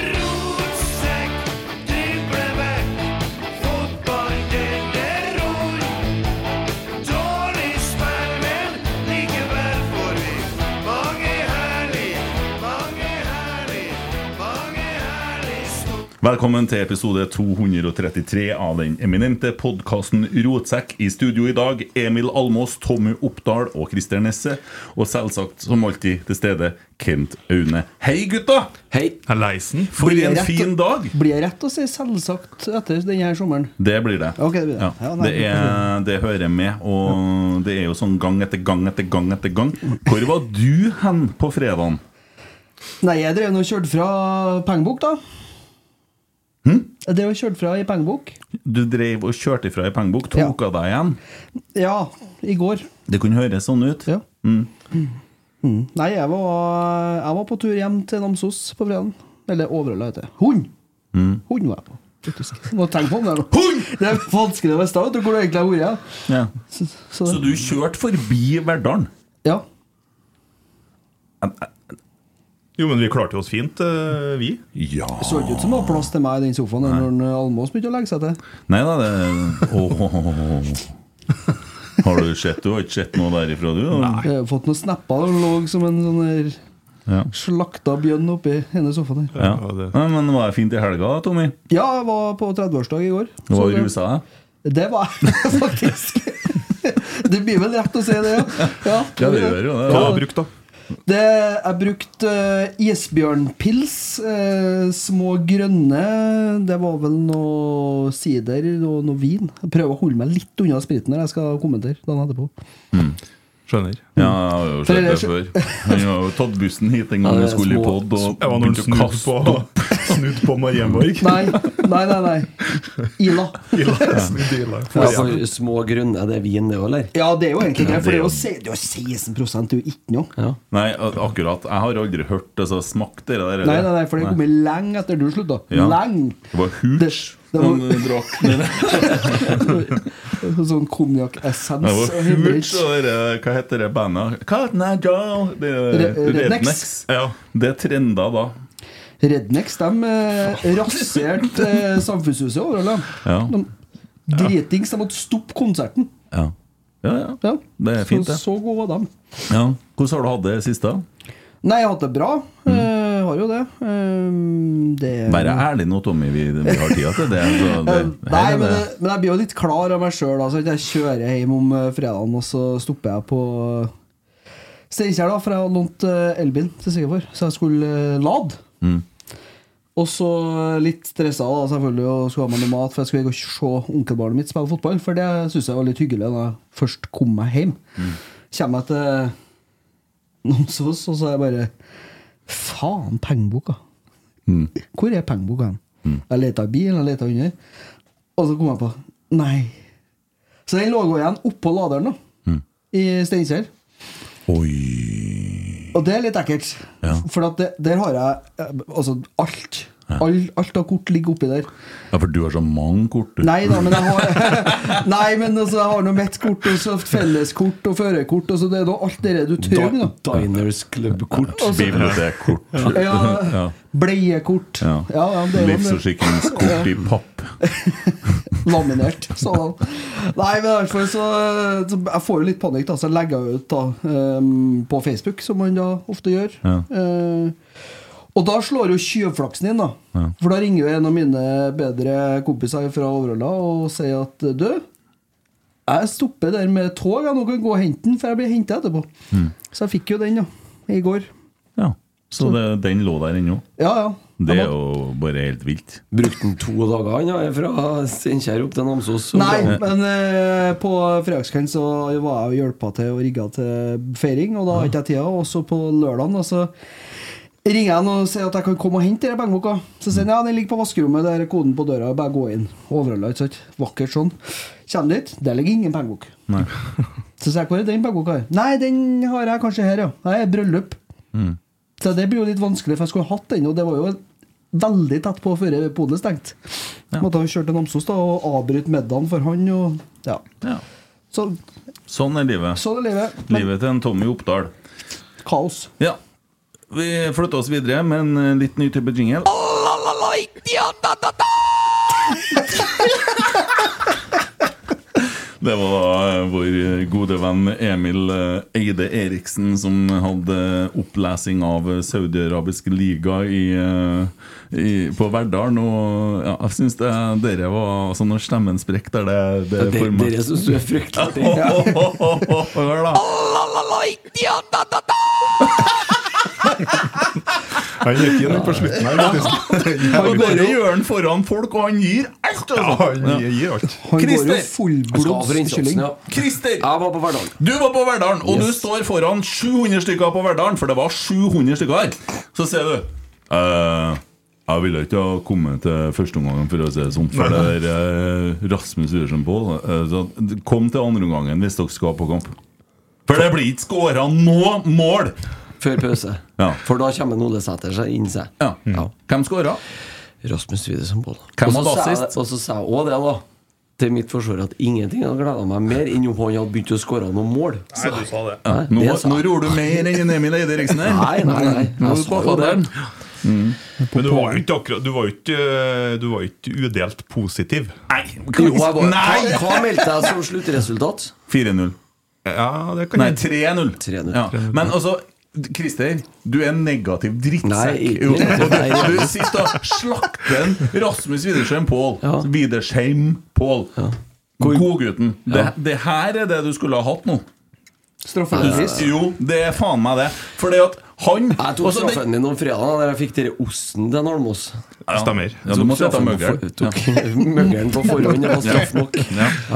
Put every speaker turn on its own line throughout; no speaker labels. Rotsekk, driblevekk, fotball deler ord. Dårlig spill, men likevel får vi mange herlig, mange herlig, mange herlig stund.
Velkommen til episode 233 av den eminente podkasten Rotsekk. I studio i dag Emil Almås, Tommy Oppdal og Christer Nesse. Og selvsagt, som alltid, til stede Kent Aune. Hei, gutta!
Hei.
Leisen. For en fin dag!
Blir jeg rett å si selvsagt etter denne sommeren?
Det blir det.
Ok, det blir det.
Ja.
Ja, nei.
det, er, Eh, det hører med, og det er jo sånn gang etter gang etter gang etter gang. Hvor var du hen på fredagen?
Nei, jeg drev nå og kjørte fra pengebok, da. Jeg drev og kjørte fra i pengebok.
Hm? Du dreiv og kjørte ifra i pengebok, tok av deg igjen.
Ja, i går.
Det kunne høres sånn ut.
Ja. Mm. Nei, jeg var, jeg var på tur hjem til Namsos på fredagen. Eller Overhalla, heter det. Hund!
Mm.
Hund var jeg på. faktisk. Må tenke på om det er noe. Det er vanskelig å bestemme vet du, hvor det egentlig har vært. ja.
er Ja.
Så, så,
Så du kjørte forbi Verdalen?
Ja.
Jo, men vi klarte jo oss fint, eh, vi.
Ja
Så det ut som det var plass til meg i den sofaen når han, eh, Almås begynte å legge seg til.
Nei da, det Åh. Har du sett Du har ikke sett noe derifra, du? Nei.
Jeg har fått noen snapper og lå som en sånn her
Ja.
slakta bjønn oppi ene sofaen her.
Ja.
Ja, det-
Nei, men det var fint i helga, Tommy.
Ja, jeg var på 30-årsdag i går.
Du var
så det-
rusa deg?
Det var jeg faktisk. Det blir vel rett å si det, ja. Ja,
Ja, det gjør jo
Hva
det.
har
Ja.
du brukt, da?
Det, jeg brukte eh, isbjørnpils. eh, små grønne. Det var vel noe sider og noe vin. Jeg prøver å holde meg litt unna spriten når jeg skal kommentere dagen etterpå.
Skjønner.
Ja, jeg har jo sett det
For
før. Han har jo tatt bussen hit en gang
Ja,
han
det er
skulle i
små-
pod og
Jeg var når han
begynte å
snudde
kaste
på, snudd på Marienborg.
Nei, nei, nei. nei. Ila.
Små grunner, det er vin, det òg, eller?
Ja, det er jo egentlig
Ja,
det. For det er jo
det
se- det er jo 16 det er jo ikke noe.
Nei, al- akkurat. Jeg har aldri hørt altså, smakt det der.
Nei, nei, Hm? nei, for det kommer lenge etter du slutta.
Ja.
Lenge!
Det var hooch.
Det- det var-
han, eh, drakk ned.
Sånn konjakkessens.
Det var
og
hooch
hybrid.
og det der, eh, hva heter det bandet? Cotton Eye Joe! Det,
Re-
Rednecks.
Rednecks.
Ja, det trenda da.
Rednecks de eh, raserte eh, samfunnshuset overalt.
Ja.
De dritings. De måtte stoppe konserten.
Ja. ja, ja.
Ja.
Det er fint,
så,
det.
så gode var de.
Ja. Hvordan har du hatt det siste? Mm.
Nei, jeg har hatt det bra. Eh, har jo det. Eh, det
Vær ærlig nå, Tommy. Vi, vi har tida til det. Så det
Eh, Nei, men, det- men jeg blir jo litt klar av meg sjøl. Altså, jeg kjører hjem om eh, fredagen, og så stopper jeg på eh, Steinkjer, da, for jeg hadde lånt eh, elbil til svigerfar, så jeg skulle eh, lade. Og så litt stressa da, selvfølgelig, og skulle ha meg noe mat, for jeg skulle gå og se onkelbarnet mitt spille fotball. For det syns jeg var litt hyggelig da jeg først kom meg hjem. Kommer jeg til Namsos, og så er jeg bare Faen, pengeboka! Hvor er pengeboka hen? Jeg leta i bilen, jeg leta under. Og så kom jeg på Nei. Så den lå igjen oppå laderen, da. I Steinkjer.
Oi Og det er litt ekkelt.
Ja.
For at det, der har jeg eh, altså alt. All, alt av kort ligger oppi der.
Ja, for du har så mange kort, du.
Nei da, men jeg har Nei, men altså, jeg har nå mitt kort, og så felleskort og førerkort. Og så det er da alt det der du trenger. da.
Diners Club-kort.
Og så-
Bibliotekkort.
Ja, Bleiekort.
Ja.
Ja, ja, det er jo-
Livsforsikringskort i papp.
Laminert. Sådan. Nei, men i hvert fall så, så Jeg får jo litt panikk, da, så jeg legger jo ut da ehm, på Facebook, som man da ofte gjør.
Ja.
Eh, og da slår jo tjuvflaksen inn, da.
Ja.
For da ringer jo en av mine bedre kompiser fra Overhalla og sier at du, jeg stopper der med tog, jeg nå kan gå og hente den, for jeg blir henta etterpå.
Mm.
Så jeg fikk jo den, da. I går.
Ja. Så det, den lå der ennå.
Ja, ja.
Det er jo bare helt vilt.
Brukte han to dager, han, ja, fra Steinkjer opp til Namsos?
Nei, men eh, på fredagskvelden så var jeg og hjelpa til og rigga til feiring, og da hadde ikke jeg tida. Og så på lørdagen da, så ringer jeg han og sier at jeg kan komme og hente den pengeboka. Så sier han ja, den ligger på vaskerommet, der er koden på døra, bare gå inn. Overhalla, ikke sant. Vakkert sånn. Kjem dit, der ligger ingen pengebok.
Nei.
Så sier jeg hvor er den pengeboka? her?» Nei, den har jeg kanskje her, ja. Det er bryllup.
Mm.
Så det blir jo litt vanskelig, for jeg skulle hatt den, og det var jo veldig tett på før polet stengte. Måtte ha kjørt til Namsos da, og avbryte middagen for han. Og, ja.
Ja.
Så
Sånn er livet.
sånn er livet. Men
Livet til en Tommy Oppdal.
kaos.
Ja. Vi flytter oss videre med en eh, litt ny type jingle. Det var eh, vår eh, gode venn Emil eh, Eide Eriksen som hadde opplesing av eh, Saudi-Arabisk liga i, eh, i, på Verdalen. Og ja, jeg syns det, dere var sånn når stemmen sprekker der det, det
Ja, de-
for meg.
dere synes du er fryktelig artig.
Hør, da.
Han gikk inn på slutten her,
Han
faktisk.
bare gjør den foran folk, og han gir alt,
Ja,
altså!
han gir- gir alt.
Han går jo
Christer!
Jeg skal ha for
fullblods
innsatsen,
kylling.
ja.
Christer!
Jeg var på Verdal.
Du var på Verdalen, og du
Yes.
står foran 700 stykker på Verdalen, for det var 700 stykker her. Så sier du eh, Jeg ville ikke ha kommet til førsteomgangen, for å si det sånn, for det er eh, Rasmus Iversen på. eh, så kom til andreomgangen hvis dere skal på kamp. For det blir ikke skåra nå mål!
Før pause.
Ja.
For da kommer en Ole Sæter seg inn seg.
Ja. Mm. Hvem skåra?
Rasmus Widesson Boll.
Hvem
Og så
var
sa jeg-
bassist?
Og så sa jeg òg det, da. Til mitt forsvar at ingenting hadde gleda meg mer enn om han hadde begynt å skåre noen mål.
Nei, du sa det.
Nei,
Nå,
det sa
nå
jeg.
ror du mer enn Emil Eide Eriksen her.
Nei, nei, nei. Jeg
Nå er du
sa
på
jo det.
fadderen.
Mm. Men du var jo ikke akkurat Du var jo ikke, eh, du var jo ikke udelt positiv.
Nei!
Jo, jeg var, hva,
Nei!
hva meldte jeg som sluttresultat?
4-0.
Ja, det kan
Nei,
jeg
3-0.
3-0.
Ja. Men altså, Christer, du er en negativ
Nei,
drittsekk.
ikke
Jo,
negativ.
og du- og du sitter og slakter en Rasmus Widersheim Pål.
Ja.
Widersheim Pål. Godgutten.
Ja.
Det, det her er det du skulle ha hatt nå.
Straffeutvis.
Jo, det er faen meg det. For det at han
Jeg tok
altså, det-
straffen min om fredagen da jeg fikk dere osten til Almås.
Stemmer.
Ja, du må sette
Straffen på for-
møgelen.
Tok møgelen på forhånd. Det var straff nok.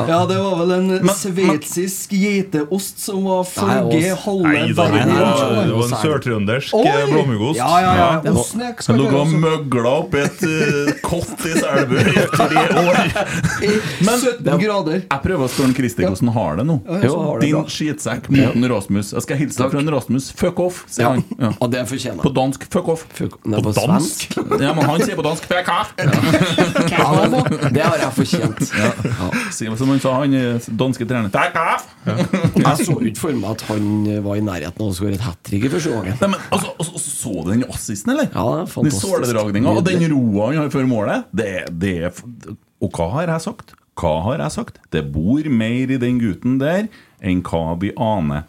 Ja, det var vel en
men-
sveitsisk geiteost som var
Nei,
følge
ost.
halve
Nei da, det
nei, er- nei,
var,
nei.
det var en sørtrøndersk eh, blåmuggost.
Ja, ja, ja.
Ja.
Osten er
Han
skal
lå og
gjøre sånn.
møgla opp i et eh, kott i Selbu i tre år.
I
Men-
17 grader.
Jeg prøver å spørre han Christer hvordan han har det nå.
Jo, jeg har det
Din
bra.
skitsekk mot en Rasmus. Jeg skal hilse
Takk.
fra en Rasmus. Fuck off, sier
Ja,
han. Ja.
og det fortjener
På dansk. Fuck off.
Nei, på svensk.
Ja, men han sier på dansk fuck off.
Ja, men det har jeg fortjent. Ja.
Sier Som han sa, han eh, danske treneren. Fuck off!
Jeg så ikke for meg at han eh, var i nærheten av å skåre et hat trick i første gangen.
Nei, men altså, altså, Så du den assisten, eller?
Ja, det er fantastisk.
Den såledragninga og den roa han har før målet. Det, det er f- Og hva har jeg sagt? Hva har jeg sagt? Det bor mer i den gutten der enn hva vi aner.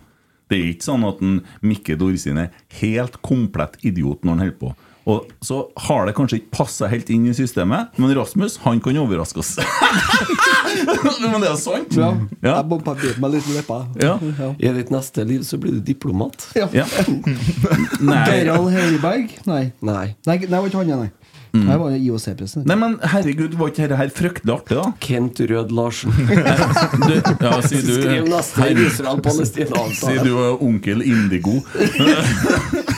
Det er ikke sånn at en Mikke Dorsin er helt komplett idiot når han holder på. Og Så har det kanskje ikke passa helt inn i systemet, men Rasmus han kan overraske oss. men det er jo sant.
Ja.
Ja.
Jeg bompa bit meg litt i leppa.
Ja.
I ditt neste liv så blir du diplomat.
Ja.
Ja. Nei.
Gerald Heiberg? Nei.
Nei.
Nei, det var ikke han, nei. Mm. Jeg var IOC-president.
Nei, men herregud, var ikke dette her fryktelig artig, da?
Kent Rød Larsen.
Du, ja, sier du
Skriv neste
Herregud.
Israel-Palestina-avtale.
Sier du er onkel Indigo.
Nei,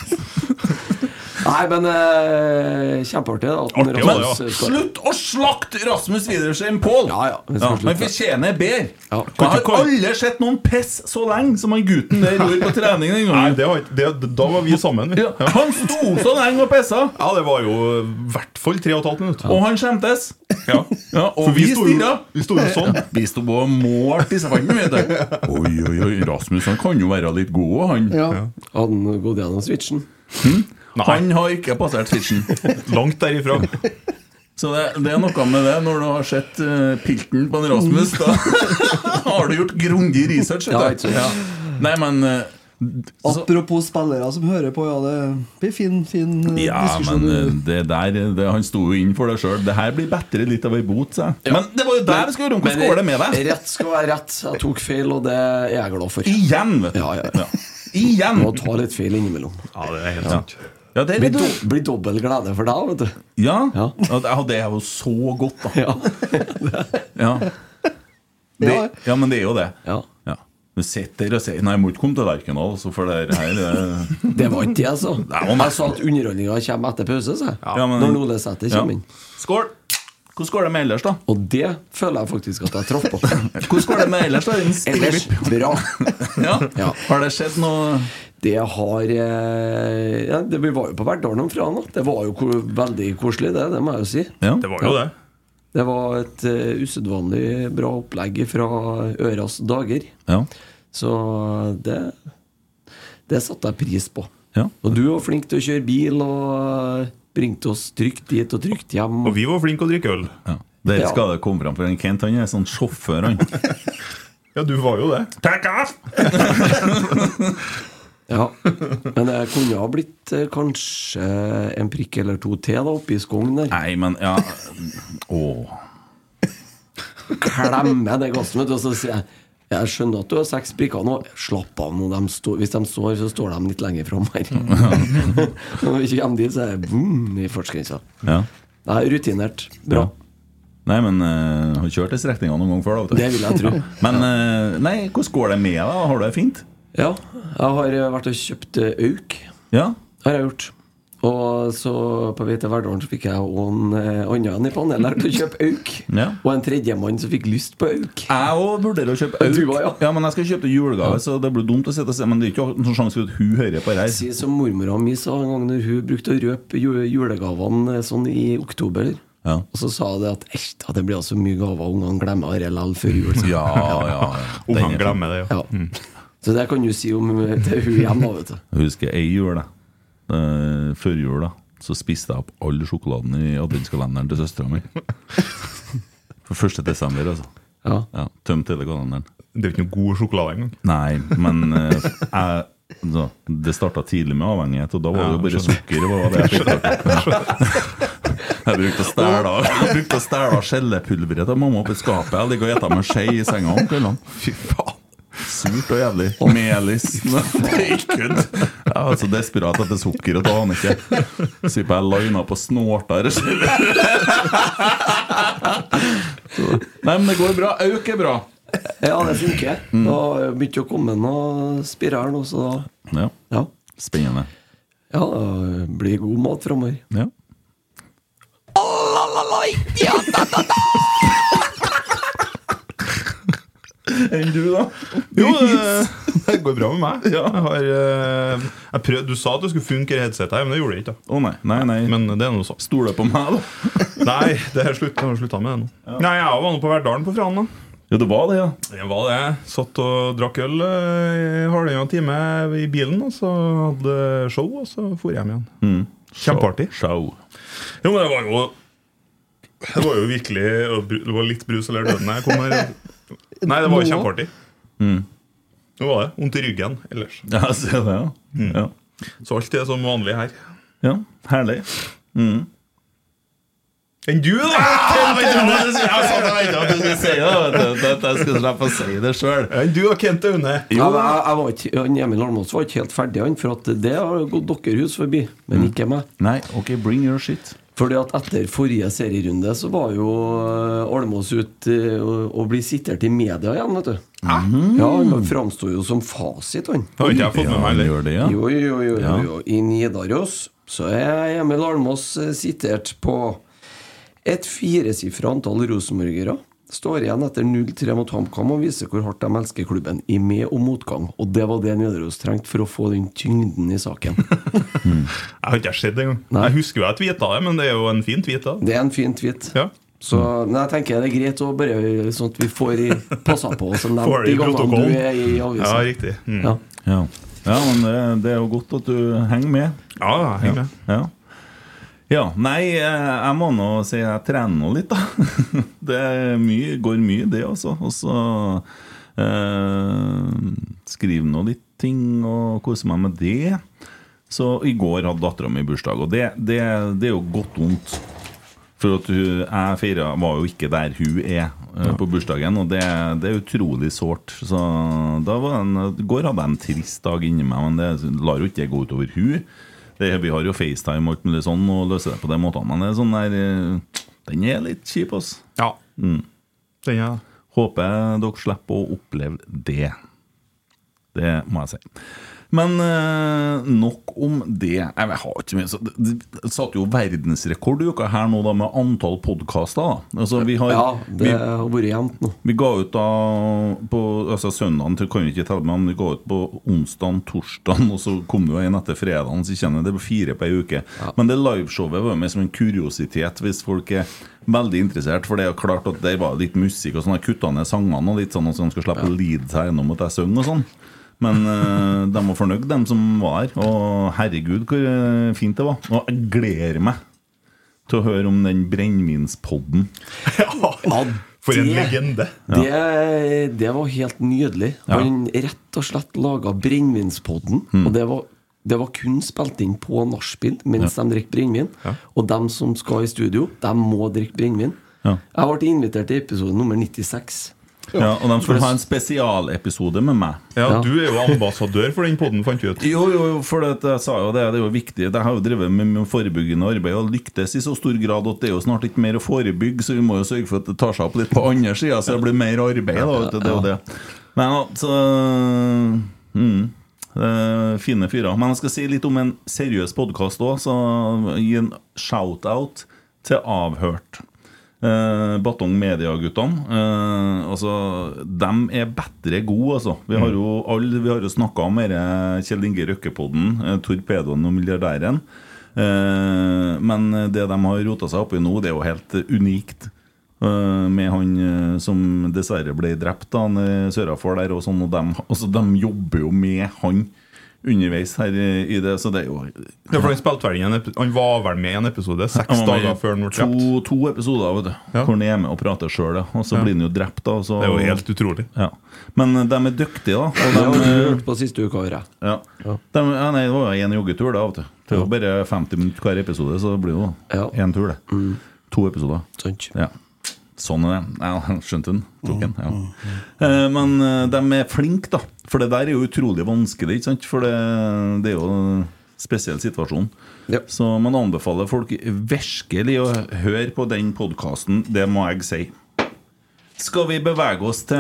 Nei, men eh, kjempeartig. da, at
Artig, ja,
Rasmus,
ja.
eh, skårer.
Slutt å slakte Rasmus Widersen Pål! Ja,
vi skal slutte.
han fortjener bedre. Ja.
Kan
Har
ikke komme-
alle sett noen piss så lenge som han gutten der gjorde på trening den
Nei,
gangen?
det var, ikke- det, da var vi sammen. Vi.
Han sto så lenge og pissa!
Ja, det var jo i hvert fall tre og et halvt minutt.
Og han skjemtes.
Ja.
Ja, og
For
vi,
vi sto jo-
stirra.
vi sto jo sånn.
Vi sto og målte disse fanden, vet du. Oi, oi, oi, Rasmus han kan jo være litt god, han.
Ja.
Hadde han gått gjennom switchen?
Han har ikke passert switchen.
Langt derifra.
Så det, det er noe med det. Når du har sett eh, pilten på en Rasmus, da har du gjort grundig research. vet du.
Ja, ikke sant.
Nei, men eh, altså,
Apropos spillere som hører på, ja, det blir fin, fin eh,
Ja,
diskusjon.
men eh, det der eh, det, Han sto jo inn for det sjøl. Det her blir bedre litt av ei bot, sa jeg. Men det var jo der vi skulle gjøre om hvordan går det med deg?
Rett skal være rett. Jeg tok feil, og det er jeg glad for.
Igjen, vet du.
Ja, ja, ja.
Igjen!
Må ta litt feil innimellom.
Ja, det er helt
Ja.
sant.
Ja, det,
Blir,
du,
do, blir dobbel glede for deg, vet du.
ja.
Ja.
Ja, det- ja, det er jo så godt, da.
Ja.
Ja, det, ja men det er jo det.
ja.
Ja. Du sitter og sier 'nei, jeg må ikke komme til Lerkendal', altså, for det her eh, det
Det var ikke det, altså.
var meg.
Jeg sa at underholdninga kommer etter pause, sa jeg.
Ja, men-
Når Ole Sæter
Ja.
kommer inn.
Skål! Hvordan går det med ellers, da?
Og det føler jeg faktisk at jeg traff på.
Hvordan går det med ellers, da? Din
Ellers
spillelipp?
bra.
Ja.
Ja.
Har det skjedd noe
Det har eh, ja, det, Vi var jo på Verdalen om fredagen. da. Det var jo ko veldig koselig, det. Det må jeg jo si.
ja.
Det var jo det.
Det var et eh, usedvanlig bra opplegg fra Øras dager.
Ja.
Så det Det satte jeg pris på.
Ja.
Og du var flink til å kjøre bil og bringte oss trygt dit og trygt hjem.
Og vi var flinke å drikke øl.
ja. Dere
Ja.
skal det komme fram, for en Kent han er sånn sjåfør, han.
Ja, du var jo det.
Takk av!
Ja, Men det kunne ha blitt eh, kanskje en prikk eller to til da oppe i skogen der.
Nei, men ja Åh.
Klemme det gassen, vet du, og så sier jeg jeg skjønner at du har seks prikker nå. Slapp av nå. De står, hvis de står, så står de litt lenger fram her. Når vi ikke kommer dit, så er det boom i fartsgrensa.
Ja.
Nei, rutinert. Bra.
Ja. Nei, men eh, har kjørt de strekningene noen gang før, da. vet du.
Det vil jeg tro.
Men eh, nei, hvordan går det med deg? da? Har du det fint?
Ja, jeg har eh, vært og kjøpt eh, auk.
Ja?
har jeg gjort. Og så på vei til Verdalen så fikk jeg og en eh, annen en i panelet her til å kjøpe auk.
Ja.
Og en tredjemann som fikk lyst på auk.
Jeg òg vurderer å kjøpe
Du også, ja.
men jeg skal kjøpe til julegave, så det blir dumt å sitte og se. Men det er ikke noen sjanse for at hun hører på det her.
Si som mormora mi sa en gang når hun brukte å røpe ju- julegavene eh, sånn i oktober.
Ja.
Og så sa hun det at Æsj, da, det blir så mye gaver, ungene glemmer det likevel før jul.
Ja, ja. Mm. Den
Ungene
er fin.
glemmer det, ja.
Ja. Så det kan du si om eh, til hun igjen, da, vet du.
Jeg husker ei jul, da. Eh, Før jul, da. Så spiste jeg opp all sjokoladen i adventskalenderen til søstera mi. For 1. desember, altså.
Ja.
Ja, Tømte hele kalenderen.
Det er jo ikke noe god sjokolade engang.
Nei, men eh, jeg så, Det starta tidlig med avhengighet, og da var det jo
Ja,
bare
skjønner.
sukker. Det var det jeg, fikk tak i. jeg brukte å stæle Jeg brukte å stæle av skjellepulveret til mamma oppi skapet. Jeg ligger og eter med skje i senga om kveldene. Fy faen. Surt og jævlig. Melis. Det er ikke kødd. Jeg var så desperat etter sukker at jeg aner ikke. Så jeg bare lina på snorta eller skjellet. Så- Nei, men det går bra. Auk er bra.
ja, det funker.
Mm.
Da begynte å komme noen spirer nå, så da
Ja,
ja.
Spennende.
ja, det blir god mat framover.
Ja. Enn du, da?
Jo, det, det går bra med meg. Jeg har, eh, jeg prøvd, du sa at det skulle funke i headsetet, her, men det gjorde det ikke. da
Å nei, nei, nei.
Men det er noe sånn.
Stoler på meg, da?
Nei, det har slutt, jeg har slutta med det nå. Nei, Jeg var nå på Verdalen på Fran. da
Ja, det var det, ja.
Det var det. Satt og drakk øl eh, i halvannen time i bilen, og så hadde show, og så for jeg hjem igjen. Kjempeartig.
Mm. Show.
Jo, men det var jo Det var jo virkelig Det var litt brus eller døden jeg kom her. Nei, det var jo kjempeartig. Det var det. Vondt i ryggen ellers. Mm.
Mm. Ja, jeg ser det, ja. ja.
Så alt er som vanlig her.
Ja, herlig. Mm.
Enn du, da!
Jeg sa det, jeg vet ikke at du skulle si det, vet du. At jeg skulle slippe å si det sjøl.
Enn du og Kent Aune.
Ja, men jeg, jeg var ikke, han Emil Almås var ikke helt ferdig, han, for at det har gått deres hus forbi, men ikke meg.
Nei, ok, Mm. bring your shit.
Fordi at etter forrige serierunde så var jo eh, Almås ut eh, og og blir sitert i media igjen, vet du. Ja,
Mm.
Han framsto jo som fasit, han.
Har ikke jeg fått med meg
Han gjør det, ja.
Jo, jo, jo, jo,
Ja.
jo. I Nidaros så er Emil Almås eh, sitert på et firesifra antall rosenborgere. Står igjen etter 0-3 mot HamKam og viser hvor hardt de elsker klubben i med- og motgang. Og det var det Nidaros trengte for å få den tyngden i saken.
Jeg har ikke sett det engang.
Nei.
Jeg husker jo jeg tweeta det, men det er jo en fin tweet. da
Det er en fin tweet.
Ja.
Så men jeg tenker det er greit å bare sånn at vi får i- passa på som
Får
nevnt
det
de
i
gangene
protokollen.
du er i
Ja,
avisa.
riktig. Mm.
Ja.
Ja. ja, men det, det er jo godt at du henger med.
Ja, heng med.
Ja. ja. Nei, eh, jeg må nå si jeg trener nå litt, da. Det er mye, går mye, det også. Og så eh, skriver nå litt ting og koser meg med det. Så i går hadde dattera mi bursdag, og det, det, det er jo godt vondt. For at hun, jeg feira var jo ikke der hun er eh, på bursdagen, og det, det er utrolig sårt. Så da var en, i går hadde jeg en trist dag inni meg, men det lar jo ikke det gå utover hun. Det, vi har jo FaceTime og alt mulig sånn og løser det på den måten, men det er sånn der eh, Den er litt kjip, altså.
Ja.
Mm.
Den er
Håper dere slipper å oppleve det. Det må jeg si. Men eh, nok om det. Jeg vet- jeg har ikke mye så- Det det satte jo verdensrekord i uka her nå da med antall podkaster. Altså, vi har
Ja, det
vi,
har vært jevnt nå.
vi ga ut da på altså søndagen, til- kan vi ikke telle med, men vi ga ut på onsdagen, torsdagen, og så kom det jo en etter fredagen, så kjenner jeg det var fire på ei uke. Men det liveshowet var jo mer som en kuriositet, hvis folk er veldig interessert, for det er jo klart at der var litt musikk og sånn, jeg kutta ned sangene og litt sånn, og så de skulle slippe å lide seg gjennom at jeg synger og sånn. Men eh, de var fornøyd, de som var her. Og herregud, hvor eh, fint det var. Og jeg gleder meg til å høre om den brennevinspodden.
Ja, for en legende.
Det, det var helt nydelig. Han rett og slett laga Brennevinspodden.
Mm.
Og det var, det var kun spilt inn på nachspiel mens de drikker brennevin. Og dem som skal i studio, de må drikke brennevin.
Ja.
Jeg ble invitert til episode nummer 96.
Ja, og de skulle ha en spesialepisode med meg.
Ja,
Ja.
Du er jo ambassadør for den poden, fant vi ut.
Jo, jo, jo, for det, at jeg sa jo det, det er jo viktig. Jeg har jo drevet med, med forebyggende arbeid og lyktes i så stor grad at det er jo snart ikke mer å forebygge, så vi må jo sørge for at det tar seg opp litt på andre sida, så det blir mer arbeid. da, vet du, det er jo det. Men altså mm, eh, Fine fyrer. Men jeg skal si litt om en seriøs podkast òg, så gi en shout-out til Avhørt. Eh, Batong Media-guttene. Eh, altså, de er bedre gode, altså. Vi
Mm.
har jo, alle- vi har jo snakka om dette Kjell Inge Røkke-podden, eh, Torpedoen og milliardæren. Eh, men det de har rota seg oppi nå, det er jo helt unikt. Eh, med han eh, som dessverre ble drept da, han, eh, sørafor der, og sånn. Og de, altså, de jobber jo med han underveis her eh, i det, så det er jo
Ja, for han, spilte vel inn en epi- han var vel med i en episode seks
han var med
dager
i
før han ble
to,
drept.
to episoder vet du,
Ja.
hvor han er med og prater sjøl, og så
Ja.
blir han jo drept. da og så,
Det er jo helt utrolig.
ja. Men eh, de er dyktige, da.
Det har
Og
du
de,
hørt på siste uka, hører jeg.
ja. De, ja, nei, det var jo én joggetur, da. Vet du. Det er jo bare 50 minutter hver episode, så det blir jo
Ja. Mm.
én tur, det. To episoder.
Sant.
Ja. Sånn er det. Ja, skjønte den. Tok den. Ja. Eh, Men eh, de er flinke, da. For det der er jo utrolig vanskelig, ikke sant? For det, det er jo en spesiell situasjon.
Ja.
Så man anbefaler folk virkelig å høre på den podkasten. Det må jeg si. Skal vi bevege oss til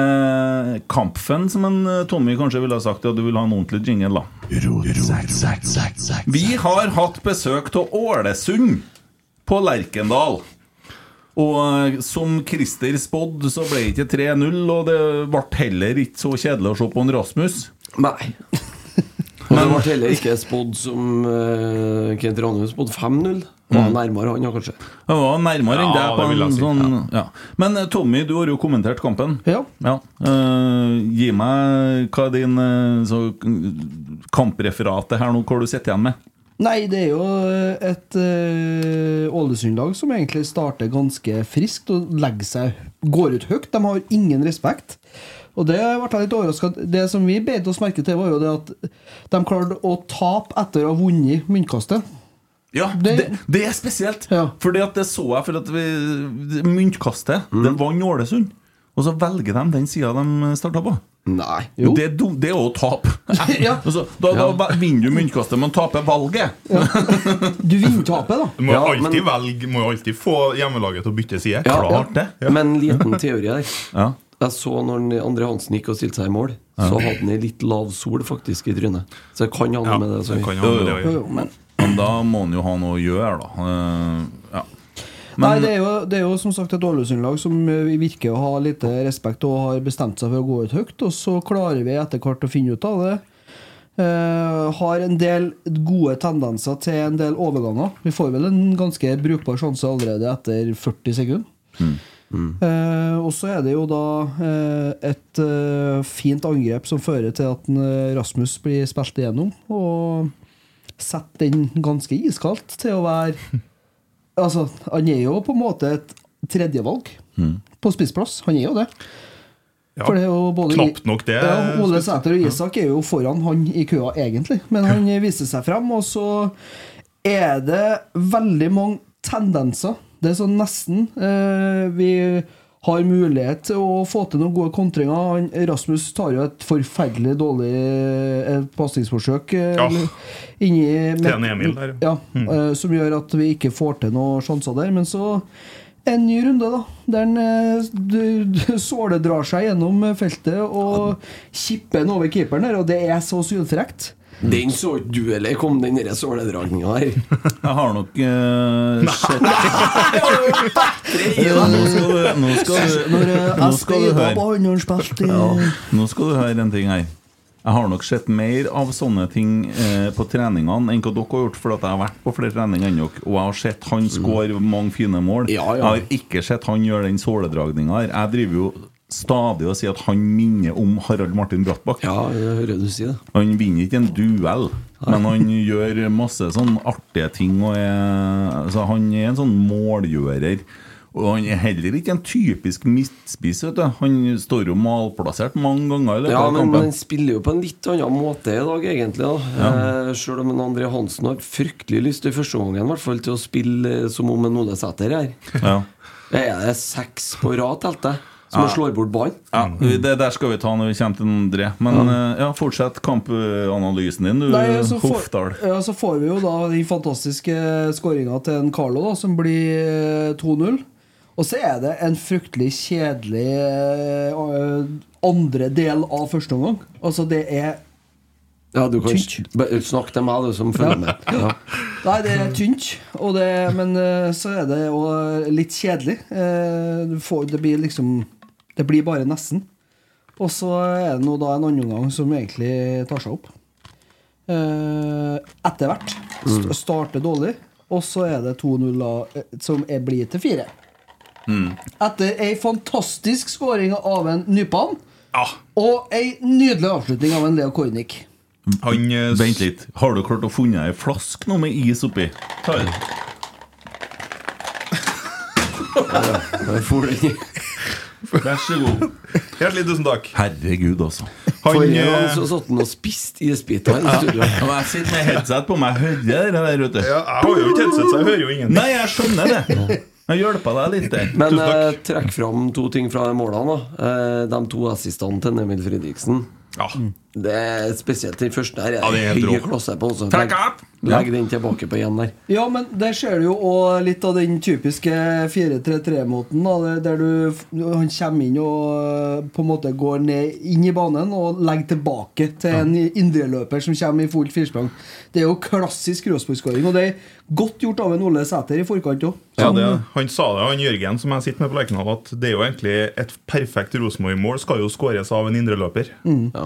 Kampfen, som en eh, Tommy kanskje ville ha sagt? Ja, du vil ha en ordentlig jingle, da. Vi har hatt besøk av Ålesund på Lerkendal. Og eh, som Christer spådde, så ble det ikke 3-0, og det ble heller ikke så kjedelig å se på en Rasmus.
Nei. Og det ble heller ikke spådd som eh, Kent Ranum spådde 5-0.
Mm.
Var nærmere han, da, kanskje.
Det var nærmere enn
Ja,
deg. på
det vil jeg
en
si,
sånn, ja. Men eh, Tommy, du har jo kommentert kampen.
Ja.
Eh, gi meg hva er din eh, så, k- kampreferat er her nå, hva du sitter igjen med.
Nei, det er jo et eh, Ålesund-lag som egentlig starter ganske friskt og legger seg, går ut høyt. De har ingen respekt. Og det ble jeg litt overraska Det som vi beit oss merke til, var jo det at de klarte å tape etter å ha vunnet myntkastet.
Ja, det,
Det-
det, er spesielt!
Ja.
Fordi at det så jeg for at vi,
Mm.
myntkastet. Det vant Ålesund. Og så velger de den sida de starta på.
Nei.
Det, er dum- det er jo å tape. altså, da, da vinner du myntkastet, men taper valget.
Du vinner tapet, da.
Du må jo
Ja,
alltid
men-
velge, må jo alltid få hjemmelaget til å bytte side.
Ja,
Klart
ja.
det.
Men en liten teori der. Jeg så når André Hansen gikk og stilte seg i mål, så hadde han ei litt lav sol faktisk i trynet. Så det kan ha noe med det. å
det
gjøre.
kan jo ha med det å
Jo,
gjøre.
jo, men
Men da må han jo ha noe å gjøre, da. Eh, ja.
Nei, det er, jo, det er jo som sagt et Ålesund-lag som eh, virker å ha lite respekt og har bestemt seg for å gå ut høyt, og så klarer vi etter hvert å finne ut av det. Eh, har en del gode tendenser til en del overganger. Vi får vel en ganske brukbar sjanse allerede etter 40 sekunder. Eh, og så er det jo da eh, et eh, fint angrep som fører til at en, eh, Rasmus blir spilt igjennom, og setter den ganske iskaldt til å være Altså, han er jo på en måte et tredjevalg på spissplass. Han er jo det.
Ja.
For det er jo både
Knapt nok det.
Ja, Ole Sæter og Isak er jo foran han i køa, egentlig. Men han viser seg frem, og så er det veldig mange tendenser. Det er sånn nesten eh, Vi har mulighet til å få til noen gode kontringer. Han, Rasmus tar jo et forferdelig dårlig eh, pasningsforsøk eh,
Ja.
eller inni
Til en Emil der, Hmm.
ja, eh, som gjør at vi ikke får til noen sjanser der. Men så en ny runde, da. Der han eh, du- du- såledrar seg gjennom eh, feltet og kipper den over keeperen der, og det er så sylfrekt.
Den så ikke du, eller kom den der såledragninga her?
Jeg har nok eh, sett Eh, Nå skal du, nå skal du,
Når eh,
nå
jeg
skal du
spiller på
høre.
andre spilt i
Mm.
Nå skal du høre en ting her. Jeg har nok sett mer av sånne ting eh, på treningene enn hva dere har gjort, for at jeg har vært på flere treninger enn dere, og jeg har sett han skåre mange fine mål.
Mm. Ja, ja.
Jeg har ikke sett han gjøre den såledragninga her. Jeg driver jo stadig og sier at han minner om Harald Martin Brattbakk.
Ja, jeg hører du si det.
Han vinner ikke en duell, men han gjør masse sånn artige ting. Og er, altså han er en sånn målgjører. Og han er heller ikke en typisk midtspiss. vet du. Han står jo malplassert mange ganger i løpet
Ja,
av
men han
kampen.
spiller jo på en litt annen måte i dag, egentlig. da eh, Sjøl om en André Hansen har fryktelig lyst i første omgangen, i hvert fall til å spille eh, som om en Ole Sæter her.
Ja.
Det er det seks på rad, telte jeg, som han slår bort ballen.
Ja, det der skal vi ta når vi kommer til André. Men eh, ja, fortsett kampanalysen din, du,
Nei, så får,
Hofdal.
ja, så får vi jo da den fantastiske skåringa til en Carlo, da, som blir eh, 2-0. Og så er det en fryktelig kjedelig eh, andre del av første omgang. Altså, det er
Ja, du kan
Tynt.
sn- snakke til meg, du som følger med. Ja.
Nei, det er tynt, og det, men eh, så er det jo litt kjedelig. Eh, Du får, det blir liksom Det blir bare nesten. Og så er det nå da en annen omgang som egentlig tar seg opp. Eh, Etter hvert.
Mm.
St- Starter dårlig, og så er det 2-0 da, eh, som er, blir til 4.
Mm.
Etter ei fantastisk skåring av en Nypan
Ja,
og ei nydelig avslutning av en Leo Kornic.
han eh, s-
Vent litt. Har du klart å funne ei flask nå med is oppi? Ta det.
Jeg får den.
Vær så god.
Hjertelig tusen takk.
Herregud, altså.
Han,
Forrige gang
eh,
så satt han og spiste isbiter her i studio.
Og jeg sitter med headset på meg. Hører jeg det der, vet du?
ja, jeg har jo ikke headset, så jeg hører jo ingenting.
Nei, jeg skjønner det. Jeg hjelper deg litt der.
Men
Tusen takk.
eh, trekk fram to ting fra de målene. Da. Eh, de to assistene til Emil Fredriksen.
Ja.
Det er Spesielt den første her.
Ja, det er
er
helt
høy
rå.
klasse på. Også.
Trekk
Legg-
opp!
Legg den tilbake på igjen der.
Ja, men der ser du jo også litt av den typiske 4-3-3-måten. da, Der du, han kommer inn og eh, på en måte går ned inn i banen og legger tilbake til en indreløper som kommer i fullt firsprang. Det er jo klassisk Rosenborg-skåring, og det er godt gjort av en Ole Sæter i forkant òg.
Ja, det, han sa det, han Jørgen som jeg sitter med på Lerkendal, at det er jo egentlig et perfekt Rosenborg-mål skal jo skåres av en indreløper.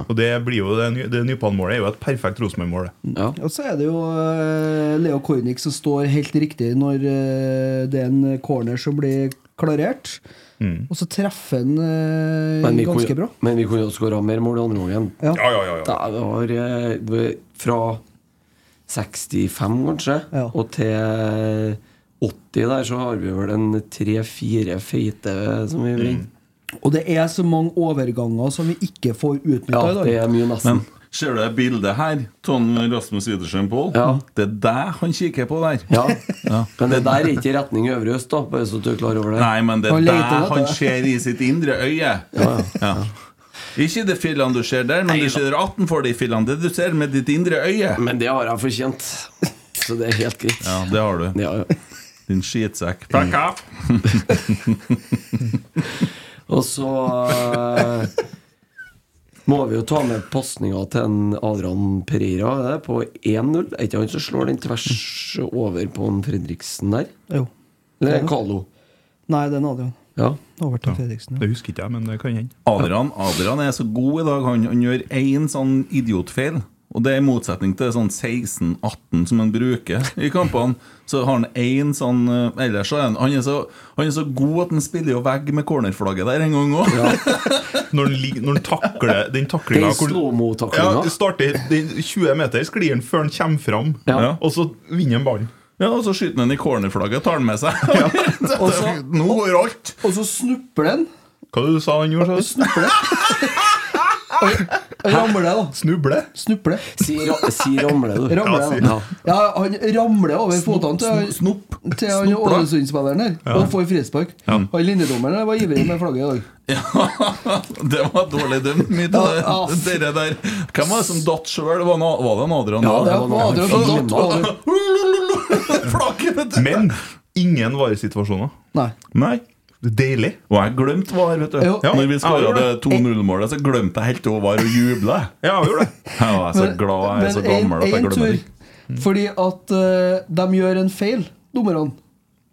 Og det blir jo det, ny- det Nypan-målet er jo et perfekt Rosenborg-mål. det.
Ja.
Og så er det jo eh, Leo Kornic som står helt riktig når eh, det er en corner som blir klarert. Og så treffer han eh,
Men vi
ganske
kunne-
bra.
men vi kunne jo skåra mer mål i andre gangen.
Ja.
Ja, ja, ja, ja.
Da, det var eh, v- fra 65, kanskje,
Ja.
og til 80 der, så har vi vel en tre-fire feite som vi brenner.
Og det er så mange overganger som vi ikke får utnytta
Ja,
i dag.
det er mye nesten.
Men ser du det bildet her? Tom Rasmus Widersen Pål?
Ja.
Det er deg han kikker på der.
Ja. Men det der er ikke retning Øvre Øst, da, bare så du er klar over det.
Nei, men det
Han
er
leter
deg
etter
han
deg.
ser i sitt indre øye. Ja, Ikke de fillene du ser der, men du ser 18 for de fillene. Det du ser med ditt indre øye.
Men det har jeg fortjent. Så det er helt greit.
Ja, det har du. Din skitsekk. Fuck off!
Og så eh, må vi jo ta med pasninga til en Adrian Pereira er det, på 1-0. Er ikke han som slår den tvers over på en Fredriksen der?
Jo.
Eller en Carlo?
Nei, den hadde han.
Ja.
Over til Fredriksen.
Det husker ikke jeg, men det kan hende.
Adrian, Adrian er så god i dag. Han, han gjør én sånn idiotfeil. Og det er i motsetning til sånn 16-18 som han bruker i kampene. Så har han én sånn eh, Ellers så er han, han, er så, han er så god at han spiller jo vegg med cornerflagget der en gang òg.
Når den, lig- når den takler den taklinga
Den slow-mo-taklinga.
Ja, starter den 20 meter, sklir den før den kommer fram,
Ja.
og så vinner den ballen.
Ja, og så skyter han den i cornerflagget og tar den med seg.
Og
Nå går alt!
Og så snupper den.
Hva var det du sa han gjorde? sa du?
Ramler, da.
Snuble?
Snupler.
Si, ra si ramle, du.
Ramler,
Ja, si-
da. Ja, han ramler over føttene til han-
Snopp.
til han
Snopp, da.
Ålesund-spilleren her, og får frispark. Han linjedommeren der var ivrig med flagget i dag.
Ja, det var dårlig dømt, mye
Ja,
av
ass.
det dere der. Hvem var det som datt sjøl? Var, det- var det en Adrian?
Ja,
da?
Det var Adrian som
Fint.
datt over.
Flagget, vet du!
Men ingen varesituasjoner.
Nei.
Nei.
Det er Deilig.
Og jeg glemte VAR, vet du.
Jo.
Ja. Når vi
Ja,
skåra
gjorde
det
det.
2-0-målet, så glemte jeg helt over VAR og jubla.
Ja, jeg gjorde det.
Jeg var så glad, jeg er så gammel at jeg
en
glemmer det. Mm.
tur, Fordi at eh, de gjør en feil, dommerne.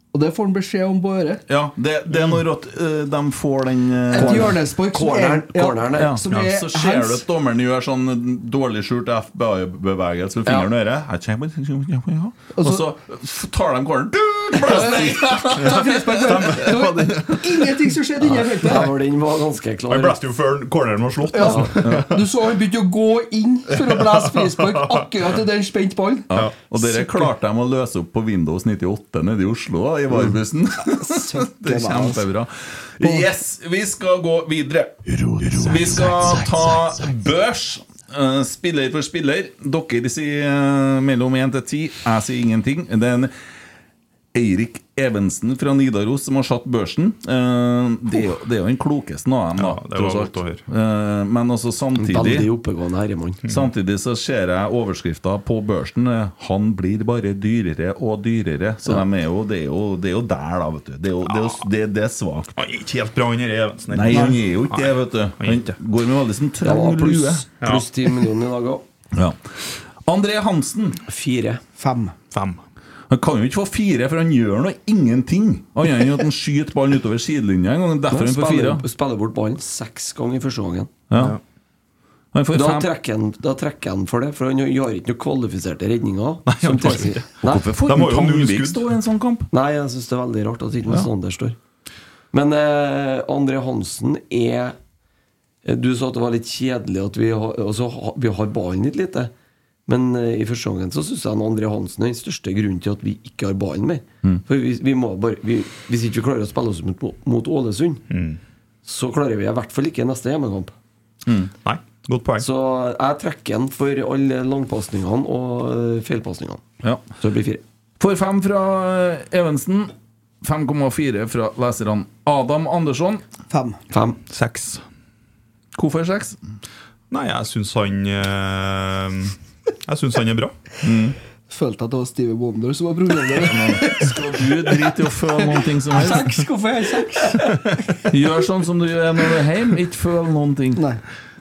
Og det får han beskjed om på øret.
Ja, det, det er når at eh, de får den eh,
Et hjørnespark som er-
Corneren, corneren
ja,
der.
som
ja,
er
Så ser du
hands.
at dommeren gjør sånn dårlig skjult FBI-bevegelse med fingeren og øret. Og så f- tar de corneren Du, blåsning!
Ta frispark på øret. Det var Ingenting som skjedde inni
Ja,
feltet.
for den var ganske klar.
Jeg blæste jo før corneren var slått.
Ja. Du så han begynte å gå inn for å blæse frispark akkurat idet han spente ballen.
Ja, og dere klarte de å løse opp på Windows 98 nede i Oslo, da, i varbussen. det er kjempebra. Yes, vi skal gå videre. Vi skal ta børs. eh, Spiller for spiller. Dere sier eh, mellom 1 til 10. Jeg sier ingenting. Det er en Eirik Evensen fra Nidaros som har satt børsen. Eh, Det er jo, det er jo den klokeste av dem, da.
Ja, det var
tross alt.
godt å høre.
Eh, Men også samtidig
Veldig oppegående herremann.
Samtidig så ser jeg overskrifta på børsen. eh, Han blir bare dyrere og dyrere. Så de er jo, det, er jo, det er jo der, da, vet du. Det er, jo, det er, jo, det, det er svakt.
Han er ikke helt bra, han der Evensen.
Nei, han er jo ikke det, vet du. Han går med veldig som
Det var
trang lue.
pluss pluss 10 millioner i dag òg.
Ja. André Hansen.
Fire.
Fem.
Fem.
Han kan jo ikke få fire, for han gjør nå ingenting. Annet enn at han skyter ballen utover sidelinja en gang. Derfor han får fire.
Spiller, spiller bort ballen seks ganger i første gangen.
Ja. Han får
Da
fem.
trekker, han, da trekker han for det, for han gjør ikke noen kvalifiserte redninger. Nei,
han gjør ikke det. Hvorfor får
De har jo
Tangvik
null skudd.
stå i en sånn kamp?
Nei, jeg syns det er veldig rart at ikke noe sånt der står. Men eh, André Hansen er eh, Du sa at det var litt kjedelig at vi har, altså, ha- vi har ballen litt lite. Men eh, i første gangen så syns jeg han André Hansen er den største grunnen til at vi ikke har ballen mer.
Mm.
For vi, vi må bare, vi, hvis ikke vi klarer å spille oss mot, mot Ålesund,
Mm.
så klarer vi i hvert fall ikke neste hjemmekamp.
Nei, godt poeng.
Så jeg trekker han for alle langpasningene og eh, feilpasningene.
Ja.
Så det blir fire.
Får fem fra eh, Evensen. 5,4 fra leserne. Adam Andersson.
Fem.
Fem.
Seks.
Hvorfor seks?
Nei, jeg syns han eh, Jeg syns han er bra.
Følte at det var Stevie Wonder som var programleder.
Skal du drite i å føle noen ting som helst?
Seks, hvorfor er jeg seks?
Gjør sånn som du gjør når du er hjemme. Ikke føl noen ting.
Nei.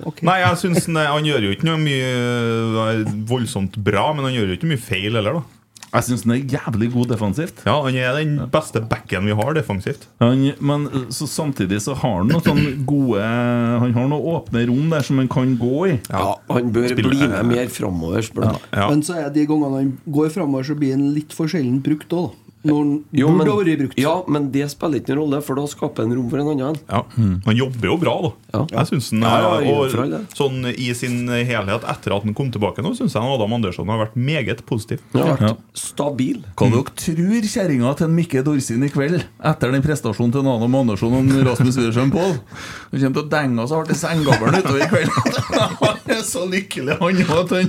Ok.
Nei, jeg synes nei, Han gjør jo ikke noe mye eh, voldsomt bra, men han gjør jo ikke mye feil heller, da.
Jeg syns han er jævlig god defensivt.
Ja, Han er den beste backen vi har defensivt.
Han, men så samtidig så har han noen sånne gode Han har noen åpne rom der som han kan gå i.
Ja, han bør
Spiller-
bli med mer framover, spør du meg.
Ja.
Men så er de gangene han går framover, så blir han litt for sjelden brukt òg, da. Når han
Jo,
burde
men,
ha vært brukt.
Ja, men det spiller ikke noen rolle, for da skaper en rom for en annen.
Ja. Han jobber jo bra, da.
Ja.
Jeg synes han,
Ja, ja,
eh,
i forhold, ja.
og sånn I sin helhet, etter at han kom tilbake nå, syns jeg Adam Andersson har vært meget positiv.
Han har vært
Ja.
stabil.
Mm.
Hva dere tror kjerringa til en Mikke Dorsin i kveld, etter den prestasjonen til Adam Andersson og en Rasmus Widersheim Pål? Han kommer til å denge oss hardt i senggavlen utover i kveld. Han er så lykkelig, han òg, at han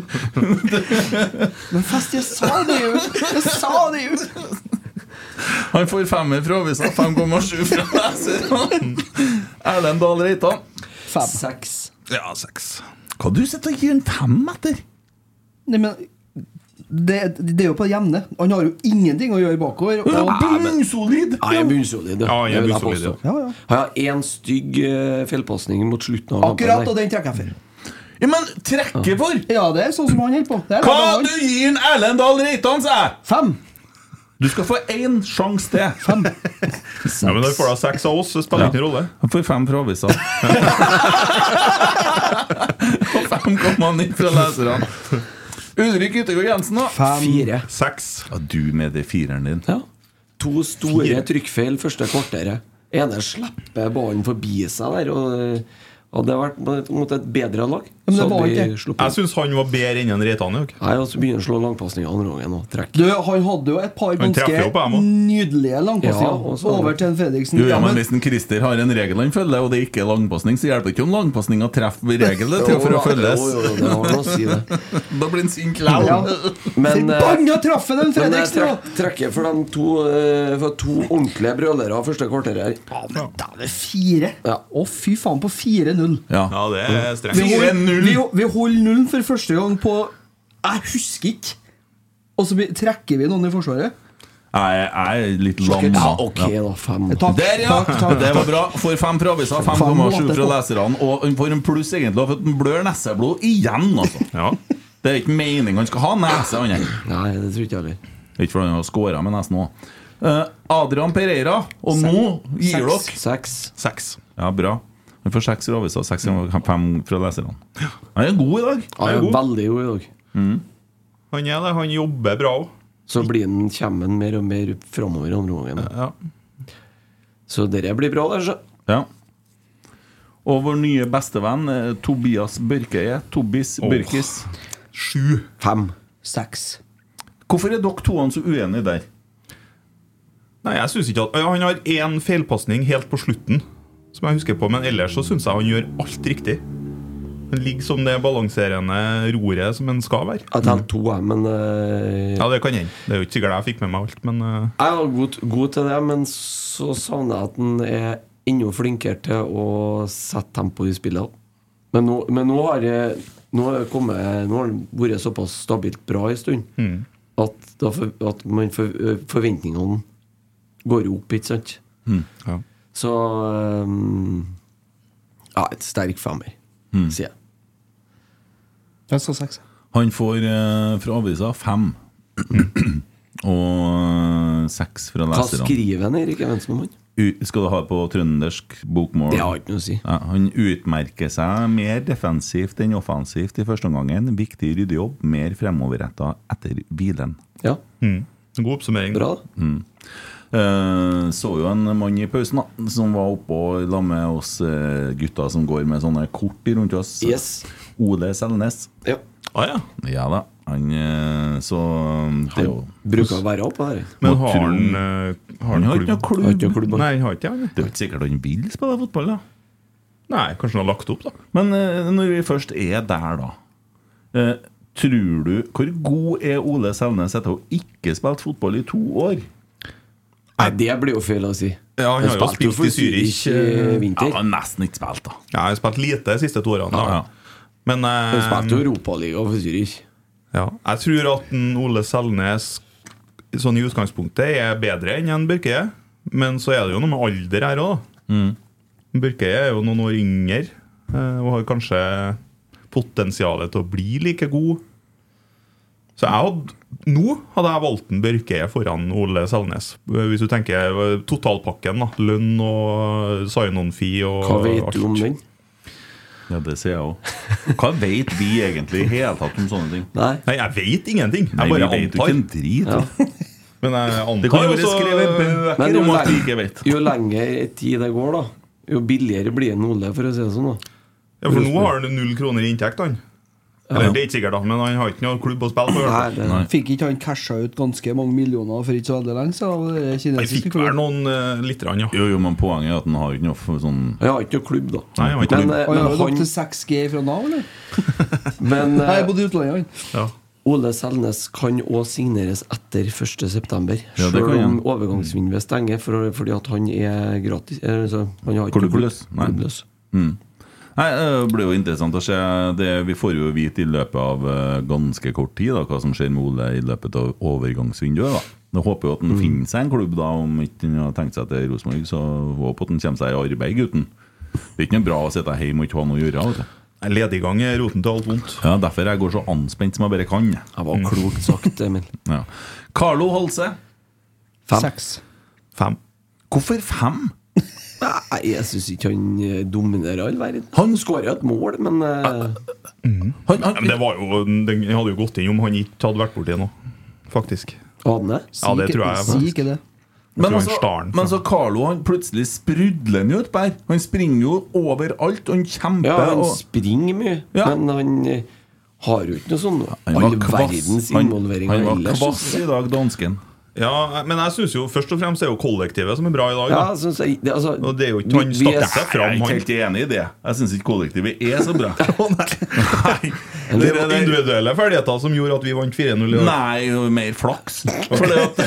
Men fest, jeg sa det jo! Jeg sa det jo!
Han får femmer fra avisa, 5,7 fra leserne. Erlend Dahl Reitan.
Fem.
Seks.
Ja, seks.
Hva du sitter og gir en fem etter?
Nei, men det, det er jo på det jevne. Han har jo ingenting å gjøre bakover.
Ja, bunnsolid!
Ja, jeg er bunnsolid.
Ja, jeg er
Det vil
bunnsolid,
påstå.
ja. Ja, ja.
Han har én stygg eh, feilpasning mot slutten av
Akkurat, og
kampen.
den trekker jeg for.
Ja, men trekke for!
Ja, det er sånn som han holder på. Det er
Hva
laget han.
du gir en Erlend Dahl Reitan, sa jeg!
Fem!
Du skal få én sjanse til. Fem.
Ja, men Da får du seks av oss. Det spiller ingen rolle.
Han får fem fra avisa. Og 5,9 fra leserne. Ulrik Yttergård Jensen, da.
der. Fire.
Seks.
Ja, du med det fireren din.
Ja. To store trykkfeil første kvarteret. Ene slipper ballen forbi seg der. Og hadde det vært mot- mot et bedre lag,
men det
så
var
hadde
ikke-
vi
Jeg
sluppet.
syns han var bedre enn en Reitan i dag.
Nei, og så begynner han å slå langpasninger andre gangen og trekke.
Du, han hadde jo et par
Han treffer jo på
ganske
dem også.
nydelige
Ja,
langpasninger.
og så-
over til en Fredriksen.
Jo, ja,
Ja,
men
men
Hvis en Christer har en regel han følger, og det ikke er langpasning, så hjelper ikke om langpasninga treffer regelen til for å følges.
Jo, jo, det har noe å si, det.
Da blir han sint likevel.
Ja.
Men, eh,
Forbanna traff han den
men jeg
Fredriksen!
trek,
da.
trekker for de to, eh, for to ordentlige brølere første kvarteret her.
Ja, men da er det fire.
Ja.
Å, fy faen, på 4-0.
Ja.
Ja, det er
Vi
strengt.
holder,
4-0.
vi, vi holder nullen for første gang på Jeg husker ikke. Og så blir- trekker vi noen i Forsvaret.
Jeg, jeg er litt lam.
Ja,
da.
ok, da. Fem.
Takk.
Der, ja!
Takk, takk.
Det var bra. Får fem fra avisa, 5,7 fra leserne. Og han får en pluss, egentlig, for at han blør neseblod igjen, altså.
Ja.
Det er ikke meningen han skal ha nese, han her.
Nei, det tror ikke jeg heller.
Ikke fordi han har scora med nesen òg. Adrian Pereira, og nå gir dere
Seks.
Seks.
Ja, bra. Han får seks fra avisa, seks fra- fem fra leserne. Han er god i dag.
Han er veldig god i dag.
Han er det. Han jobber bra òg.
Så blir den, kommer han mer og mer framover andre gangen.
Ja.
Så dere blir bra, altså. der, så.
Ja. Og vår nye bestevenn eh, Tobias Børkeie. Tobis Børkis.
Sju.
Fem.
Seks.
Hvorfor er dere to så uenige der?
Nei, jeg synes ikke at ja, Han har én feilpasning helt på slutten, som jeg husker på, men ellers så syns jeg han gjør alt riktig. Han ligger som det balanserende roret som han skal være.
Jeg tenkte to, jeg, men eh,
Ja, det kan hende. Det er jo ikke sikkert jeg fikk med meg alt, men eh,
Jeg var god, god til det, men så savner jeg at han er enda flinkere til å sette tempo i spillet. Men nå, men nå har jeg Nå har jeg kommet Nå har han vært såpass stabilt bra en stund
Mm.
at, da for, at man for, eh, forventningene går jo opp, ikke sant?
Mm, ja.
Så um, Ja, et sterk femmer,
Mm.
sier jeg.
Jeg skal seks.
Han får eh, fra avisa fem.
Mm.
Og eh, seks fra
Hva
leserne.
skriver han, Erik Evensmoen?
U- Skal du ha det på trøndersk bokmål?
Det har ikke noe å si.
Ja, han utmerker seg mer defensivt enn offensivt i første omgang. Viktig ryddejobb, mer fremoverretta etter hvilen.
Ja,
God oppsummering.
bra.
Eh, så jo en mann i pausen da som var oppå sammen med oss eh, gutta som går med sånne kort i rundt oss.
Yes.
Ole Selnes.
Ja.
Ah, ja.
Ja da. Han eh, Så det er jo
Bruker å være oppe her.
Men
Må
har
tro-
han eh, Har
Han har
han
ikke
klubb?
noe klubb.
Har ikke noe klubb.
Nei, han har ikke det.
Det er jo ikke sikkert han vil spille fotball, da.
Nei, kanskje han har lagt opp, da.
Men eh, når vi først er der, da. eh, tror du Hvor god er Ole Selnes etter å ikke spilt fotball i to år?
Nei, det blir jo feil å si.
Ja, han har jo
spilte
spilt i
for
Zürich. eh,
i
Ja,
vinter.
han har nesten ikke spilt, da.
Ja, jeg har spilt lite de siste to årene.
Ja, ja.
Da. Men eh,
Han spilte jo Europaliga for Zürich.
ja. jeg tror at en Ole Selnes sånn i utgangspunktet er bedre enn en Børkeie. Men så er det jo noe med alder her òg.
Mm.
Børkeie er jo noen år yngre eh, og har kanskje potensialet til å bli like god. Så jeg hadde, nå hadde jeg valgt en Børkeie foran Ole Selnes. Hvis du tenker eh, totalpakken. da Lønn og sign-on-fee og
Hva vet du
alt.
om den?
Ja, Det sier jeg òg. Hva vet vi egentlig i hele tatt om sånne ting?
Nei.
Nei, jeg vet ingenting. Jeg
Nei, vi
bare
vet jo ikke
antar.
en drit. da.
Men jeg
Det
antar
kan jo være
også
skrevet bøker
jo
om at vi ikke
lenger,
vet.
jo lenger tid det går, da, jo billigere blir en Ole, for å si det sånn. da
Ja, For nå har han null kroner i inntekt, han. Eller, det er ikke sikkert, da, men han har ikke noen klubb å spille for. i
Nei,
hvert fall.
det,
Fikk ikke han casha ut ganske mange millioner for ikke så veldig lenge siden? av det
Han
kinesiske
fikk vel
klubben?
noen uh, litt, rann, ja.
Jo, jo, men poenget er at han har ikke noe for sånn
Jeg har ikke noe klubb, da.
Nei, han har ikke
men,
klubb.
eh,
Han
men,
har jo opp
han,
til 6G fra Nav, eller?
men
Nei,
eh,
jeg bodde i utlandet, han.
ja.
Ole Selnes kan òg signeres etter 1.9.,
Ja, det
selv
kan
om
han.
overgangsvinduet stenger for, fordi at han er gratis. eh, Altså, han har ikke
Klubbløs. Nei. Mm.
Klubbløs.
Nei, eh, Det blir jo interessant å se. Det, vi får jo vite i løpet av eh, ganske kort tid da, hva som skjer med Ole i løpet av overgangsvinduet. da jeg håper jo at han
Mm.
finner seg en klubb, da om ikke han har tenkt seg til Rosenborg. Så håper at han kommer seg i arbeid, gutten. Det er ikke noe bra å sitte hjemme og ikke ha noe å gjøre. vet du.
Lediggang er roten til alt vondt.
Ja, Derfor jeg går så anspent som jeg bare kan. Det
var klokt sagt, Emil.
Ja. Carlo Holse.
Fem.
Fem.
Hvorfor fem?
Nei, jeg syns ikke han eh, dominerer all verden. Han skårer et mål, men eh,
Men det var jo, den hadde jo gått inn om han ikke hadde vært borti nå, faktisk.
Hadde
Ja, det tror jeg. faktisk.
ikke det.
Jeg tror
Men,
han
altså,
starten,
men så Carlo han plutselig sprudler han jo et bær. Han springer jo overalt. Han kjemper.
Ja, han
og-
springer mye, men han eh, har jo ikke noe sånn
Han var
all
kvass.
verdens
Han-
involveringer
han var
ellers.
kvass i dag, dansken.
Ja, men jeg synes jo først og fremst er jo kollektivet som er bra i dag.
Ja,
da.
jeg
det,
og det er jo ikke han stakk seg fram,
Jeg altså, er ikke
han.
helt enig i det. Jeg syns ikke kollektivet er så bra.
Det er jo individuelle ferdigheter som gjorde at vi vant 4-0 i dag.
Nei, det var mer flaks. For det at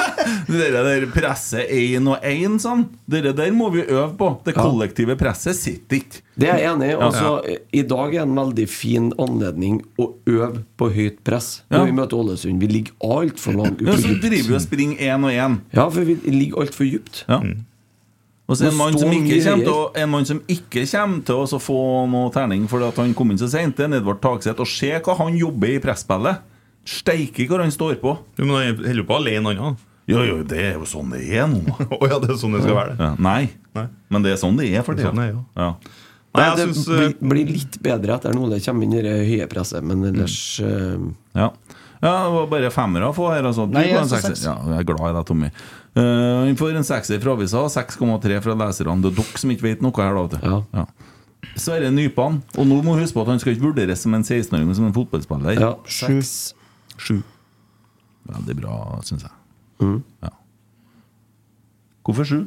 det der presset én og én sånn, det der må vi øve på. Det kollektive presset sitter ikke.
Det er jeg enig i.
Ja.
Altså, I dag er en veldig fin anledning å øve på høyt press når
Ja.
vi møter Ålesund. Vi ligger altfor langt
Ja, så driver vi og springer én og én.
Ja, for vi ligger altfor dypt.
Ja. Og så er det en mann som ikke kommer til å, en mann som ikke kommer til å så få noe terning fordi at han kom inn så seint, det er Edvard Tagseth. Og se hva han jobber i presspillet! Steike hvor han står på.
Men han holder jo på alene, han.
Jo, jo, det er jo sånn det er nå.
Å ja, det er sånn det skal være.
Ja, nei. men det er sånn det er for
Det er
tida.
sånn det er,
ja.
Nei,
Nei, jeg
det
synes,
eh,
blir, blir litt bedre etter når det kommer inn i det høye presset, men
Mm.
ellers eh,
Ja. ja, det var bare femmere å få her. Altså. Du
Nei,
får en
jeg sa
sekser.
seks.
Ja, jeg er glad i deg, Tommy. Eh, Vi får en sekser fra avisa, 6,3 fra leserne. Det er dere som ikke vet noe her, da. vet du. Ja. Sverre Nypan. Og nå må du huske på at han skal ikke vurderes som en 16-åring, men som en fotballspiller.
Ja, seks.
Sju. Veldig bra, syns jeg. Ja. Hvorfor sju?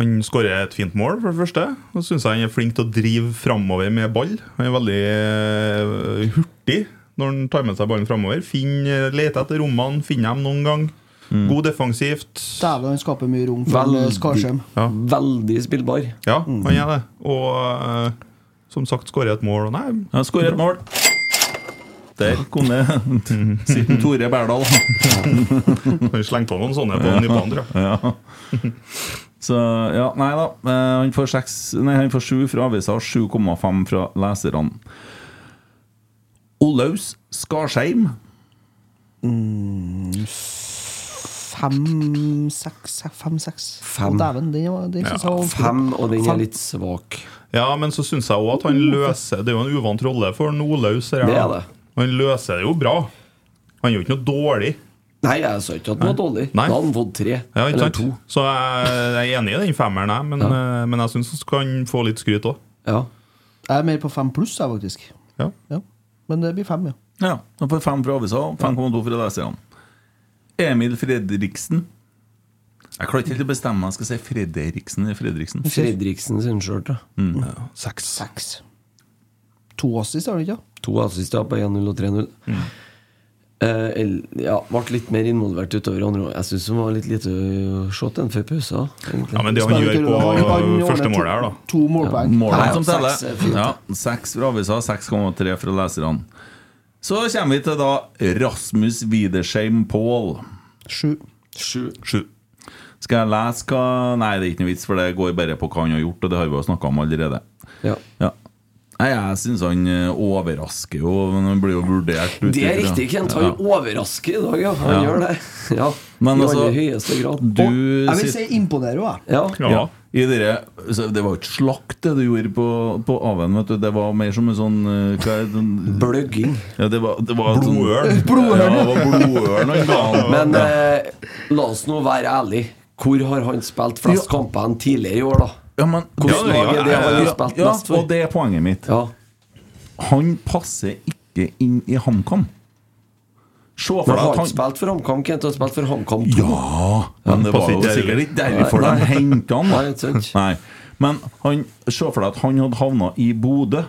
Han skårer et fint mål, for det første. Og syns jeg han er flink til å drive framover med ball. Han er veldig eh, hurtig når han tar med seg ballen framover. Leter etter rommene, finner dem noen gang.
Mm.
God defensivt.
Dæven, han skaper mye rom for en, eh, Skarsheim.
veldig spillbar.
Ja, han er det. Og eh, som sagt, skårer et mål. Og nei,
Ja, skårer et mål. Der kom det Sitten Tore Berdal.
Han slengte noen sånne på Nypan, tror jeg.
Ja. Så ja, nei da. Eh, Han får, seks, nei, han får sju fra avisa og 7,5 fra leserne. Olaus Skarsheim.
Mm.
Fem, seks, se- fem, seks.
Fem.
Å, Dæven, den var- den synes jeg var
Fem, og den
Fem.
er litt svak.
Ja, men så syns jeg òg at han løser Det er jo en uvant rolle for en Olaus. her,
Det er
da.
det.
Han løser det jo bra. Han gjør ikke noe dårlig.
Nei, jeg sa ikke at den var dårlig.
Nei.
Da hadde han fått tre.
Ja, ikke
eller
sant? Så jeg, jeg er enig i den femmeren, jeg, men, eh, men jeg syns han skal få litt skryt òg.
Jeg er mer på fem pluss, jeg, faktisk.
Ja.
Men det blir fem, ja.
Ja, han får fem fra avisa og 5,2 fra leserne. Emil Fredriksen. Jeg klarer ikke helt å bestemme om jeg skal si Fredriksen eller Fredriksen.
Fredriksen sin skjørt, da.
Mm.
Seks.
To assist, har du ikke?
To assist ja, på 1-0 og 3-0.
Mm.
Eh, el- ja, ble litt mer involvert utover andre år. Jeg syns hun var litt lite å se til enn før pausa. egentlig.
Ja, men det han gjør på
Han- han ordner
første
to-
målet her, da.
To målpoeng.
Målene
Nei,
som
seks
teller.
eh,
er fint,
Ja,
ja.
Seks fra avisa, 6,3 fra leserne. Så kommer vi til da Rasmus Widersheim Paul.
Sju.
Sju. Skal jeg lese hva Nei, det er ikke noe vits, for det går bare på hva han har gjort, og det har vi jo snakka om allerede.
Ja.
Nei, jeg syns han eh, overrasker jo, men han blir jo vurdert ut
Det er
ifra-
riktig, Kent. Han overrasker i dag, ja. Han
Ja.
gjør det. Ja,
Men
I
altså,
aller høyeste grad.
du
Jeg vil
sitter-
si imponerer jo, jeg.
Ja.
Ja. I dere, så det var jo ikke slakt, det du gjorde på, på Aven. Vet du. Det var mer som en sånn eh, hva er det, sånn-
Bløgging.
Ja, det var, det var sånn-
Blodørn.
Ja, det var blodørn han ga han.
Men
Ja.
eh, la oss nå være ærlig Hvor har han spilt flest kamper enn tidligere i år, da?
Ja, men
Hvordan
Ja,
lag er det
ja, ja,
han har
ja.
spilt
Ja,
mest for?
Og det er poenget mitt. Han passer ikke inn i HamKam. Se for
Men
deg
han har
at
ikke
han
spilt for HamKam, Kent. Han har spilt for HamKam 2.
Ja, Men det var jo sikkert ikke derfor
Nei,
de
nei.
henta han.
Nei, ikke sant.
Nei. Men han, se for deg at han hadde havna i Bodø.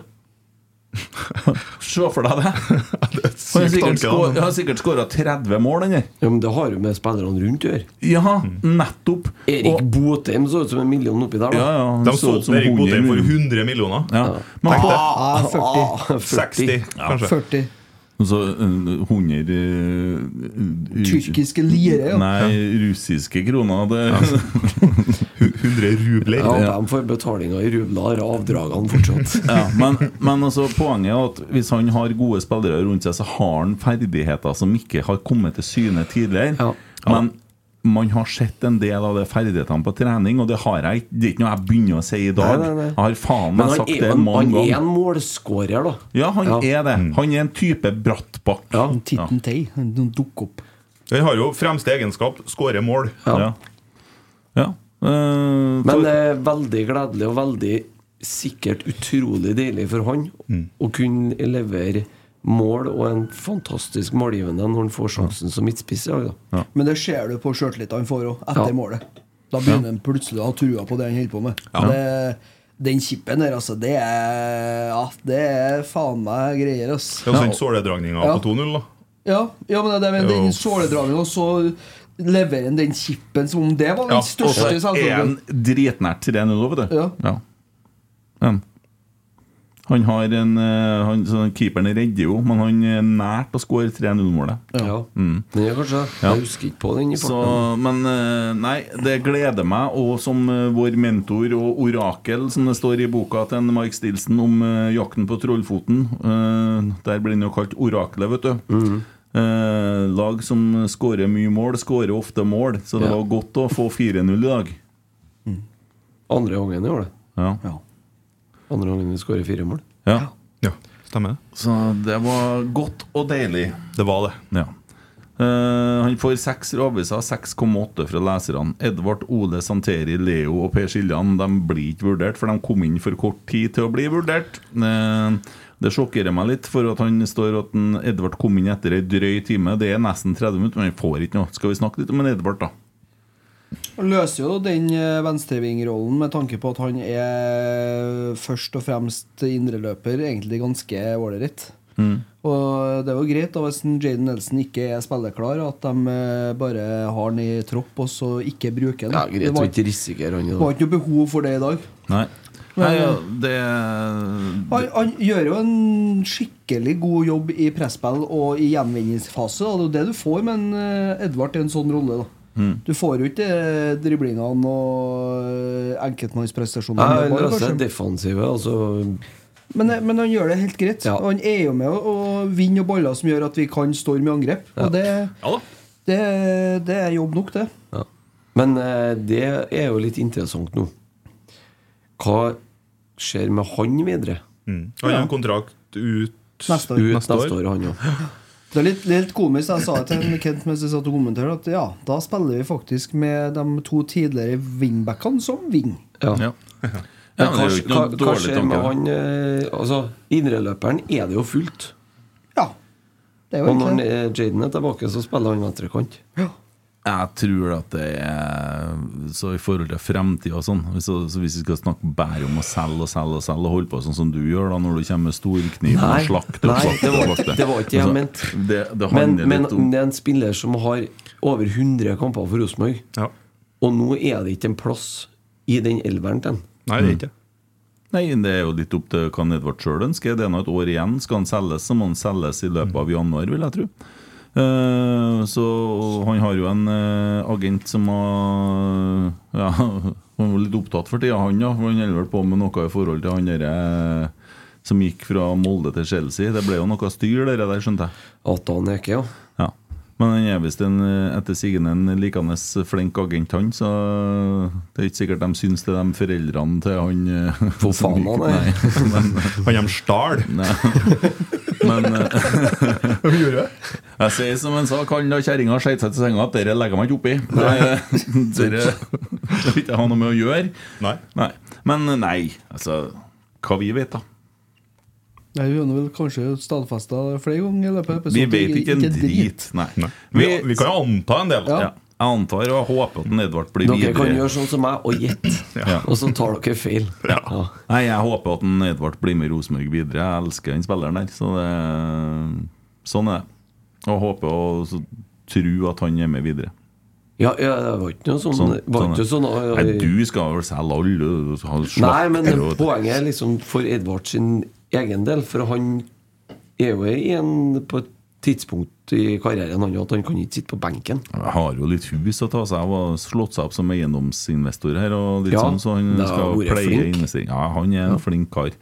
Se for deg det! Han har sikkert skå- han har sikkert skåra 30 mål, den der.
Ja, men det har jo med spillerne rundt å gjøre.
Ja, nettopp.
Erik
Og-
Botheim så ut som en million oppi der, da.
Ja, ja, han
De solgte Erik Botheim for 100 millioner.
Ja. Men
Tenk det.
ah,
Ja, 40.
60, kanskje.
40.
Altså eh, 100 eh, ru-
Tyrkiske
Mm.
lire, ja.
Nei, russiske kroner. Det,
100 rubler.
Ja, De får betalinga i rubler, avdragene fortsatt.
ja, men, men altså, poenget er at hvis han har gode spillere rundt seg, så altså, har han ferdigheter som ikke har kommet til syne tidligere.
Ja.
Men man har sett en del av de ferdighetene på trening, og det har jeg ikke. Det er ikke noe jeg begynner å si i dag.
Nei, nei, nei.
Jeg har faen
Men
meg
han
sagt
er,
det
han,
mange
han er en
ganger.
målskårer, da.
Ja, han
Ja.
er det. Han er en type Brattbakk.
Ja.
En Titten Tei. Den dukker opp.
Han har jo fremste egenskap skåre mål.
Ja. ja. Eh,
Men
for-
det er veldig gledelig og veldig sikkert utrolig deilig for han
Mm.
å kunne levere mål og en fantastisk målgivende når han får sjansen som midtspiss i dag, da.
Men det ser du på sjøltilliten han får òg, etter
Ja.
målet. Da begynner han plutselig å ha trua på det han holder på med. Det, den chipen der, altså, det er ja, Det er faen meg greier, ass.
Det er jo sånn såledragninga
Ja.
på 2-0, da.
Ja, ja men det er
Jo.
med den såledragen, og så leverer han den chipen som om det var den
Ja, og
største
så er han
selvfølgen.
dritnært 3-0, vet du.
Ja.
Men han har en eh, han, så Keeperen redder jo, men han er nært å skåre 3-0-målet.
Ja. Men jeg, kanskje, jeg husker ikke på den
Mm.
i
Så,
farten.
men eh, nei, det gleder meg, og som eh, vår mentor og orakel, som det står i boka til en Mike Stilson om eh, jakten på trollfoten eh, Der blir den jo kalt oraklet, vet du.
Mhm.
Eh, lag som skårer mye mål, skårer ofte mål, så det
Ja.
var godt å få 4-0 i dag.
Andre gangen i år, det.
Ja.
Andre gangen vi skårer fire mål.
ja.
Ja, stemmer det.
Så det var godt og deilig.
Det var det.
Ja. Eh, han får seks raviser, 6,8 fra leserne. Edvard, Ole, Santeri, Leo og Per Siljan De blir ikke vurdert, for de kom inn for kort tid til å bli vurdert. Eh, det sjokkerer meg litt, for at han står at en Edvard kom inn etter ei drøy time. Det er nesten 30 minutter, men han får ikke noe. Skal vi snakke litt om en Edvard, da?
Han løser jo den eh, venstrevingrollen med tanke på at han er først og fremst indreløper, egentlig ganske ålreit.
Mm.
Og det er jo greit da hvis en Jaden Nelson ikke er spilleklar, at de eh, bare har han i tropp og så ikke bruker den.
Ja,
det
greit å
var,
ikke risikere han. i
det
dag.
var ikke noe behov for det i dag.
Nei.
Nei,
Nei, ja,
ja.
det
Han, han gjør jo en skikkelig god jobb i presspill og i gjenvinningsfase. da. Det er jo det du får med en eh, Edvard i en sånn rolle. da
Mm.
Du får jo ikke eh, driblingene og eh,
Ja,
enkeltmannsprestasjonene.
han
med
løser
bare, kanskje.
defensive, altså
men, eh, men han gjør det helt greit.
Ja.
Og han er jo med å, å vinne og baller som gjør at vi kan storme i angrep. Og det,
Ja da.
det, det er jobb nok, det.
Ja. Men eh, det er jo litt interessant nå. Hva skjer med han videre?
Mm. Han har en kontrakt ut
Neste år.
Ut
Neste
neste
år.
år, han òg.
Det er litt, litt komisk. Jeg sa til en Kent mens jeg satt og kommenterte, at ja, da spiller vi faktisk med de to tidligere wingbackene som wing.
Ja.
Ja.
Men
Ja, men
hva,
det er jo ikke
hva,
noe
hva
dårlig
skjer med
tanke.
han eh, Altså, indreløperen er det jo fullt.
Ja. Det er jo
Og når
egentlig det.
eh, Jaden er tilbake, så spiller han venstrekant.
Jeg tror at det er Så i forhold til fremtida og sånn så, så Hvis vi skal snakke bare om å selge og selge og selge og holde på sånn som du gjør da når du kommer med storkniv og
Nei,
slakter og
nei, det
slakter
var-
og slakter
det var ikke det jeg
Altså,
mente.
Det, det
Men,
handler
men
litt om
det er en spiller som har over 100 kamper for Rosenborg,
Ja.
og nå er det ikke en plass i den elveren til han.
Nei, det er ikke det.
Nei, det er jo litt opp til hva Edvard sjøl ønsker. Det er nå et år igjen. Skal han selges, så må han selges i løpet av januar, vil jeg tro. Eh, så han har jo en eh, agent som har Ja, han var litt opptatt for tida, han, ja. For han holder vel på med noe i forhold til han derre eh, som gikk fra Molde til Chelsea. Det ble jo noe styr, det der, skjønte jeg.
At han er ikke, ja.
Ja. Men han er visst en eh, etter sigende en likende flink agent, han. Så Øh, det er ikke sikkert de syns det, de foreldrene til han eh,
For
som
faen,
gikk-
han
Nei,
er-
men,
Han hjem stjal.
men eh,
Hva gjorde jeg?
jeg sier som han sa, kan da kjerringa skeite seg til senga at dere legger meg ikke oppi. Nei, Dere det vil ikke jeg ha noe med å gjøre.
Nei.
Nei. Men eh, nei, altså Hva vi vet, da.
Nei, Hun har vel kanskje stadfesta flere ganger i løpet av
Vi
episoden.
vet ikke en drit. Nei.
Vi, vi kan jo anta en del.
Ja.
Ja. Jeg antar og jeg håper at en Edvard blir
Dere
videre.
kan gjøre sånn som meg og gjette,
Ja.
og så tar dere feil.
Ja. Nei, jeg håper at en Edvard blir med Rosenborg videre. Jeg elsker den spilleren der. Så det, sånn er det. Og håper og så tror at han er med videre.
Ja, ja, det var ikke noe sånn, var ikke sånn
er det. Nei, du skal vel selge alle du skal slakke,
Nei, men
og-
poenget er liksom for Edvard sin egen del, for han er jo i en, på et tidspunkt i karrieren han, at han kan ikke sitte på benken.
Jeg har jo litt hus å ta seg av og slått seg opp som eiendomsinvestor her. Og litt
Ja,
sånn, så han
da
skal
har vært
pleie
flink.
investering. Ja, han er en flink kar.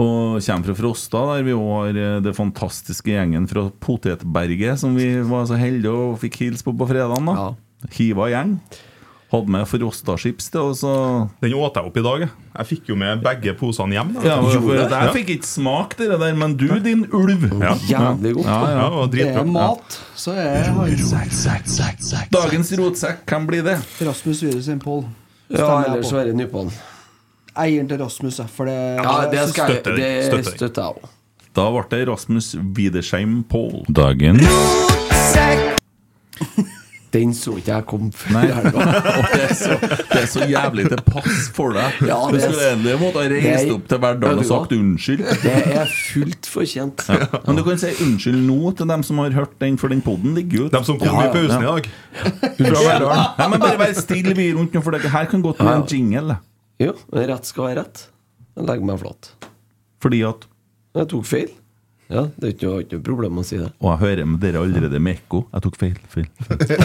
Og kommer fra Frosta, der vi også har eh, det fantastiske gjengen fra Potetberget, som vi var så heldige og fikk hilse på på fredagen. da Hiva gjeng. Hadde med Frosta-chips til, og så
Den åt jeg opp i dag. jeg. Jeg fikk jo med begge posene hjem. da.
ja, for,
Gjorde det?
Jeg
Ja.
fikk ikke smak til det der, men du, din ulv ja.
Jævlig godt.
Ja, ja, ja, og
Det
dritbra.
er mat, så er
Ja. Dagens rotsekk kan bli det.
Rasmus Widerøe sin Pål.
Ja, eller Sverre Nypan.
Eieren til Rasmus, ja, for det
Ja, det skal jeg-
Støtter
det
jeg. Støtter jeg.
støtter jeg òg.
Da ble det Rasmus Widersheim Pål. Dagen
Den så ikke jeg kom før
Nei.
helga.
Og det, er så, det er så jævlig til pass for deg.
Ja,
du
det er-
skulle egentlig måtte ha
Nei.
reist opp til Verdal
Vet
og
du hva?
sagt unnskyld.
Det er fullt fortjent.
Ja. Men du kan si unnskyld nå til dem som har hørt den, for den poden ligger jo ute.
De som kom i pausen i dag.
Fra Verdal. Nei, men bare vær stille vi rundt nå, for det her kan godt bli en jingle.
Jo, men rett skal være rett. Jeg legger meg flat.
Fordi at
Jeg tok feil. Ja, Det er ikke noe, ikke noe problem å si det.
Og jeg hører med dere allerede med ekko. Jeg tok feil. feil, feil.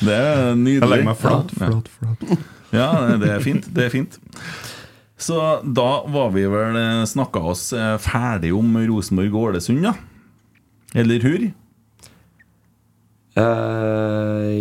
det er nydelig.
Jeg legger meg flat,
Ja.
flat, flat.
Ja, det er fint. Det er fint. Så da var vi vel snakka oss eh, ferdig om Rosenborg og Ålesund, da. Eller hur?
Eh,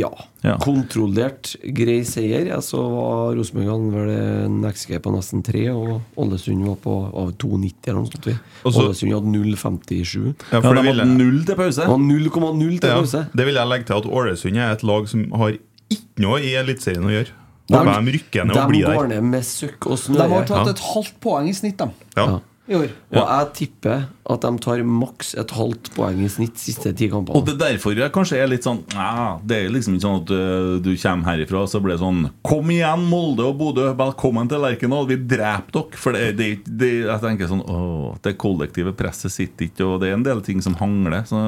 ja.
Ja.
Kontrollert grei seier. Jeg så var Rosenborg hadde vel en XG på nesten 3, og Ålesund var på av 2,90 eller noe sånt.
Og så-
Ålesund hadde 0,57.
Ja,
Ja,
for
De
det ville-
hadde null til pause.
Det var 0,0 til
Ja,
pause.
det vil jeg legge til at Ålesund er et lag som har ikke noe i Eliteserien å gjøre.
Dem-
De rykker ned og
De
blir der.
går ned med søkk og
De
snøre.
har tatt
Ja.
et halvt poeng i snitt, de.
Ja.
I år.
Og jeg tipper at de tar maks et halvt poeng i snitt siste ti
Og
kampene.
det er derfor jeg kanskje er litt sånn ja, Det er liksom ikke sånn at ø, du kommer herifra Så blir det sånn Kom igjen Molde og Bodø Velkommen til Lerkendal Vi dreper dere For det, det, det, jeg tenker sånn Åh, det kollektive presset sitter ikke Og det er en del ting som hangler så,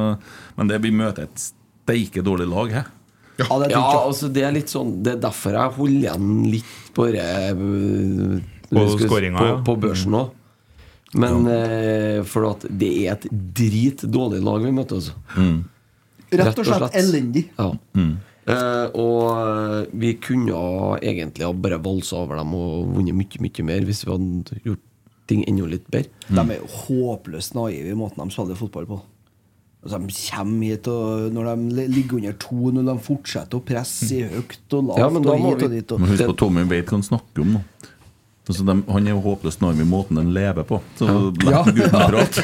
Men det vi møter et steike dårlig lag her
Ja, det er
Ja,
tungt,
altså det er litt sånn Det er derfor jeg holder igjen litt på det øh,
På
skal-
scoringa,
på,
ja. Mm.
på børsen òg. Men eh, for at det er et dritdårlig lag vi møter, altså.
ja. Rett og slett elendig.
Ja.
Mm.
Eh, og eh, vi kunne ha egentlig ha bare valsa over dem og vunnet mye, mye mer hvis vi hadde gjort ting enda litt bedre.
De er jo håpløst naive i måten de spiller fotball på. Altså, de kommer hit, og når de li- ligger under 2-0, de fortsetter å presse i høyt og lavt
Mm. Ja, men da
og
må
hit og
vi- Mm.
dit.
Men
Og.
husk på Tommy vet hva han snakker om nå Altså, de, han er jo håpløst naiv i måten den lever på Så la gutten prate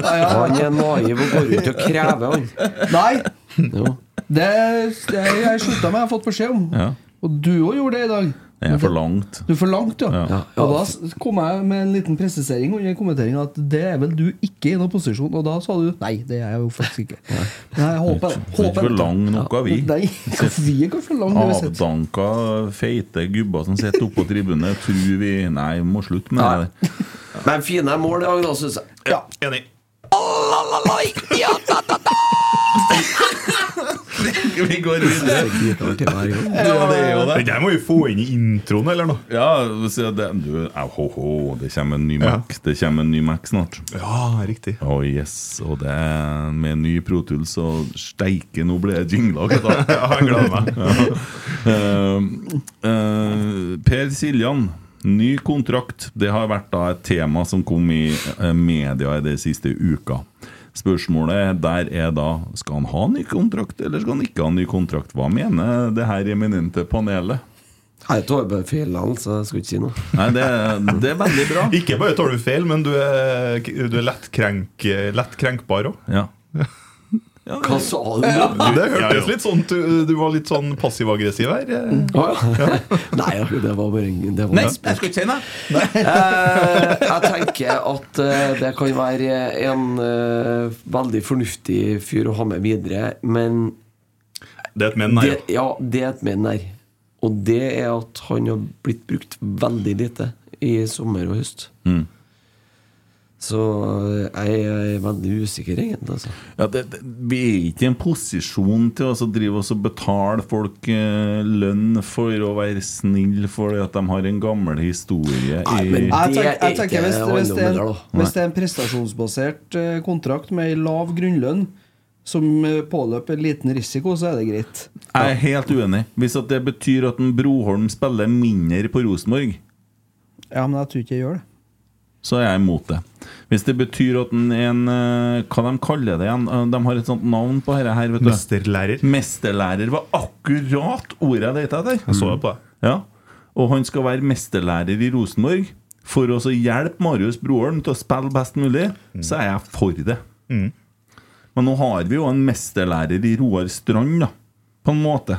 Han er naiv og går rundt og krever, han.
Nei!
Jo.
Det, det jeg slutta med, jeg har fått beskjed om.
Ja.
Og du òg gjorde det i dag.
Det er for langt
Du er for langt, ja.
Ja.
Og da s- kom jeg med en liten presisering under kommenteringa at det er vel du ikke i noen posisjon. Og da sa du nei, det er jeg jo faktisk ikke. Nei, jeg håper,
Vi er ikke for
håper
lang nok av vi
Nei, vi er ikke for langt. uansett.
Avdanka, feite gubber som sitter oppe på tribunen, tror vi Nei, vi må slutte med det. der.
Men fine mål i dag, da, syns jeg.
Ja, enig.
Vi går videre. Ja, det er jo
Den
det.
der må vi få inn i introen, eller noe?
Ja, så det, du, au, ho, ho, det kommer en ny Mac Det kommer en ny Mac snart.
Ja, riktig.
Å, yes, Og det er med ny Protool, så steike, nå blir det jingler. gutta.
Ja, jeg gleder meg.
Eh, eh, per Siljan, ny kontrakt. Det har vært da et tema som kom i eh, media i de siste uka. Spørsmålet der er da skal han ha ny kontrakt, eller skal han ikke ha ny kontrakt? Hva mener det her eminente panelet?
Jeg tar bare feil likevel, så jeg skal ikke si noe.
Nei, det, det er veldig bra.
Ikke bare tar du feil, men du er, du er lett, krenk, lett krenkbar òg.
Ja.
Hva sa du nå?
Det hørtes litt sånn ut. Du, du var litt sånn passiv-aggressiv her. eh.
Å, ja. Nei, ja, det var bare en det var en spøk.
skal ikke si noe.
Eh, jeg tenker at eh, det kan være en eh, veldig fornuftig fyr å ha med videre, men
Det er et men,
det, ja, det er et men her. Og det er at han har blitt brukt veldig lite i sommer og høst.
Mm.
Så jeg er veldig usikker, egentlig. Altså.
Ja, det, det, vi er ikke i en posisjon til å så drive oss og betale folk eh, lønn for å være snill fordi at de har en gammel historie. i-
Jeg tenker, jeg tenker hvis, hvis, det er, hvis det er en prestasjonsbasert eh, kontrakt med ei lav grunnlønn som eh, påløper en liten risiko, så er det greit.
Jeg er helt uenig. Hvis at det betyr at en Broholm spiller mindre på Rosenborg,
Ja, men jeg tror ikke jeg gjør det.
så er jeg imot det. Hvis det betyr at en, en eh, Hva de kaller det igjen? Eh, De har et sånt navn på dette her. Vet du.
Mesterlærer.
Mesterlærer var akkurat ordet jeg lette etter. Jeg
så det på deg.
Ja. Og han skal være mesterlærer i Rosenborg. For å så hjelpe Marius Broholm til å spille best mulig, så er jeg for det.
Mm.
Men nå har vi jo en mesterlærer i Roar Strand, da, på en måte.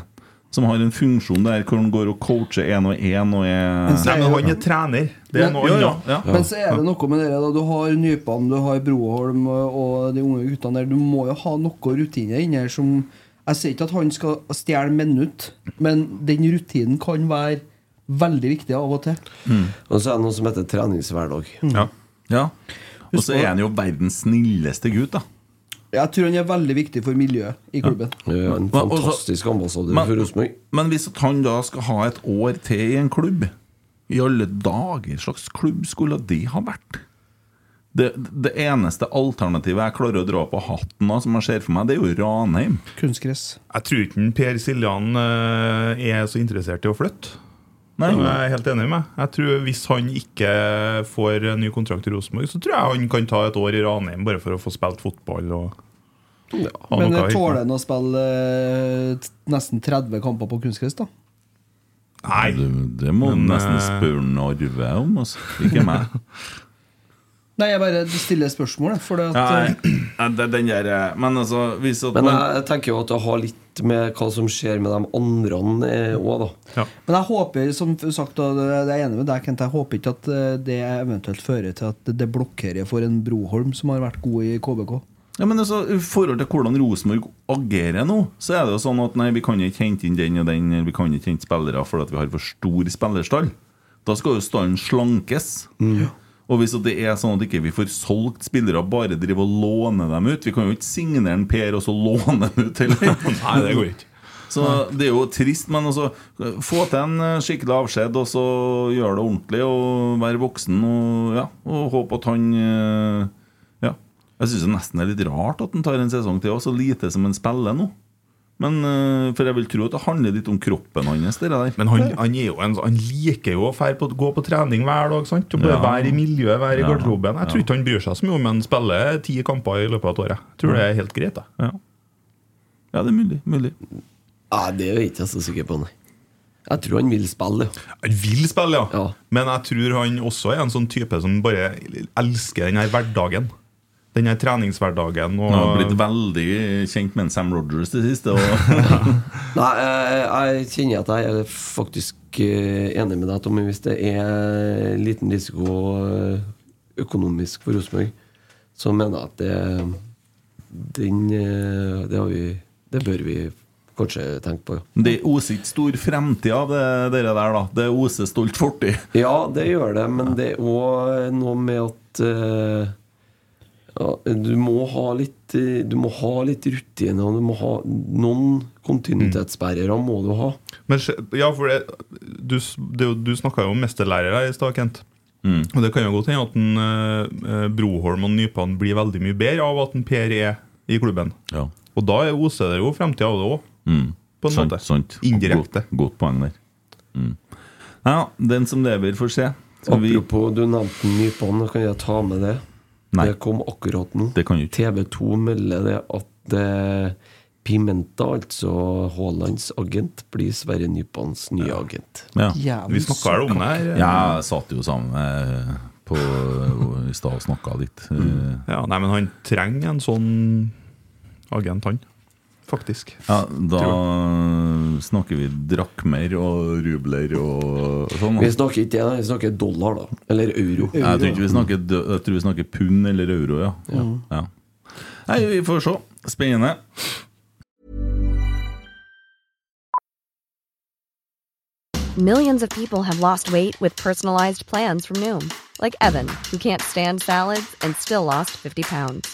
Som har en funksjon der hvor han går og coacher én og én og er
Nei, men han er trener. Det er
Men-
noe
ja, ja,
annet.
ja.
Men så er det noe med det da Du har Nypan, du har Broholm og de unge guttene der. Du må jo ha noe rutine inni her som Jeg sier ikke at han skal stjele minutt, men den rutinen kan være veldig viktig av og til.
Og så er det noe som heter treningshverdag.
Ja. ja. Og så er han jo verdens snilleste gutt, da.
Jeg tror han er veldig viktig for miljøet i klubben.
Ja, en
Men- og så-
fantastisk ambassadør
men-
for Rosenborg.
Men hvis at han da skal ha et år til i en klubb I alle dager, slags klubb skulle det ha vært? Det, det eneste alternativet jeg klarer å dra på hatten av, som jeg ser for meg, det er jo Ranheim.
Kunstgress.
Jeg tror ikke en Per Siljan eh, er så interessert i å flytte.
Nei.
Som jeg er helt enig med. Jeg tror Hvis han ikke får en ny kontrakt i Rosenborg, så tror jeg han kan ta et år i Ranheim bare for å få spilt fotball. Og ha
Men eh,
noe å
tåler
hylle med.
han å spille eh, t- nesten 30 kamper på kunstgress, da?
Nei,
Det, det må du
Men,
nesten
eh,
spørre en Arve om, altså. Ikke meg.
Nei, jeg bare stiller spørsmål, jeg, for det at eh,
Nei, det, den der eh, Men altså, hvis at
Men
man
jeg tenker jo at det har litt med hva som skjer med de andre òg, da.
Men jeg håper, som sagt, og det det er jeg enig med deg, Kent, jeg håper ikke at eh, det eventuelt fører til at det blokkerer for en Broholm som har vært god i KBK.
Ja, men altså, I forhold til hvordan Rosenborg agerer nå, så er det jo sånn at nei, vi kan ikke hente inn den og den, eller vi kan ikke hente spillere fordi at vi har for stor spillerstall. Da skal jo stallen slankes. Og hvis at det er sånn at ikke vi får solgt spillere, bare drive og låne dem ut Vi kan jo ikke signere en Per og så låne dem ut heller.
Nei, det går ikke.
Så det er jo trist, men altså få til en eh, skikkelig avskjed, og så gjøre det ordentlig, og være voksen, og, ja, og håpe at han eh, Ja. Jeg syns nesten det er litt rart at han tar en sesong til, og så lite som han spiller nå. Men, eh, For jeg vil tro at det handler litt om kroppen hans. Det der.
Men han, han, er jo en, sånn- han liker jo å fær på, gå på trening hver dag. Sant? Og bare
Ja.
Være i miljøet, være i
Ja.
garderoben. Jeg tror
Ja.
ikke han bryr seg så mye om han spiller ti kamper i løpet av et år. Jeg
Mm.
tror det er helt greit. Da.
Ja. ja, det er mulig. mulig.
Nei, det er jeg ikke så sikker på, nei. Jeg tror han vil spille, ja.
Han vil spille, ja.
Ja.
Men jeg tror han også er en sånn type som bare elsker den her hverdagen. Den her treningshverdagen. Og
Han har blitt veldig kjent med en Sam Rogers det siste. Og
Nei, eh, jeg, jeg kjenner at jeg er faktisk eh, enig med deg, Tommy. Hvis det er liten risiko eh, økonomisk for Rosenborg, så mener jeg at det Den eh, Det har vi Det bør vi kanskje tenke på, ja.
det oser ikke stor fremtid av det dere der, da. Det oser stolt fortid.
Ja, det gjør det, men det er òg noe med at eh, ja, du, må ha litt, eh, du må ha litt rutine, og du må ha noen kontinuitetsbærere
Mm.
må du ha.
Men, skje- ja, for det, du, s- det, er jo- du snakka jo om mesterlærer her i stad, Kent. Og det kan jo godt hende at en, eh, eh, Broholm og Nypan blir veldig mye bedre av at en Per er i klubben.
Ja.
Og da er oser det jo fremtida av det òg.
Mm.
På en
sant,
måte.
Sant.
Indirekte.
Godt, godt poeng der. Mm. Ja, den som lever, får se. Skal vi-
Apropos, du nevnte Nypan, kan jeg ta med det?
Nei.
Det kom akkurat nå.
Det kan du ikke.
TV2 melder det at eh, Pimenta, altså Haalands agent, blir Sverre Nypans nye agent.
Ja.
Vi snakka jo om det her. eh.
Jeg satt jo sammen med på, i stad og snakka litt. Eh,
Ja, nei, men han trenger en sånn agent, han. Faktisk.
Ja, da snakker vi drakmer og rubler og sånn.
Vi
da.
snakker ikke det, nei, vi snakker dollar, da. Eller euro.
Jeg tror ikke vi snakker, dø- jeg tror vi snakker pund eller euro, ja. ja. Nei, vi får se. Spennende.
Millions of people have lost weight with personalized plans from Noom, like Evan, who can't stand salads and still lost 50 pounds.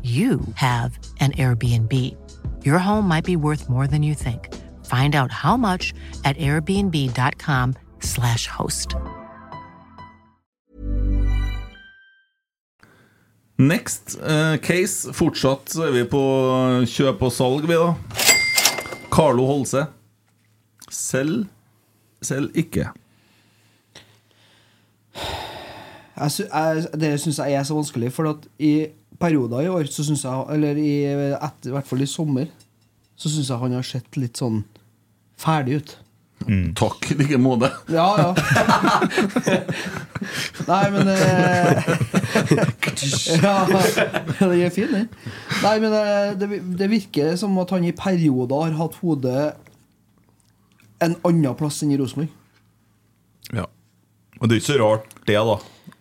you have an Airbnb. Your home might be worth more than you think. Find out how much at airbnb.com/slash host.
Next eh, case. Fortsatt så er vi på kjøp og salg, vi, da. Carlo Holse. Selg, selg ikke.
jeg, sy- jeg, det syns jeg er så vanskelig, for at i perioder i år, så synes jeg, eller i, etter, i hvert fall i sommer, så syns jeg han har sett litt sånn ferdig ut.
Mm.
Takk i like måte.
Ja, ja. Nei, men eh, Ja, den er fin, den. Nei, men eh, det, det virker som at han i perioder har hatt hodet en annen plass enn i Rosenborg.
Ja. Og det er ikke så rart, det, da.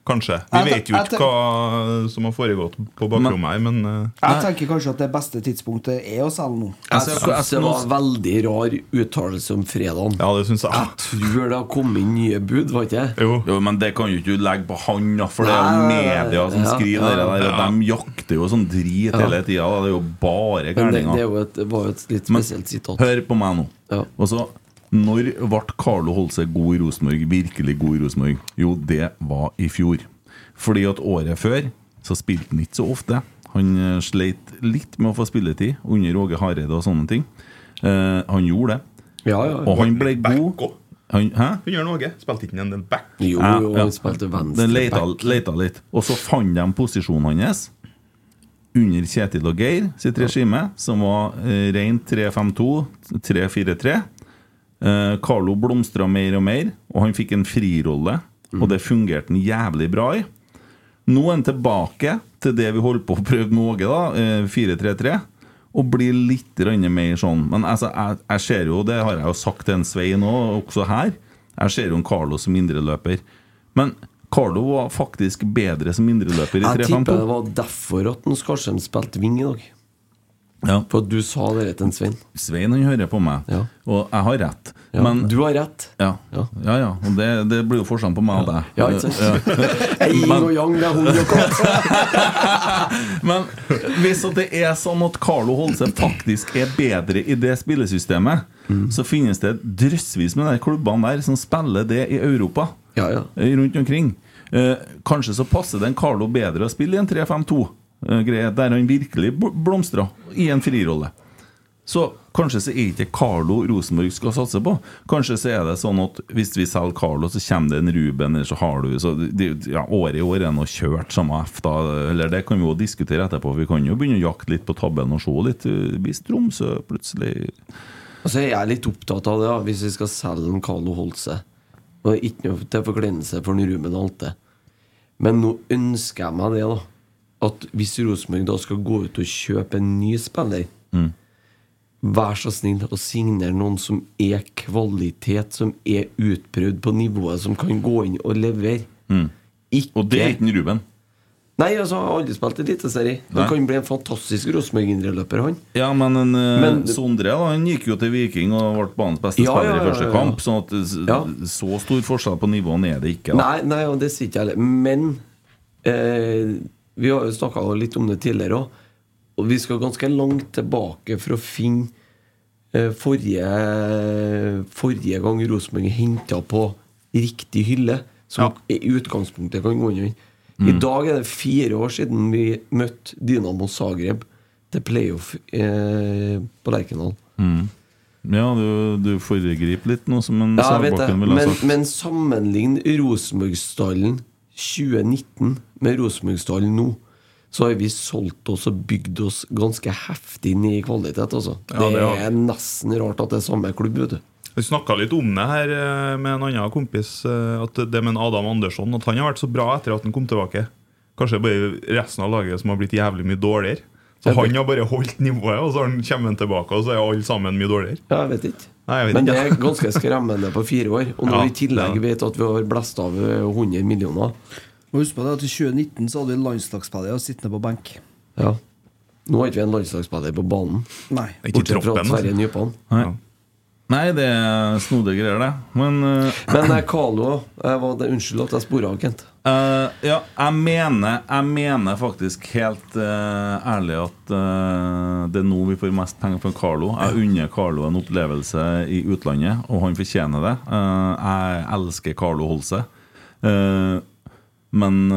Kanskje. Vi
Jeg te-
vet jo
jeg te-
ikke hva som har foregått på bakrommet her, men eh,
Jeg tenker kanskje at det beste tidspunktet er å selge nå.
Jeg
Altså,
syns det var veldig rar uttalelse om fredagen.
Ja, det syns jeg.
tror det har kommet inn nye bud, var ikke det?
Jo.
men det kan jo ikke du legge på han, da, for det er jo
Nei, nei, nei,
media som
ja,
skriver det
ja,
der.
ja.
og De jakter jo sånn drit
Ja.
hele tida. Det er jo bare
Men det, det, er
gærninger.
jo et, det var jo et litt spesielt sitat.
Hør på meg nå.
Ja.
Og så Når ble Carlo Holse god i Rosenborg? Virkelig god i Rosenborg? Jo, det var i fjor. Fordi at året før så spilte han ikke så ofte. Han eh, sleit litt med å få spilletid under Åge Hareide og sånne ting. Eh, han gjorde det.
Ja, ja.
Og han ble
Back
god.
òg.
Han, hæ?
Hun gjør noe. Spilte ikke han en back?
Jo,
Ja,
jo,
ja.
han spilte
Den leta,
venstreback.
leta litt. Og så fant de posisjonen hans under Kjetil og Geir sitt regime, som var eh, rent 3-5-2, 3-4-3. Eh, Carlo blomstra mer og mer, og han fikk en frirolle. Og det fungerte han jævlig bra i. Nå er han tilbake til det vi holdt på å prøve med Åge, da, eh, 4-3-3. Og blir litt grann mer sånn. Men altså, jeg, jeg ser jo, det har jeg jo sagt til en Svein òg, også her, jeg ser jo en Carlo som indreløper. Men Carlo var faktisk bedre som indreløper i
Jeg tipper
3-5-2.
det var derfor at han Skarsheim spilte wing i dag.
Ja.
For at du sa det til en Svein.
Svein han hører på meg,
Ja.
og jeg har rett.
Ja,
Men
du har rett.
ja, ja,
Ja.
ja. Og det, det blir jo forskjell på meg og deg.
Ja, ikke sant? Yin og yang, det er hund og katt.
Men hvis at det er sånn at Carlo Holse faktisk er bedre i det spillesystemet, så finnes det drøssvis med de klubbene der som spiller det i Europa.
Ja, ja.
eh, Rundt omkring. Eh, kanskje så passer den Carlo bedre å spille i en 3-5-2-greie, eh, der han virkelig bl- blomstrer i en frirolle. Så kanskje så er ikke Carlo Rosenborg skal satse på. Kanskje så er det sånn at hvis vi selger Carlo, så kommer det en Ruben, eller så har du så det- ja, Året i år er nå kjørt, samme F, da. Eller det kan vi jo diskutere etterpå. Vi kan jo begynne å jakte litt på tabellen og se litt. eh, Hvis Tromsø plutselig
Og så er Altså, jeg litt opptatt av det, da, hvis vi skal selge en Carlo Holse. Og det er ikke noe til forkleinelse for en Ruben Alte. Men nå ønsker jeg meg det, da. At hvis Rosenborg da skal gå ut og kjøpe en ny spiller, vær så snill å signere noen som er kvalitet, som er utprøvd på nivået, som kan gå inn Mm. og levere. Ikke
Og det er ikke en Ruben.
Nei, altså, har aldri spilt eliteserie. Han
Nei.
kan bli en fantastisk Rosenborg-indreløper, han.
Ja, men, en, eh,
Men-
Sondre da, han gikk jo til Viking og ble banens beste
Ja, ja,
spiller
ja,
i første
ja, ja.
kamp. Sånn at s- Så stor forskjell på nivåene er det ikke. Da.
Nei, nei, og det sier ikke jeg heller. Men eh, vi har jo snakka litt om det tidligere òg. Og vi skal ganske langt tilbake for å finne eh, forrige, forrige gang Rosenborg henta på riktig hylle, som i utgangspunktet kan gå inn. I
Mm.
dag er det fire år siden vi møtte Dynamo Zagreb til playoff eh, på Lerkendal.
Mm. Ja, du, du foregriper litt nå, som en
Ja, jeg vet det.
Sagbakken ville sånn ha
Men,
sagt.
men sammenlign Rosenborgstallen 2019 med Rosenborgstallen nå, så har vi solgt oss og bygd oss ganske heftig ned i kvalitet, altså.
Ja, det
det,
har vi.
er nesten rart at det er samme klubb, vet du.
Vi snakka litt om det her eh, med en annen kompis, eh, at det med en Adam Andersson At han har vært så bra etter at han kom tilbake. Kanskje det er bare resten av laget som har blitt jævlig mye dårligere. Så
Jeg vet-
han har bare holdt nivået, og så har han- kommer han tilbake, og så er alle sammen mye dårligere.
Ja, jeg vet ikke.
Nei, jeg vet
Men det
ikke.
er ganske skremmende på fire år. Og når
Ja,
vi i tillegg vet at vi har blåst av eh, 100 millioner
Må huske på det at I 2019 så hadde vi en landslagsspiller og sittende på benk.
Ja. Nå har ikke vi en landslagsspiller på banen.
Nei.
Ikke i
Bortsett fra
troppen,
at Sverre
altså.
Nypan.
Nei. Nei, det er snodige greier, det. Men,
Men eh, Carlo jeg var, Unnskyld at jeg spora av, Kent.
Eh, ja, jeg mener, jeg mener faktisk helt eh, ærlig at eh, det er nå vi får mest penger fra Carlo. Jeg unner Carlo en opplevelse i utlandet, og han fortjener det. Eh, jeg elsker Carlo Holse. Eh, men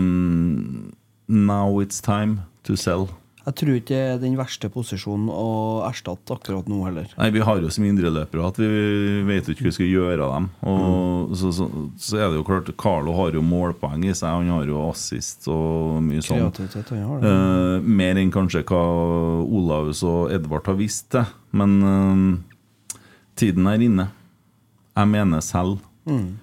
eh, now it's time to sell.
Jeg tror ikke det er den verste posisjonen å erstatte akkurat nå heller.
Nei, Vi har jo som indreløpere at vi vet jo ikke hva vi skal gjøre av dem. Og så, så, så er det jo klart Carlo har jo målpoeng i seg, han har jo assist og mye sånn.
Kreativitet, han har det.
Eh, mer enn kanskje hva Olaus og Edvard har visst til. Men eh, tiden er inne. Jeg mener selv.
Enig.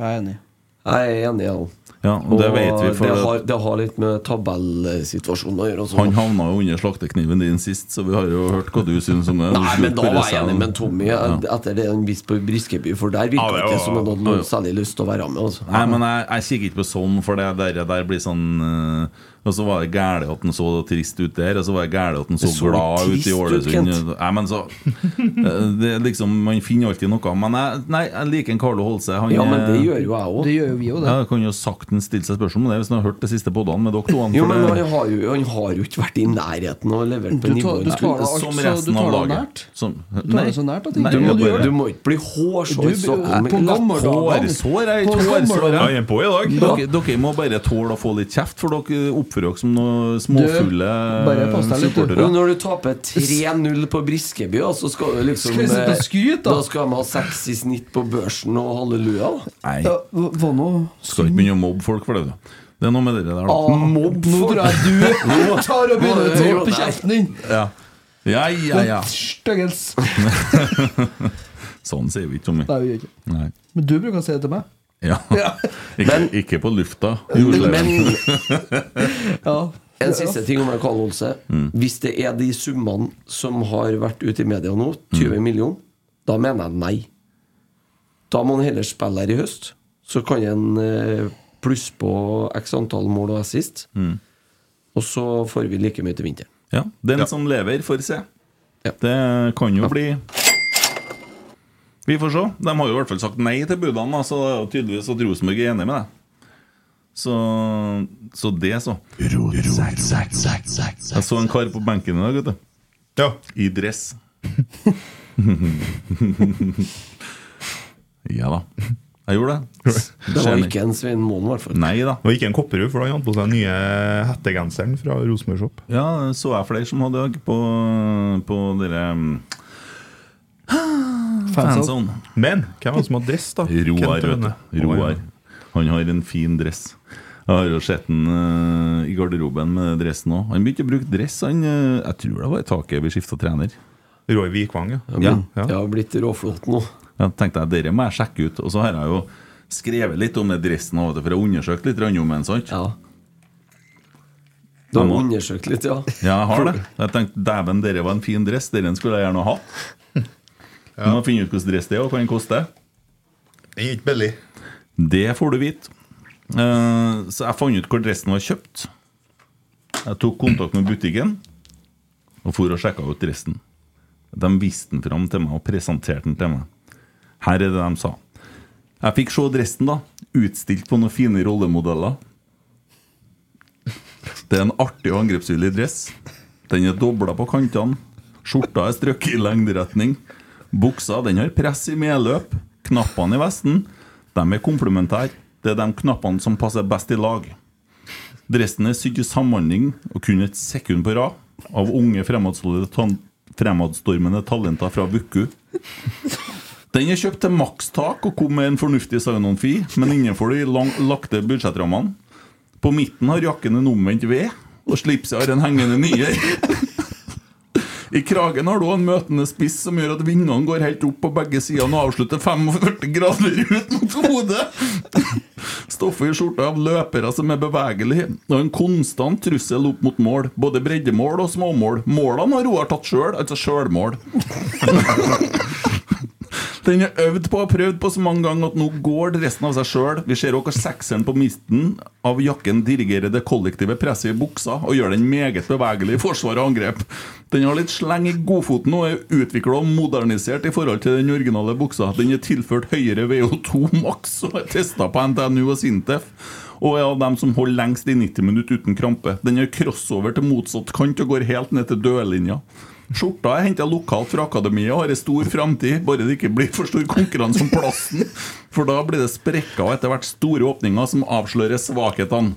Jeg er enig.
Jeg er enig, jeg òg.
Ja, og det vet vi, for
det,
at-
har, det har litt med tabellsituasjonen å gjøre. Også.
Han havna jo under slaktekniven din sist, så vi har jo hørt hva du syns om det. Du
Nei,
skulle
men da
spørre
var jeg
selv.
enig med Tommy
Ja.
eh, etter det han viste på Briskeby, for der virka
Ja, det
ikke
var-
som han hadde noe særlig lyst til å være med. Altså.
Nei, men jeg, jeg kikker ikke på sånn, for det der, der blir sånn eh, Og så var det gæli at han så trist ut der, og så var det gæli at han så,
Det så
glad ut
trist
i
ut,
Ålesund.
Kent.
Nei, men så eh, det, er liksom, Man finner alltid noe. Men jeg, nei, jeg liker en Carlo Holse. Han
Ja, men det
er-
gjør jo jeg òg.
Det gjør jo vi òg,
Ja, jeg kan jo saktens stille seg spørsmål om det hvis han har hørt det siste podene med dere to. han,
Jo,
for
men
det-
han har jo, han har jo ikke vært i nærheten av å levere
Du
på
tar-
nivået
du tar det
som
altså-
resten
du
av
tar det
laget.
nært.
Som,
Du tar det så nært at ikke-
Du,
Nei,
må,
du gjør det.
du må ikke bli hårsår
Du-
i sokken.
på gamle dager-
Hårsår er
På
ikke
gamle
hårsår.
dager.
er på i dag. Dere, dere må bare tåle å få litt kjeft, for dere oppfører dere som noen småfulle
Bare pass deg litt, du. Mm.
supportere.
Og Når du taper 3-0 på Briskeby, ja, så skal du liksom
Skal vi sitte og
eh,
skryte, da?
Da skal de ha seks i snitt på børsen og halleluja. da.
Nei,
Ja, hva hva nå?
skal ikke begynne å mobbe folk for det. du. Det er noe med det der, da.
Ah, Nå tror jeg du tar og begynner å ta på kjeften din!
Ja, ja, ja. ja.
Støggels!
Sånn sier vi ikke, Tommy.
Nei, vi gjør ikke det.
Nei.
Men du bruker å si det til meg.
Ja. Ikke, ikke på lufta. Gjorde det.
Men
Ja.
En siste ting om Karl Olse.
Mm.
Hvis det er de summene som har vært ute i media nå,
Mm.
20 millioner, da mener jeg nei. Da må han heller spille her i høst. Så kan han eh, plusse på x antall mål og assist.
Mm.
Og så får vi like mye til vinteren.
Ja, den som lever, får se. Det kan jo bli Vi får se. De har jo i hvert fall sagt nei til budene, da, så det er jo tydeligvis at Rosenborg er enig med deg. Så, så det, så. Jeg så en kar på benken i dag, vet du.
Ja.
I dress. ja da. Jeg gjorde det.
Det var ikke en Svein Moen, i hvert fall.
Nei da.
Og ikke en Kopperud, for han hadde på seg den nye hettegenseren fra Rosenborg Shop.
Ja, så jeg flere som hadde òg, på, på dere Fanzone.
Men hvem er det som har dress, da?
Roar,
Kent
vet
Aune.
du. Roar. Han har en fin dress. Jeg har jo sett han eh, i garderoben med dressen òg. Han begynte å bruke dress, han eh, Jeg tror det var i taket vi skifta trener.
Roar Vikvang, ja.
Ja.
Ja.
Det har blitt råflott nå.
Da tenkte jeg dere må jeg sjekke ut. Og så har jeg jo skrevet litt om den dressen, også, for jeg har undersøkt litt grann om den. sant?
Ja. Du har
Jeg må-
undersøkt litt, ja.
Ja, jeg har det. Jeg tenkte dæven, dere var en fin dress. Dere skulle jeg gjerne ha hatt. Må finne ut hvilken dress det er, og hva den koster.
Den er ikke billig.
Det får du vite. Eh, så jeg fant ut hvor dressen var kjøpt. Jeg tok kontakt med butikken og for og sjekka ut resten. De viste den fram til meg og presenterte den til meg. Her er det de sa. Jeg fikk se dressen, da. Utstilt på noen fine rollemodeller. Det er en artig og angrepsvillig dress. Den er dobla på kantene. Skjorta er strøkket i lengderetning. Buksa den har press i medløp. Knappene i vesten de er komplementære. Det er de knappene som passer best i lag. Dressen er sydd i samhandling og kun et sekund på rad av unge fremadstormende tan- fremadstormende talenter fra Vuku. Den er kjøpt til makstak og kom med en fornuftig sign-on-fi, men innenfor de lang, lagte budsjettrammene. På midten har jakken en omvendt V, og slipset har en hengende nier. I kragen har du en møtende spiss som gjør at vingene går helt opp på begge sidene og avslutter 45 grader ut mot hodet. Stoffet i skjorta er av løpere som er bevegelige, og en konstant trussel opp mot mål. Både breddemål og småmål. Målene har Roar tatt sjøl, altså sjølmål. Den er øvd på og prøvd på så mange ganger at nå går resten av seg sjøl. Vi ser også sekseren på midten av jakken dirigerer det kollektive presset i buksa og gjør den meget bevegelig i forsvar og angrep. Den har litt sleng i godfoten og er utvikla og modernisert i forhold til den originale buksa. Den er tilført høyere VO2 maks og er testa på NTNU og Sintef. Og er av dem som holder lengst i 90 minutter uten krampe. Den er crossover til motsatt kant og går helt ned til dødlinja. Skjorta er henta lokalt fra akademiet og har en stor framtid, bare det ikke blir for stor konkurranse om plassen. For da blir det sprekker og etter hvert store åpninger som avslører svakhetene.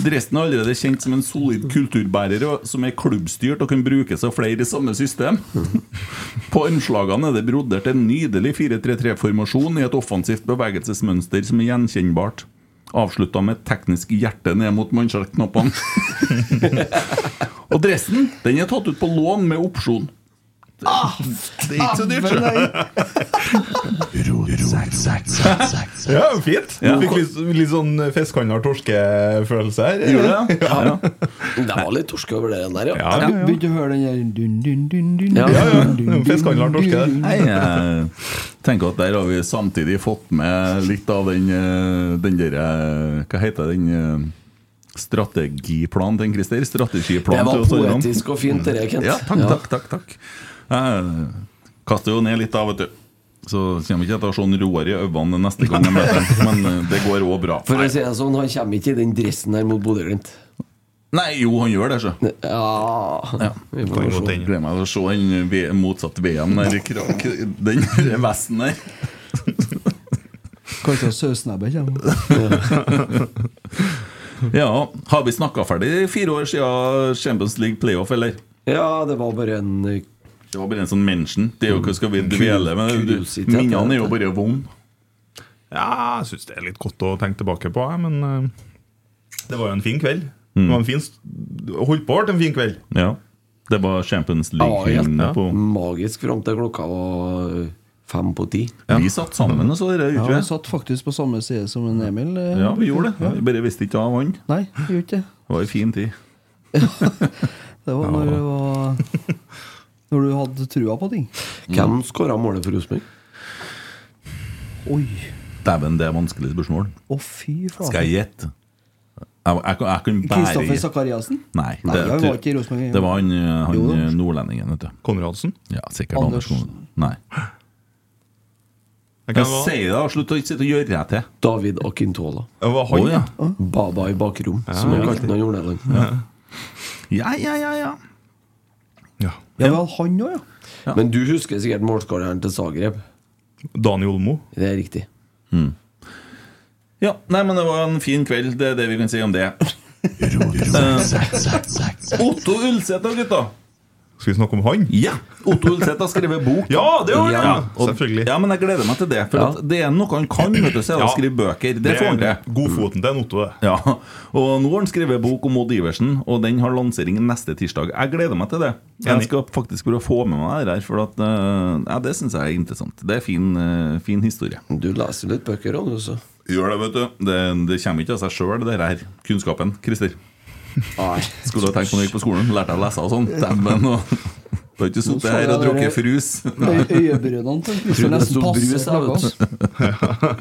Dressen er allerede kjent som en solid kulturbærer og- som er klubbstyrt og kan brukes av flere i samme system. På innslagene er det brodert en nydelig 4-3-3-formasjon i et offensivt bevegelsesmønster som er gjenkjennbart. Avslutta med et teknisk hjerte ned mot mannskjertknappene. Og dressen den er tatt ut på lån med opsjon. Det er ikke så dyrt,
Ja, fint. Du
Ja.
fikk litt, litt sånn fiskehandler-torskefølelse her.
Gjorde
det? Ja.
Det var litt torske over det den der,
Ja, ja, ja.
Begynte å høre den der dun, dun, dun, dun,
Ja, ja, ja. Det er jo
fiskehandleren Torske der.
Nei, jeg tenker at der har vi samtidig fått med litt av den, eh, den der eh, Hva heter den eh, strategiplanen til Christer? Strategiplanen
Det var
til oss alle.
poetisk og fint, det der,
sånn,
Kent.
Ja, takk,
Ja.
takk, takk, takk. Jeg eh, kaster jo ned litt da, vet du. Så kommer ikke jeg til å se en Roar i øynene neste gang jeg møter ham, men eh, det går òg bra.
For å si det sånn, han kommer ikke i den dressen her mot Bodø-Glimt.
Nei, jo, han gjør det, så.
Ja,
Vi får se. Gleder meg til å se den V- motsatt VM der i krak, den der vesten der.
Kanskje søsnebbe kommer.
Ja, har vi snakka ferdig fire år siden Champions League playoff, eller?
Ja, det var bare en eh, Det
var bare en sånn mention. Det er jo ikke skal vi dvele med. Du-
Kuriositet,
Minnene er jo bare vonde.
Ja, jeg syns det er litt godt å tenke tilbake på, jeg, men eh, det var jo en fin kveld.
Mm.
Det var en fin, st- holdt på å bli en fin kveld.
Ja. Det var Champions
Ja, helt
League-hymne på.
magisk fram til klokka var eh, fem på ti.
Vi satt sammen og så det
Ja,
ute.
han satt faktisk på samme side som en Emil. eh.
Ja, vi gjorde det. Vi bare visste ikke av han.
Nei, vi gjorde ikke det.
Det var ei fin tid.
Det var når det var Når du hadde trua på ting.
Hvem skåra målet for Rosenborg?
Oi,
Dæven, det er vanskelige spørsmål.
å fy faen.
Skal jeg gjette? Jeg, jeg, kan- jeg kan bære
Kristoffer Sakariassen?
Nei,
Nei,
det,
han var ikke i Rosenborg.
det var han,
Jo da.
han nordlendingen, vet du.
Konradsen?
Ja, sikkert Anders.
Andersen.
Konradsen. Nei.
Jeg
Jeg
kan gå-
sier det, og slutt å ikke sitte og gjøre jeg til.
David Akintola.
Det var han,
Å, ja.
Baba i bakrom,
Ja,
som han
ja.
kalte han i Nordland.
Ja, ja, ja, ja.
Ja, vel, han òg, ja.
Men du husker sikkert målskåreren til Zagreb.
Dani Olmo.
Det er riktig.
Ja, nei, men det var en fin kveld. Det er det vi kan si om det. Eh, Otto Ulseth da, gutta.
Skal vi snakke om han?
Ja! Otto Ulseth har skrevet bok.
Ja, det har han, ja.
og-
Selvfølgelig.
Ja, men jeg gleder meg til det. For
Ja.
at det er noe han kan, vet du, så er det
Ja.
å skrive bøker. Det
Det
får han
er
til. Godfoten til Otto, det. Ja. Og nå har han skrevet bok om Odd Iversen, og den har lansering neste tirsdag. Jeg gleder meg til det. Jeg
Enig.
skal faktisk prøve å få med meg det her, for at, eh, ja, det syns jeg er interessant. Det er fin, eh, fin historie.
Du leser litt bøker òg, du, så.
Gjør det, vet du. Det, det kommer ikke av seg sjøl, det her kunnskapen. Christer. Skulle ha tenkt på når jeg gikk på skolen. Lærte jeg å lese og sånn. Dæven. og- Du har ikke sittet her og drukket frus.
Øyebrynene til Kristian nesten passer klokka.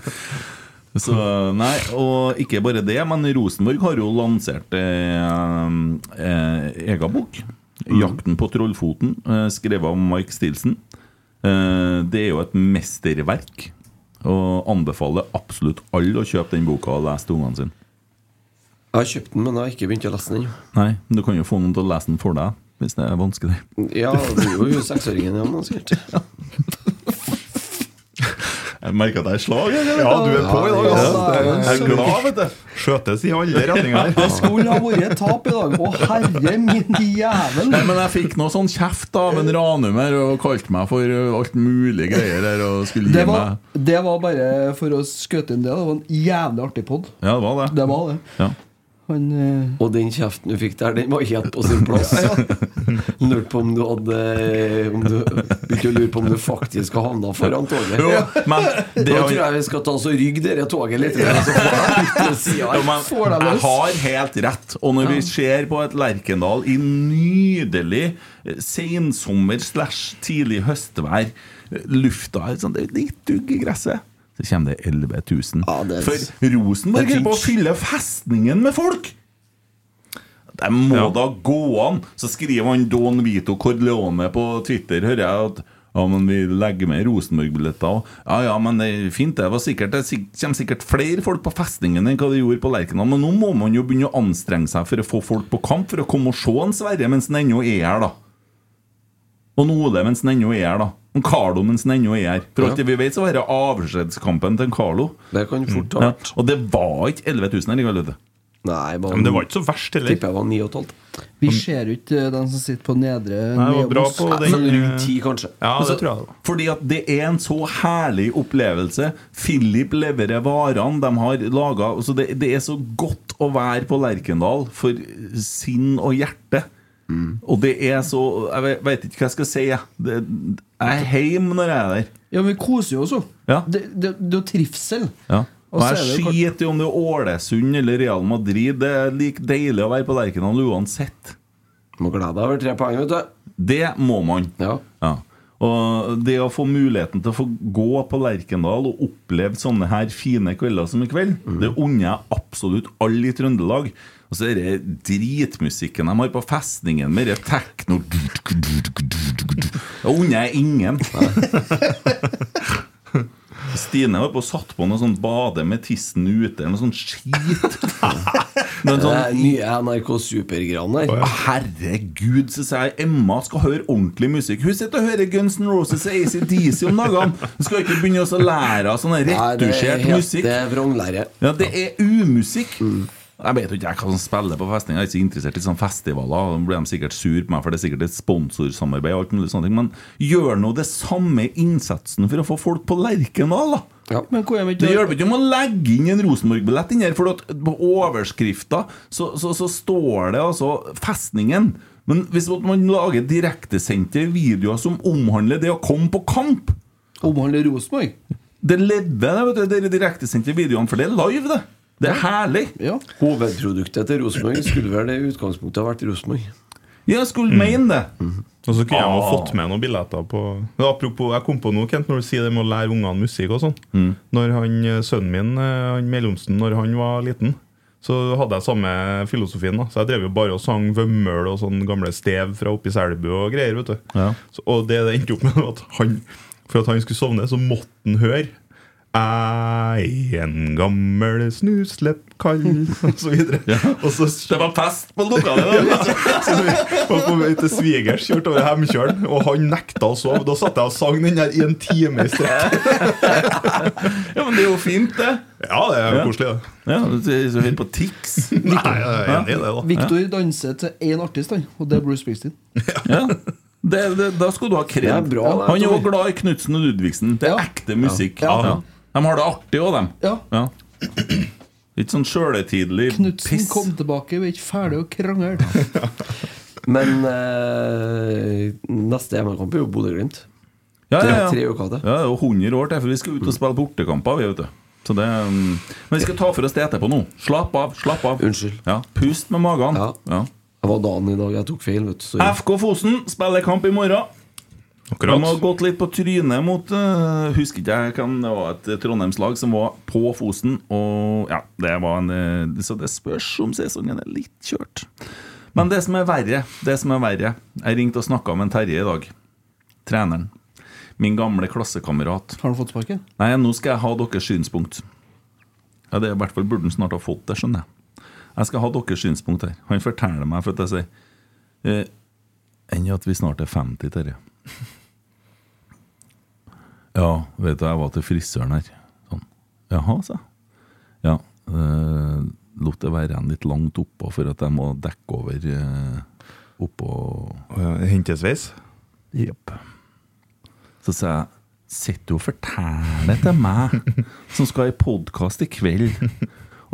Ja. Så, nei, og ikke bare det, men Rosenborg har jo lansert eh, eh, egen bok.
Mm.
'Jakten på trollfoten', eh, skrevet av Mike Stilson. Eh, det er jo et mesterverk, og anbefaler absolutt alle å kjøpe den boka og lese til ungene sine.
Jeg har kjøpt den, men jeg har ikke begynt å lese den ennå.
Nei, men du kan jo få noen til å lese den for deg, hvis det er vanskelig.
Ja, det blir jo hun seksåringen igjen, da, sikkert.
Jeg merker at jeg er slag. jeg, eller?
Ja, du er på i dag.
Ja,
altså.
det er- Jeg er glad, vet du.
Skjøtes i alle retninger.
Det skulle ha vært et tap i dag. Å, herre min jævel.
Nei, men jeg fikk noe sånn kjeft av
Eh.
en Ranum her og kalte meg for uh, alt mulig greier her og skulle
Det
gi
var,
meg
det var bare for å skøte inn det. Det var en jævlig artig pod.
Ja, det var det.
Det var det.
Ja.
Han eh,
Og den kjeften du fikk der, den var helt på sin plass. Lurte på om du hadde eh, om du, Begynte å lure på om du faktisk har havna foran toget.
Jo, men det
Nå
har-
tror jeg vi skal ta oss og rygge dere toget litt. Så får jeg ut til siden.
Jo, men
Får deg
jeg
løs.
har helt rett. Og når vi
Ja.
ser på et Lerkendal i nydelig eh, sensommer slash tidlig høstvær eh, Lufta er sånn, det er litt dugg i gresset. Så kommer det 11 000.
er-
For Rosenborg
Det er
er på å
fint.
fylle festningen med folk! Det må da gå an! Så skriver han Don Vito Corleone på Twitter, hører jeg at ja, men vi legger med Rosenborg-billetter òg. Ja ja, men det er fint, det. Var sikkert, det sik- kommer sikkert flere folk på festningen enn hva det gjorde på Lerkendal. Men nå må man jo begynne å anstrenge seg for å få folk på kamp, for å komme og se en Sverre mens han ennå er her, da. Og en Ole mens han ennå er her, da. Og en Carlo mens han ennå er her. For alt det vi vet, så var det avskjedskampen til en Carlo.
Det kan fort ha
Mm. Ja. Og det var ikke 11 000 her likevel, vet du.
Nei,
Ja, men det var ikke så verst heller.
Tipper jeg var 9,5.
Vi ser jo ikke den som sitter på nedre nedboss.
Sånn rundt 10, kanskje.
Altså, Fordi at det er en så herlig opplevelse. Philip leverer varene de har laga. Altså det, det er så godt å være på Lerkendal for sinn og hjerte.
Mm.
Og det er så Jeg vet- vet ikke hva jeg skal si. jeg. Det, jeg er hjemme når jeg er der.
Ja, men vi koser jo oss jo.
Ja.
Det, det, det er jo trivsel.
Ja. Og
Og så
jeg
er det jo
skiter i om det er Ålesund eller Real Madrid. Det er like deilig å være på Lerkendal uansett.
Må glede deg over tre poeng, vet du.
Det må man.
Ja.
Og det å få muligheten til å få gå på Lerkendal og oppleve sånne her fine kvelder som i kveld, det unner jeg absolutt alle i Trøndelag. Og så er det dritmusikken de har på festningen, med det tekno Det unner jeg ingen. Stine var på og satt på noe sånn bade med tissen ute, eller noe sånn skit.
Det
Noe
er
sånn
nye NRK Super-gran der.
Herregud, så sier jeg Emma skal høre ordentlig musikk. Hun sitter og hører Guns N' Roses og ACDC om dagene. Hun skal ikke begynne å lære av sånn
Nei, det er
retusjert
helt- eh, Mm.
musikk.
Det er vranglære.
Ja, det er umusikk. Jeg vet jo ikke jeg hva som spiller på festning. Jeg er ikke så interessert i sånne festivaler. Da blir de sikkert sur på meg, for det er sikkert et sponsorsamarbeid. og alt mulig sånne ting Men gjør nå det samme innsatsen for å få folk på Lerkendal, da!
Men hvor er vi
Det
ikke
hjelper ikke om å legge inn en Rosenborg-billett inn her, for at på overskrifta så, så, så står det altså festningen. Men hvis man lager direktesendte videoer som omhandler det å komme på kamp
Omhandler Rosenborg?
Det ledde, det, vet du, de direktesendte videoene, for det er live, det. Det er herlig.
Hovedproduktet til Rosenborg skulle vel det i utgangspunktet ha vært Rosenborg.
Jeg skulle mene det.
Mm. Og så kunne jeg jo
Ah.
fått med noen billetter på Men Apropos, jeg kom på noe, Kent, når du sier det med å lære ungene musikk og sånn. Når han, eh, Sønnen min, eh, han mellomsten, når han var liten, så hadde jeg samme filosofien. da Så jeg drev jo bare og sang Vømmøl og sånn gamle stev fra oppi Selbu og greier. vet du
Ja.
så, Og det det endte opp med, var at han for at han skulle sovne, så måtte han høre Ei, en gammel snuslepp kald Og så videre. Og så
Det var fest på lokalet! da.
så vi var på vei til svigers, kjørte over Hemkjølen, og han nekta å sove. Da satt jeg og sang den der i en time i strekk.
Ja, men det er jo fint, det.
Ja, det er jo koselig, det.
Ja, så Hør på Tix.
Nei, jeg er enig i det, da.
Victor danser til én artist, han, og det er Bruce Springsteen.
Ja. Det, det, da skal du ha kred.
Det er bra, det,
Han er jo
Tommy.
glad i Knutsen og Ludvigsen. Det er ekte musikk.
Ja.
Ja. De har det artig òg, dem.
Ja.
Ja. Litt sånn sjøletidlig
Knutsen
piss.
kom tilbake, vi er ikke ferdig å krangle.
Men eh, neste hjemmekamp er jo Bodø-Glimt.
Ja, ja,
Tre
ja.
uker til. Mm.
ja, det er jo 100 år til, for vi skal ut og spille bortekamper. Vi, vet du. Så det, mm, men vi skal ta for oss det etterpå nå. Slapp av. slapp av
Unnskyld.
ja. Pust med magen.
Ja.
Ja.
Det var dagen i dag jeg tok feil. vet du Sorry.
FK Fosen spiller kamp i morgen. De har gått litt på trynet mot eh, Husker ikke jeg hvem det var, et Trondheimslag som var på Fosen. Og ja, det var en eh, Så det spørs om sesongen er litt kjørt. Men det som er verre, det som er verre Jeg ringte og snakka med en Terje i dag. Treneren. Min gamle klassekamerat.
Har han fått sparken?
Nei, nå skal jeg ha deres synspunkt. Ja, det er i hvert fall burde han snart ha fått det, skjønner jeg. Jeg skal ha deres synspunkt her. Han forteller meg for at jeg sier eh, Enn at vi snart er 50, Terje. Ja, vet du, jeg var til frisøren her. Sånn. Jaha, sa jeg. Ja, eh, lot det være en litt langt oppå for at jeg må dekke over eh, oppå Hentesveis? Jepp. Så sa jeg Sitter du og forteller til meg, som skal i podkast i kveld,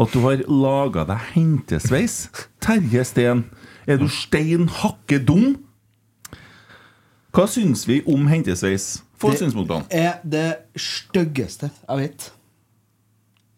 at du har laga deg hentesveis? Terje Steen, er du stein hakke dum? Hva syns vi om hentesveis? Få
Det-
synspunktene.
Er det styggeste jeg vet.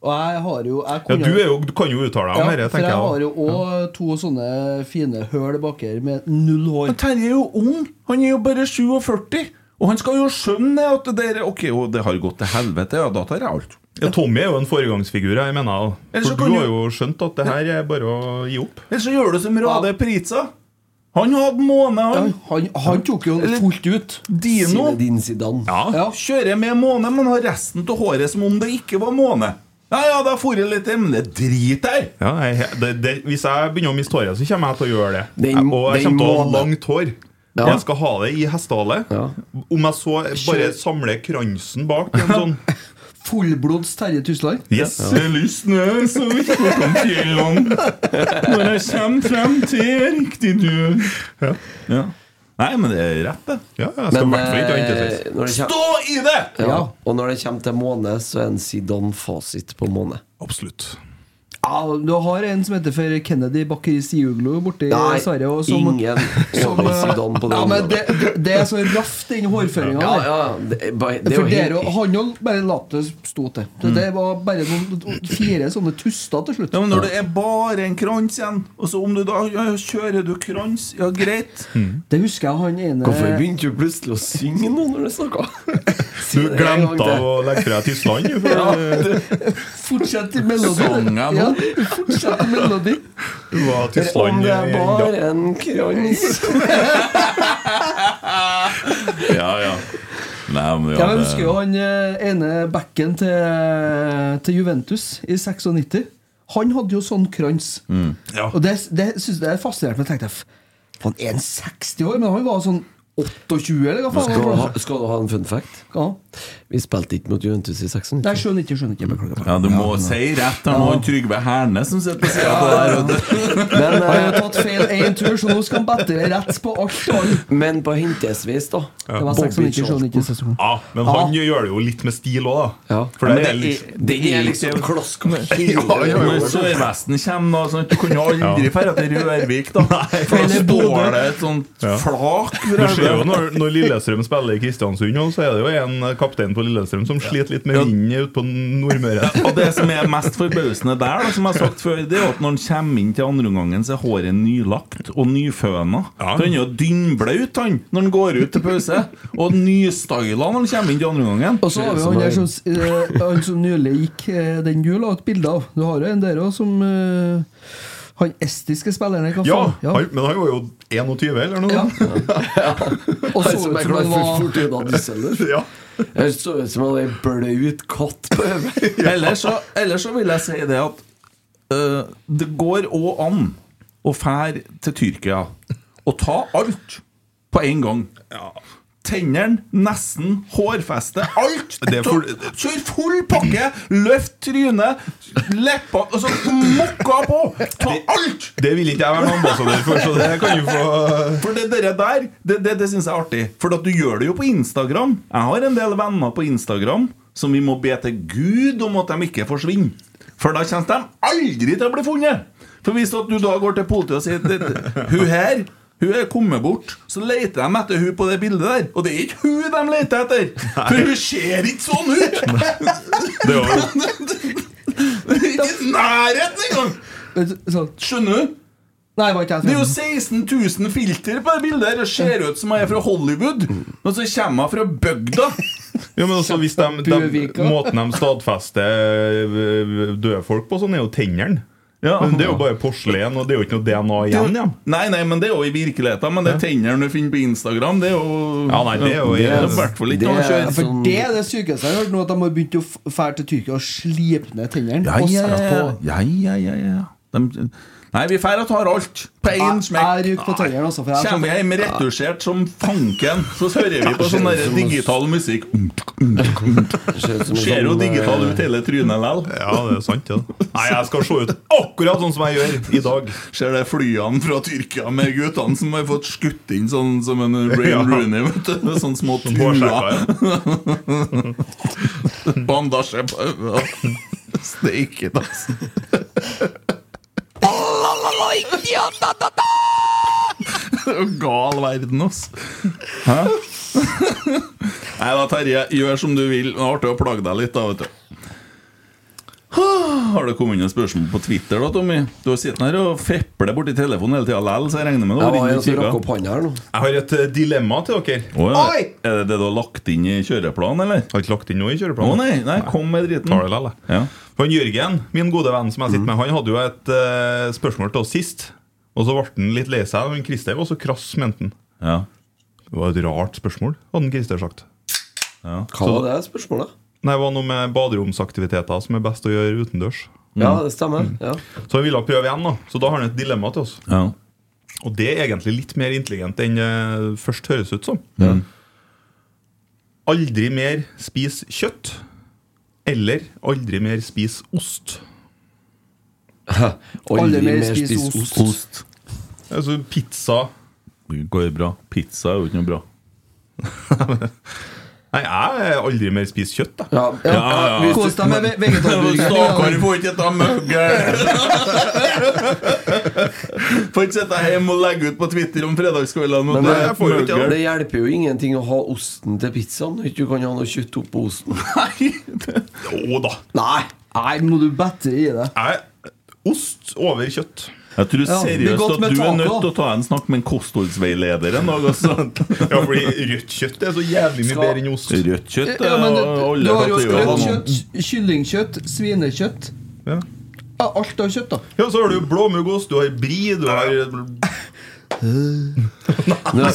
Og jeg har jo jeg
Ja,
kunne-
du, er jo, du kan jo uttale deg om dette,
for
tenker
jeg
jeg. også.
har jo òg to sånne fine høl bak her med null hår.
Men Terje er jo ung. Han er jo bare 47. Og han skal jo skjønne det at det der Ok, og det har gått til helvete, ja, da tar jeg alt.
Ja, Tommy er jo en foregangsfigur, jeg mener.
Ellers
For
så kan
du har
jo-
jo skjønt at det her er bare å gi opp.
Eller så gjør du som Rade Pritza. Han hadde måne, han.
han. tok jo fullt ut.
Dino.
Zinedine Zidane.
Kjører med måne, men har resten av håret som om det ikke var måne. Ja, ja, da for jeg litt Men det drit der!
Ja, jeg, det, det, hvis jeg begynner å miste håret, så kommer jeg til å gjøre det.
Den-
Jeg- og jeg
den
kommer til å ha
månen.
langt hår.
Ja.
Jeg skal ha det i hestehale. Om jeg så bare
Kjør.
samler kransen bak i en sånn
Fullblods Terje Tusland.
Yes, Ja. jeg
lysner så vidt om fjellene når jeg kommer frem til riktig dør. Ja. Nei, men det er rett, det.
Men, eh, når det kjem-
Stå i det!
Ja. Og når det kommer til måne, så er en Zidane-fasit på måne.
Absolutt.
Ja, du har en som heter for Kennedy Bakkeri Siuglo borti
Nei,
Sverige. og som-
ingen
som, eh,
over Zidane på det
ja, men
området.
det, det, det er så raft, den hårføringa.
Ja, ja, det, er bare- det er jo
For
helt-
dere, Han jo bare la det stå til. Det,
Mm.
det var bare noen fire sånne tuster til slutt.
Ja, men når det er bare en krans igjen, og så om du da ja, kjører du krans, ja, greit.
Hmm.
Det husker jeg han ene
Hvorfor begynte du plutselig å synge nå når du snakka?
Du glemte å legge fra deg Tyskland, du, for-
Fortsett i melodien.
Sang jeg nå?
Ja, fortsett i melodien.
Du var til
Om
Tyskland
det eh, er
i-
bare en krans
Ja, ja. Nei, men
Ja, jeg husker jo han eh, ene backen til, eh, til Juventus i 96. Han hadde jo sånn krans.
Mm.
Og det, det synes jeg er fascinerende. men Jeg tenkte, f- faen, er han 60 år? Men han var sånn 28, eller
Nå
hva faen?
Skal, du
var det?
ha, skal du ha en fun fact? Vi spilte ikke mot Juventus i 96.
Nei, skjønner ikke, skjønner ikke. Beklager.
Ja, du må si rett her nå, Trygve Herne som sitter på sida der. vet du.
Han har
eh,
jo tatt feil én tur, så nå skal han battere rett på alt. og alt.
Men på hentesvis, da.
Det var 96, 97 sesong.
Ja, men han gjør det jo litt med stil òg, da. For det,
Men
er litt-
Det er liksom klask
Ja, ja, ja.
Når Sørvesten kommer, da sånn, at Du kan jo aldri
Ja.
dra til Rørvik, da. For da
Eller
står
Bodø.
det et sånt
Ja.
flak
Du ser jo når, når Lillestrøm spiller i Kristiansund, nå, så er det jo en kaptein på Lillestrøm som sliter litt med vinden ute på Nordmøre.
Og det som er mest forbausende der, da, som jeg har sagt før, Det er jo at når han kommer inn til andreomgangen, så er håret nylagt og nyføna. Så Han er jo dynnblaut han, når han går ut til pause. Og nystyla når han kommer inn til andreomgangen.
Og så har vi han der som, eh, han som nylig gikk eh, den du la ut bilde av. Du har jo en der òg som eh, Han estiske spilleren, hva
Ja,
faen?
han, men han var jo 21, eller noe?
Og
Han
så ut
som
som
er glad
han
for
var-
fort unna Düsseldorf.
Ja.
Jeg så ut som han hadde en blaut katt på øyet.
Ellers så, ellers så vil jeg si det at øh, det går òg an å fære til Tyrkia og ta alt på en gang. Tennene, nesen, hårfeste, alt!
Det er for-
Ta- Kjør full pakke! Løft trynet, leppa Altså, mokka på! Ta alt!
Det vil ikke jeg være noen ambassadør for, så det kan du få
For det dere der, det, det, det syns jeg er artig. For at du gjør det jo på Instagram. Jeg har en del venner på Instagram som vi må be til Gud om at de ikke forsvinner. For da kommer de aldri til å bli funnet! For hvis at du da går til politiet og sier at hun her hun er kommet bort, så leter de etter hun på det bildet der. Og det er ikke hun de leter etter! For hun ser ikke sånn ut!
Det er jo
Ikke i nærheten engang!
Sånn.
Skjønner du?
Nei, var ikke jeg
Det er jo
13.
16 000 filter på det bildet her. Det ser ut som jeg er fra Hollywood, og så kommer jeg fra bygda.
Jo, men også hvis de, de,
Buvika.
Måten de stadfester øh, døde folk på, sånn er jo tennene. Men det er jo bare porselen, og det er jo ikke noe DNA
Det er jo-
igjen. Ja.
Nei, nei, men det er jo i virkeligheten. Men det er tennene du finner på Instagram, det er jo
Ja, nei, det er jo-
i hvert fall ikke
det
noe å
er
kjøre.
For det er det sykeste jeg har hørt nå, at de har begynt å f- fære til Tyrkia og slipe ned tennene.
Ja,
og
ja, ja,
sette
ja.
på.
ja, ja, ja, ja. De, nei, vi drar og tar alt på én
Jeg-
smekk.
jeg ryker på tennene, altså, for jeg er så-
Kommer vi hjem retusjert som fanken, så hører vi på sånn der digital musikk. Ser jo digital ut hele trynet lell.
Ja, det er sant, ja. Nei, jeg skal se ut akkurat sånn som jeg gjør i dag.
Ser det flyene fra Tyrkia med guttene som har fått skutt inn sånn som en Ray
Ja.
Rooney, vet du. Med sånne små
Som
tuer. Bandasje på øynene. Steike, altså. Det er jo gal verden, ass. Hæ? Nei da, Terje. Gjør som du vil. Det er artig å plage deg litt, da, vet du. Har det kommet inn noen spørsmål på Twitter, da, Tommy? Du har sittet her og frepler borti telefonen hele tida lell, så jeg regner med du har vært inne og kikket.
Jeg har et eh, dilemma til dere.
Å, ja. Er det det du har lagt inn i kjøreplanen, eller?
Har ikke lagt inn noe i kjøreplanen.
Å, nei, nei, kom med driten.
Tar det lell, jeg.
Ja. Mm.
For Jørgen, min gode venn som jeg sitter med, han hadde jo et eh, spørsmål til oss sist. Og så ble han litt lei seg. Men Christer var så krass, mente han.
Ja.
Det var et rart spørsmål, hadde han Christer sagt.
Hva var det spørsmålet?
Nei, det var noe med baderomsaktiviteter som er best å gjøre utendørs.
Ja, det stemmer. Ja.
Så han ville prøve igjen, da. Så da har han et dilemma til oss.
Ja.
Og det er egentlig litt mer intelligent enn det først høres ut som. Aldri mer spis kjøtt. Eller aldri mer spis ost.
Aldri mer spis ost.
Ost.
Altså pizza
Det går bra. Pizza er jo ikke noe bra.
Nei, jeg er aldri mer spis kjøtt, da.
Ja,
Ja, Kos deg med ve- vegetarburger.
Stakkar får ikke ta mugger! Får ikke sitte hjemme og legge ut på Twitter om fredagskveldene.
Men
og
det,
det er mugger.
det hjelper jo ingenting å ha osten til pizzaen når ikke du kan ha noe kjøtt oppå osten.
Jo da.
Nei!
Nei, må du bedre i det.
Jeg er ost over kjøtt.
Jeg tror
Ja, det er
seriøst
godt
at
med
du er
taco.
nødt til å ta en snakk med en kostholdsveileder en dag. Altså.
Ja, fordi rødt kjøtt er så jævlig mye
Skal-
bedre enn ost.
Rødt kjøtt
Ja, men du,
alle
du har jo
kategorier.
rødt kjøtt, kyllingkjøtt, svinekjøtt.
Ja.
Ja, alt av kjøtt, da.
Ja, så har du blåmuggost, du har bri, du har Ok,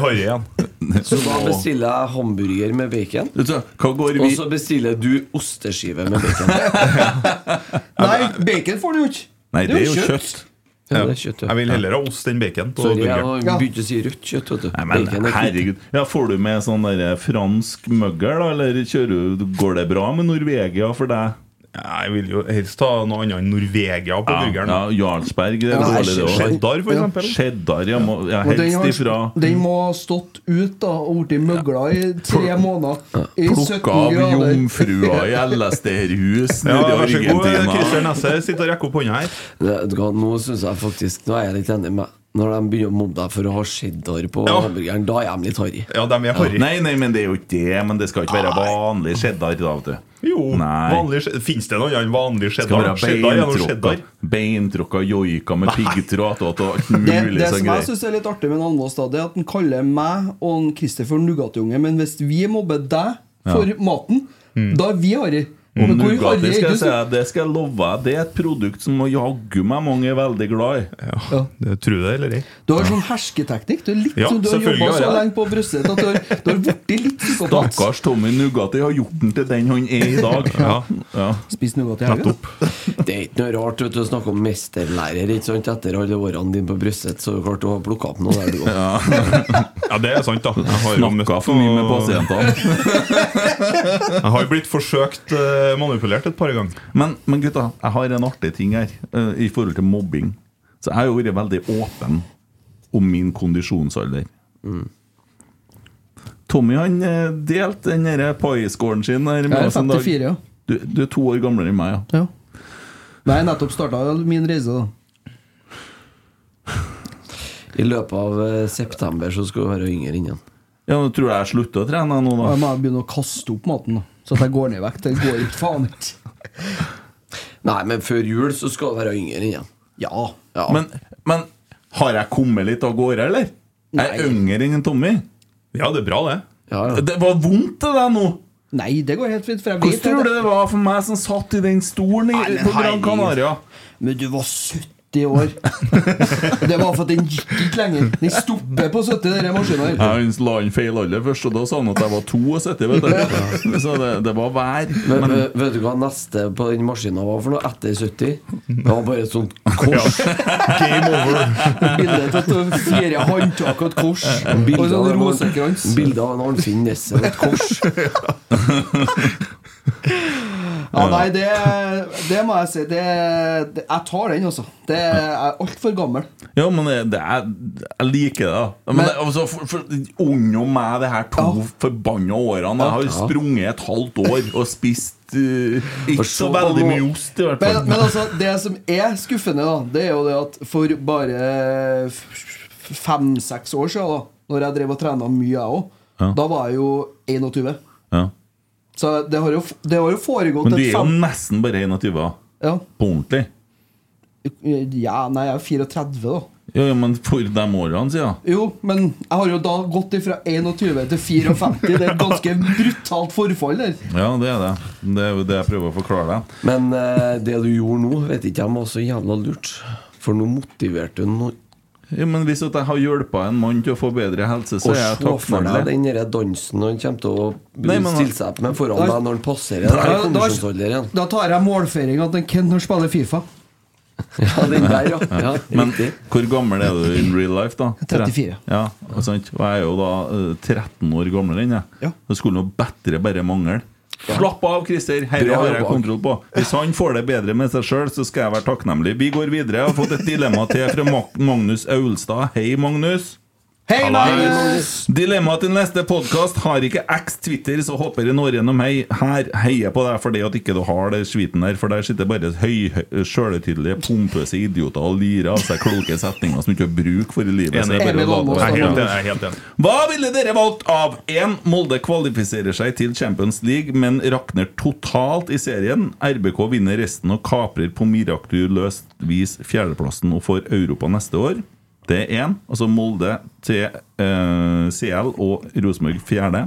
harry igjen.
Så da bestiller jeg hamburger med bacon.
Vet du hva, Hva går
Og
vi
så bestiller du osteskive med bacon.
Nei, bacon får du jo ikke.
Nei, det er jo kjøtt.
Ja, det er kjøtt,
Jeg
ja.
vil heller ha ost enn bacon. på
Sorry, jeg
burgeren.
var- begynte å si rødt kjøtt. Vet du.
Nei, men
Bacon er kjøtt.
herregud ja, Får du med sånn der fransk møgger, da? Eller kjører, du- går det bra med Norvegia for deg?
Jeg vil jo helst ha noe annet enn Norvegia på
Ja,
burgeren.
ja, Jarlsberg det er
Nei,
dårlig, det òg.
Cheddar, for eksempel.
Cheddar, ja. må- ja
Og den,
helst ifra
har, den må ha stått ut da og blitt møgla i tre måneder. I 17
Plukka av
grader.
jomfrua i LSD-hus
Ja,
nede i
vær så god, Christer
Argentina.
Nesse sitter og rekker opp hånda her.
Det, vet du hva, nå synes jeg faktisk Nå er jeg litt enig med Når de begynner å mobbe deg for å ha cheddar på
Ja.
hamburgeren, da er de litt harry.
Ja, dem er harry.
Nei, nei, men det er jo ikke det. Men det skal ikke være vanlig cheddar. da, vet du
Jo,
Nei.
vanlig cheddar. Fins det noe annet enn vanlig
Skal
cheddar? Cheddar er noe
være
cheddar.
beintråkka- beintråkka joika med piggtråd attåt og alt
Det,
mulig
det
sånn
som jeg
greier.
syns er litt artig med en Almås, da, det er at han kaller meg og en Christopher Nugatunge. Men hvis vi mobber deg for maten, da er vi harry. Men hvor
Nougat,
harry
det Mm.
er
skal
du?
jeg si,
som-
deg, det skal jeg love deg. Det er et produkt som må jaggu meg mange er veldig glad i.
Ja, det tror du det eller ei?
Du har sånn hersketeknikk. Du er litt
Ja,
som du har
selvfølgelig
jobba
har
så
jeg det.
lenge på brystet at du har, du har blitt litt psykopat.
Stakkars Tommy Nugatti har gjort den til den han er i dag.
Ja.
Spis nougat i helga.
Det er ikke noe rart vet du, å snakke om mesterlærer ikke sant? etter alle årene dine på brystet. Så er det klart du har plukka opp noe der du går.
Ja, det er sant, da. Jeg har jo møtt
Snakka for mye med
og-
pasientene.
Jeg har jo blitt forsøkt eh, manipulert et par ganger.
Men, men gutta, jeg har en artig ting her eh, i forhold til mobbing. Så jeg har jo vært veldig åpen om min kondisjonsalder. Tommy han eh, delte den derre paiskåren sin her
Jeg
med
er
oss en dag.
54, ja.
Du, du er to år gamlere enn meg, ja.
ja. Nei, jeg nettopp starta min reise, da.
I løpet av eh, september så skal du være yngre igjen.
Ja, men Tror du jeg slutter å trene nå,
Og
da?
jeg må begynne å kaste opp maten, da. Så at jeg går ned i vekt. Det går ikke faen ikke.
Nei, men før jul så skal du være yngre igjen.
Ja.
Men, men har jeg kommet litt av gårde, eller? Jeg er yngre enn en Tommy.
Ja, det er bra, det.
Det var vondt til deg nå.
Nei, det går helt fint. For jeg
Hvordan
vet
tror du det var for meg som satt i den stolen i, på Gran Canaria?
Men du var 70 år. det var for at den gikk ikke lenger. Den stopper på 70, den maskinen. her.
Jeg la han feil alder først, og da sa han at jeg var 72, vet du. Så det, det var vær.
Men,
Men,
vet- Vet du hva neste på den maskina var for noe etter 70? Det var bare et sånt kors.
Game over.
Bildet av to- fire håndtak og et kors. Og
Bilde
en
av
sånn
en-
rosekrans.
bilde av en Arnfinn Nesse og et kors.
Ja, nei, det, det må jeg si. Det, det, jeg tar den, altså. Det jeg er altfor gammel.
ja, men det, det er, jeg liker det. da. Men, det, altså, for, for, Unngå meg det her to forbanna årene. Jeg har
Ja.
sprunget et halvt år og spist eh,
For
ikke
så
så veldig
mange-
mye ost, i hvert
Men,
fall.
men altså, det som er skuffende, da, det er jo det at for bare fem-seks år siden, da Når jeg drev og trena mye, jeg òg,
Ja.
da var jeg jo 21.
Ja.
Så det har jo, f- det har jo foregått
Men du er
et
jo
fem-
nesten bare 21 da.
ja.
på ordentlig.
ja, nei, jeg er 34, da.
Ja, ja, men for de årene siden.
Jo, men jeg har jo da gått ifra 21 til 54. Det er et ganske brutalt forfall der.
Ja, det er det. Det er jo det jeg prøver å forklare deg.
Men eh, det du gjorde nå, vet ikke jeg, var så jævla lurt. For nå motiverte du noen.
Ja, men hvis at jeg har hjulpet en mann til å få bedre helse, så
Og
er jeg
se for deg
takknemlig.
den der dansen han kommer til å
Nei, men-
stille seg opp med foran
Da-
deg når han passerer
Da-
den
da-
konvensjonsalderen.
Da tar jeg målfeiringa til Kent når han spiller Fifa.
Ja, den der, ja. ja
Men hvor gammel er du in real life, da?
34.
Ja, og sant? Og jeg er jo da eh, 13 år gamlere enn jeg. Det skulle nå bedre bare mangle. Slapp av, Christer! Dette
Bra
har jeg
jobba.
kontroll på. Hvis han får det bedre med seg sjøl, så skal jeg være takknemlig. Vi går videre. Jeg har fått et dilemma til fra Mag- Magnus Aulstad. Hei, Magnus.
Hei,
Halla.
Magnus!
Dilemma til neste podkast. Har ikke X Twitter, så håper jeg når gjennom hei. Her heier på deg for det at ikke du har det skiten der, for der sitter bare høy, sjølhøytidelige, pompøse idioter og lirer av seg kloke setninger som du ikke har bruk for i livet. Så
Enig.
det er bare å la det være.
Jeg er helt enig, jeg er helt enig.
Hva ville dere valgt av 1. Molde kvalifiserer seg til Champions League, men rakner totalt i serien. RBK vinner resten og kaprer på mirakuløst vis fjerdeplassen og får Europa neste år. Det er én. Altså Molde til eh, CL og Rosenborg fjerde.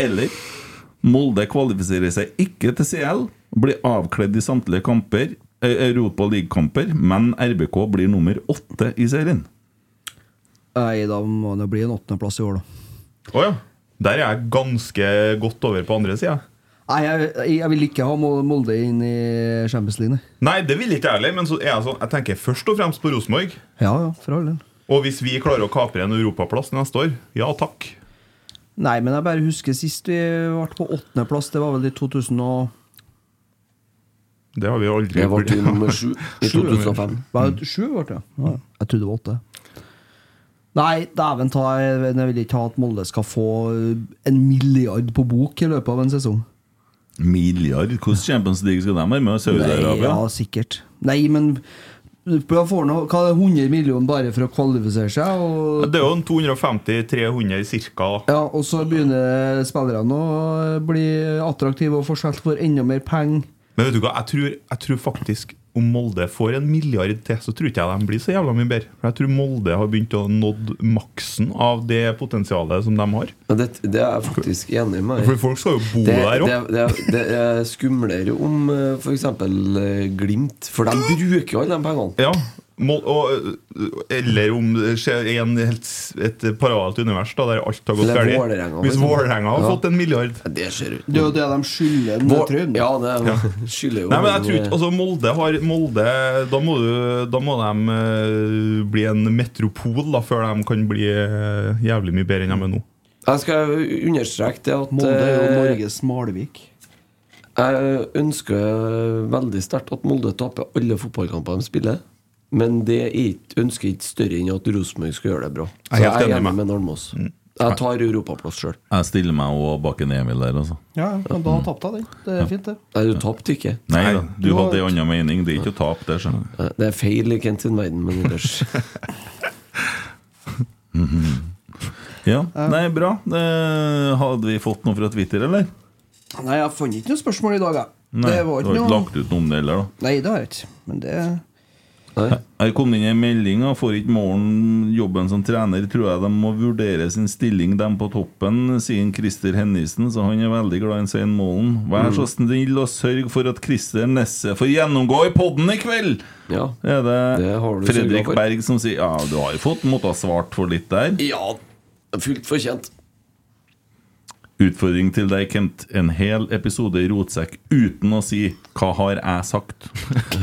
Eller Molde kvalifiserer seg ikke til CL, blir avkledd i samtlige kamper, eh, Europa League-kamper, men RBK blir nummer åtte i serien.
Nei, da må det bli en åttendeplass i år, da.
Å ja. Der er jeg ganske godt over på andre sida.
Nei, jeg, jeg vil ikke ha Mol- Molde inn i Champions League. nei.
Nei, det vil ikke jeg heller, men så er jeg sånn Jeg tenker først og fremst på Rosenborg.
Ja, ja, for all del.
Og hvis vi klarer å kapre en europaplass neste år, ja takk.
Nei, men jeg bare husker sist vi ble på åttendeplass. Det var vel i 2000 og...
Det har vi jo aldri
Jeg ble jo nummer sju i
Sju,
2005.
Var det sju ble det? Ja, jeg trodde det var åtte. Nei, dæven ta Jeg vil ikke ha at Molde skal få en milliard på bok i løpet av en sesong.
Milliard? Hvordan Champions League skal de være med?
Nei,
Saudi-Arabia?
ja, sikkert. Nei, men da får nå hva er det, 100 millioner bare for å kvalifisere seg, og,
Det er jo en 250-300 cirka.
ja, og så begynner spillerne å eh, bli attraktive og få solgt for enda mer penger.
Men vet du hva, jeg tror, jeg tror faktisk om Molde får en milliard til, så tror ikke jeg de blir så jævla mye bedre. For jeg tror Molde har begynt å nådd maksen av det potensialet som de har.
Ja, det, det er jeg faktisk enig med deg i.
For folk skal jo bo
det,
der
det,
òg.
det, det er skumlere om eh, f.eks. eh, Glimt, for de bruker jo alle de pengene.
Ja. Mol- og, øh, eller om det skjer i en helt, s- et parallelt univers da, der alt har gått
Eller
ferdig. Hvis
Vålerenga, for eksempel.
Vålerenga har
Ja.
fått en milliard
Det ser ut
Det er jo det de skylder en
Vår-
Trønd.
Ja, det
Ja.
skylder jo
Nei, men jeg
mange-
tror ikke,
eh,
altså Molde har Molde, da, må du, da må de eh, bli en metropol da, før de kan bli eh, jævlig mye bedre enn de er nå.
Jeg skal understreke det at
Molde er jo
eh,
Norges Malvik.
Jeg ønsker veldig sterkt at Molde taper alle fotballkamper de spiller. Men det er ikke, ønsker ikke større enn at Rosenborg skal gjøre det bra. Så
Jeg er
jeg
helt
er
enig
enig
med. Mm.
med Almås. Jeg tar europaplass sjøl.
Jeg stiller meg også bak en Emil der, altså.
Ja, men da tapte jeg den. Det er fint, det.
Nei, du tapte ikke.
Nei da, du hadde en annen mening. Det er ikke å tape, det. skjønner du.
Det er feil i Kent sin verden, men ellers
Ja, Nei, bra. Eh, Hadde vi fått noe fra Twitter, eller?
Nei, jeg fant ikke noe spørsmål i dag, jeg.
Nei,
det var
du har
ikke noe
lagt ut noe om det heller, da.
Nei, det har jeg ikke. Men det
Her kom det inn en melding. da. Får ikke Morten jobben som trener, tror jeg de må vurdere sin stilling, dem på toppen, sier Christer Hennisen. Så han er veldig glad i Svein Målen. Vær så
Mm.
snill og sørg for at Christer Nesse får gjennomgå i podden i kveld!
Ja,
er det,
du sørget
Fredrik
for.
Berg som sier Ja, du har jo fått måttet ha svart for litt der.
Ja, fullt fortjent.
Utfordring til deg, Kent. En hel episode i rotsekk uten å si 'Hva har jeg sagt?' Det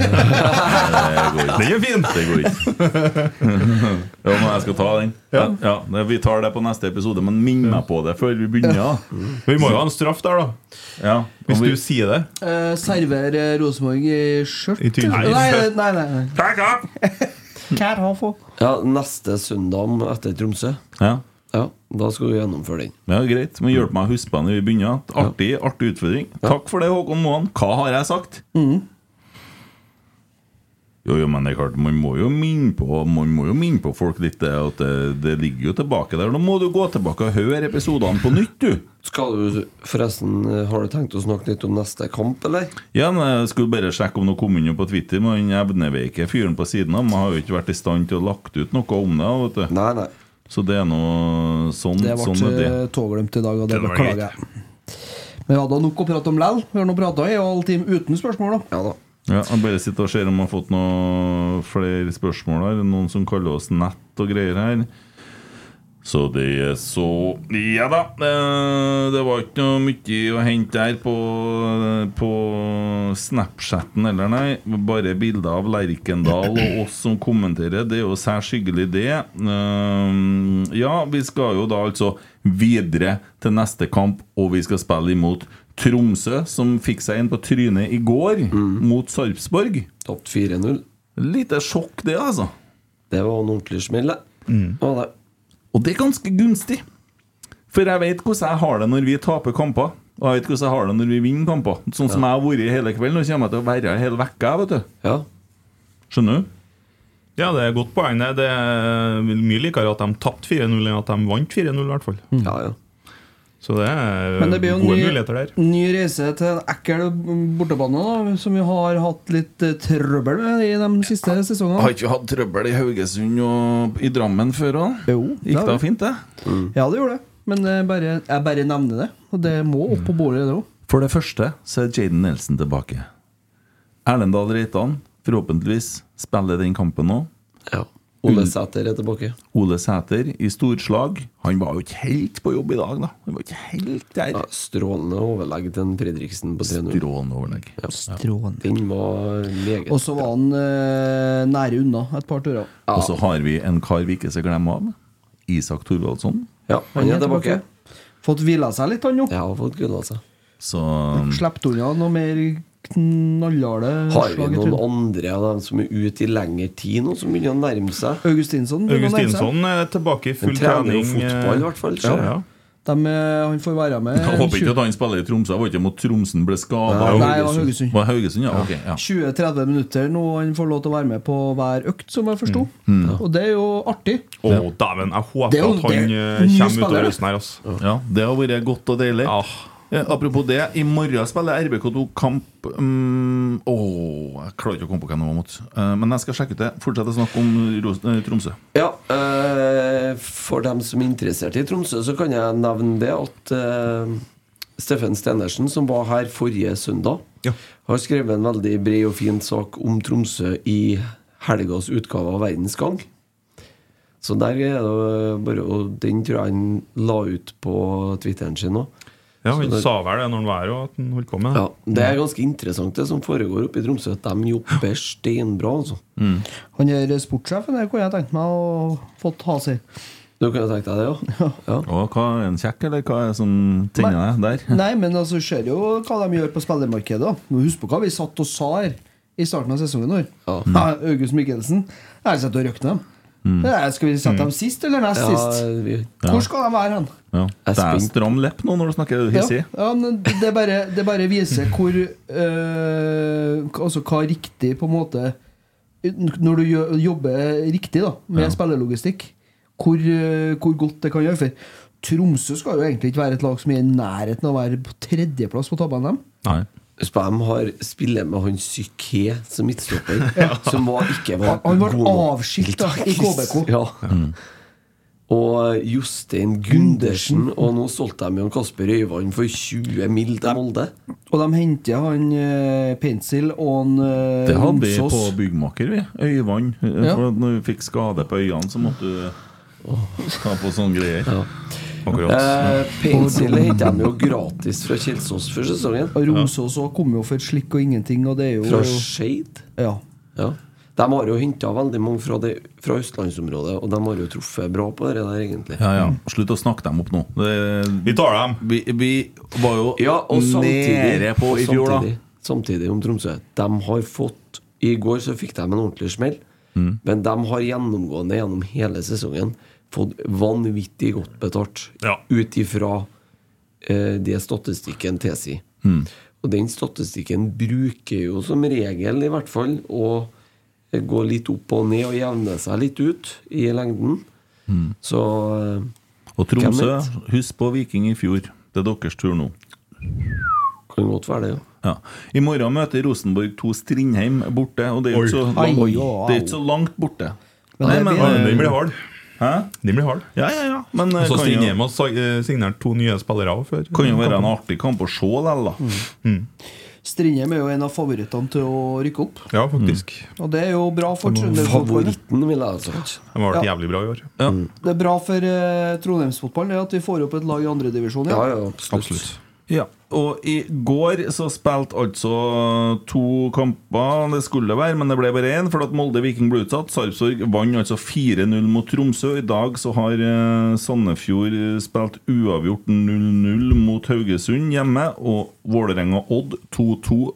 Den er fin!
Det går ikke. Ja, men jeg skal ta den. Ja. det- vi tar det på neste episode, men minn meg på det før vi begynner. da.
Vi må jo ha en straff der, da.
Ja,
Hvis
og vi-
du sier det.
Eh, server eh, Rosenborg i skjørt?
I tynn-
nei, nei, Eh, nei, nei, nei. Kjær ha få.
Ja, neste søndag etter Tromsø.
Ja.
Da skal du gjennomføre den.
Ja, greit. Men hjelp meg å huske på det når vi begynner. at Artig, artig utfordring. Takk for det, Håkon Moan. Hva har jeg sagt?
Mm.
Jo, jo, men det er klart, man må jo minne på Man må jo minne på folk litt. det At det, det ligger jo tilbake der. Nå må du gå tilbake og høre episodene på nytt, du.
Skal du forresten eh, Har du tenkt å snakke litt om neste kamp, eller?
Ja, men jeg skulle bare sjekke om noe kom inn på Twitter, men han evneveike fyren på siden av meg har jo ikke vært i stand til å lagt ut noe om det. Vet du.
Nei, nei.
Så det er nå sånn,
Det ble
sånn er det.
eh, tåglemt i dag, og det
Det var
beklager jeg. Men vi hadde nok å prate om lell. Vi har nå prata i en halv time uten spørsmål, da.
Ja da.
Ja, jeg bare sitter og ser om jeg har fått noe flere spørsmål her. Noen som kaller oss nett og greier her. Så det er så Ja da. eh, Det var ikke noe mye å hente der på, på Snapchatten eller nei. Bare bilder av Lerkendal og oss som kommenterer. Det er jo særs hyggelig, det. Eh, Ja, vi skal jo da altså videre til neste kamp, og vi skal spille imot Tromsø, som fikk seg inn på trynet i går, mot Sarpsborg.
Tapt 4-0.
Lite sjokk, det, altså.
Det var en ordentlig smell, det.
Mm.
Ja, det.
Og det er ganske gunstig. For jeg vet hvordan jeg har det når vi taper kamper. Og jeg vet hvordan jeg har det når vi vinner kamper. Sånn som jeg har vært i hele kvelden. Nå kommer jeg til å være i hele vekka, vet du. Skjønner du?
Ja, det er et godt poeng. Det Det er mye likere at de tapte 4-0 enn at de vant 4-0, i hvert fall.
Mm.
Ja, ja.
Så det er
Men det blir jo
gode
ny,
muligheter der.
ny reise til en ekkel bortebane, da, som vi har hatt litt eh, trøbbel med i de siste sesongene.
Har ikke vi hatt trøbbel i Haugesund og i Drammen før òg? Gikk
det
det
har vi.
fint, det?
Ja, det gjorde det. Men eh, bare, jeg bare nevner det. Og det må opp på bordet nå.
For det første så er Jaden Nelson tilbake. Erlendal Reitan forhåpentligvis spiller den kampen nå.
Ja. Mm. Ole Sæter er tilbake.
Ole Sæter i storslag. Han var jo ikke helt på jobb i dag, da. Han var ikke helt der.
Ja, strålende overlegg til en Fredriksen på 3-0.
Strålende overlegg.
Strålende.
Den var meget
Og så var han eh, nære unna et par turer.
Og så har vi en kar vi ikke skal glemme av. Isak Thorvaldsson.
Ja, han er tilbake.
Fått hvila seg litt, han nå.
Ja, har fått gull, altså.
Så
Mm.
Slept unna noe mer knallharde
Har vi
slag i
noen
trynet.
andre av dem som er ute i lengre tid nå, som begynner å nærme seg?
Augustinsson. begynner å nærme seg.
Augustinsson er eh, tilbake i full
Han trener jo
trening.
fotball, i hvert fall,
Ja,
ser jeg.
ja.
De, eh, han får være med.
Jeg håper ikke
20
at han spiller i Tromsø. Jeg var ikke mot Tromsen ble skada.
Nei, det var Haugesund.
Var det Haugesund, ja, ok ja.
20-30 minutter nå han får lov til å være med på hver økt, som jeg forsto.
Mm.
Og det er jo artig.
Å, dæven. Jeg håper
Det er jo-
at han
det er
eh,
ny
kommer ut
spiller,
av
det.
høsten her, altså.
ja, Det har vært godt og deilig.
Ah,
Eh, Apropos det, i morgen spiller RBK2 kamp um, Åh, jeg klarer ikke å komme på hvem det var mot. Eh, men jeg skal sjekke ut det. Fortsett å snakke om Ros eh, Tromsø.
Ja, eh, For dem som er interessert i Tromsø, så kan jeg nevne det at eh, Steffen Stenersen, som var her forrige søndag,
Ja.
har skrevet en veldig bred og fin sak om Tromsø i helgas utgave av Verdens Gang. Så der er det jo bare Og den tror jeg han la ut på Twitteren sin òg.
ja,
Så
han
det-
sa vel det når han var her, og at han holdt på med det.
Ja, det er ganske interessant, det som foregår oppe i Tromsø. at De jobber steinbra, altså.
Han er sportssjefen der, kunne jeg tenkt meg å fått ha seg.
Du kan jo tenke deg det, ja. ja.
Og hva er en kjekk, eller hva er det som tenner deg der?
Nei, men altså, ser jo hva de gjør på spillermarkedet. da. Men Husk på hva vi satt og sa her i starten av sesongen vår.
Ja.
Ja, Eh, August Michelsen. Jeg har sett å røkne dem.
Mm.
Ja, Skal vi sette dem sist eller nest
ja
sist?
Eh, vi,
Hvor skal de være hen?
Ja.
Jeg
Det er
spent.
stram lepp nå når du snakker
Ja,
hissig.
ja, men det bare, det bare viser hvor eh, Altså hva riktig på en måte Når du gjø- jobber riktig da med spillerlogistikk, hvor, eh, hvor godt det kan gjøre. For Tromsø skal jo egentlig ikke være et lag som er i nærheten av å være på tredjeplass på tabellen. dem.
Nei.
Spam har spiller med han Psyké som midtstopper, som var, ikke
Han-
var
han var
god nok.
avskilt, da, i KBK.
Ja. Og Jostein Gundersen, og nå solgte de Jon Kasper Øyvand for 20 mill. til Molde.
Og de henter han eh, Pencil og han eh,
Det hadde vi
Romsås.
på byggmaker, vi. Øyvann. Eh,
Ja.
For at Når vi fikk skade på øynene, så måtte du ta på sånne greier.
Eh, Pencil henta de jo gratis fra Kjelsås før sesongen.
Og Romsås også kom jo for et slikk og ingenting, og det er jo
Fra Skeid?
Ja.
Ja. De har jo henta veldig mange fra, det, fra østlandsområdet, og de har jo truffet bra på det der, egentlig.
Ja, ja. Slutt å snakke dem opp nå.
Mm. Vi tar dem.
Vi, vi var jo
Ja, og samtidig,
nede på i
og
fjor, da.
samtidig, samtidig om Tromsø. De har fått I går så fikk de en ordentlig smell, men de har gjennomgående gjennom hele sesongen fått vanvittig godt betalt ut ifra eh, det statistikken tilsier.
Mm.
Og den statistikken bruker jo som regel, i hvert fall, å gå litt opp og ned og jevne seg litt ut i lengden.
Mm.
Så eh,
Og Tromsø,
hvem vet?
husk på Viking i fjor. Det er deres tur nå.
Kan godt være det, ja.
I morgen møter Rosenborg 2 Strindheim borte, og det er jo ikke så,
Oi.
langt-
Oi, oi, oi.
det er ikke så langt borte.
Men det blir- Ja, men den blir hard.
Hæ?
Den blir hard.
Ja, ja, ja. Men, eh,
Og så
kan
Strindheim
jo-
har sa- eh, signert to nye spillere også før.
Kan jo være en artig kamp å se likevel, da.
Mm.
Strindheim er jo en av favorittene til å rykke opp.
Ja, faktisk.
Mm.
Og det er jo bra for trønderfotballen.
Favoritten, vil jeg altså ha sagt.
De har vært
Ja.
jævlig bra i år.
Det er bra for eh, Trondheimsfotballen det at vi får opp et lag i andredivisjon igjen.
Ja,
Absolutt. Ja, og i går så spilte altså to kamper. Det skulle være, men det ble bare én, for at Molde Viking ble utsatt. Sarpsborg vant altså 4-0 mot Tromsø. I dag så har eh, Sandefjord eh, spilt uavgjort 0-0 mot Haugesund hjemme, og Vålerenga Odd 2-2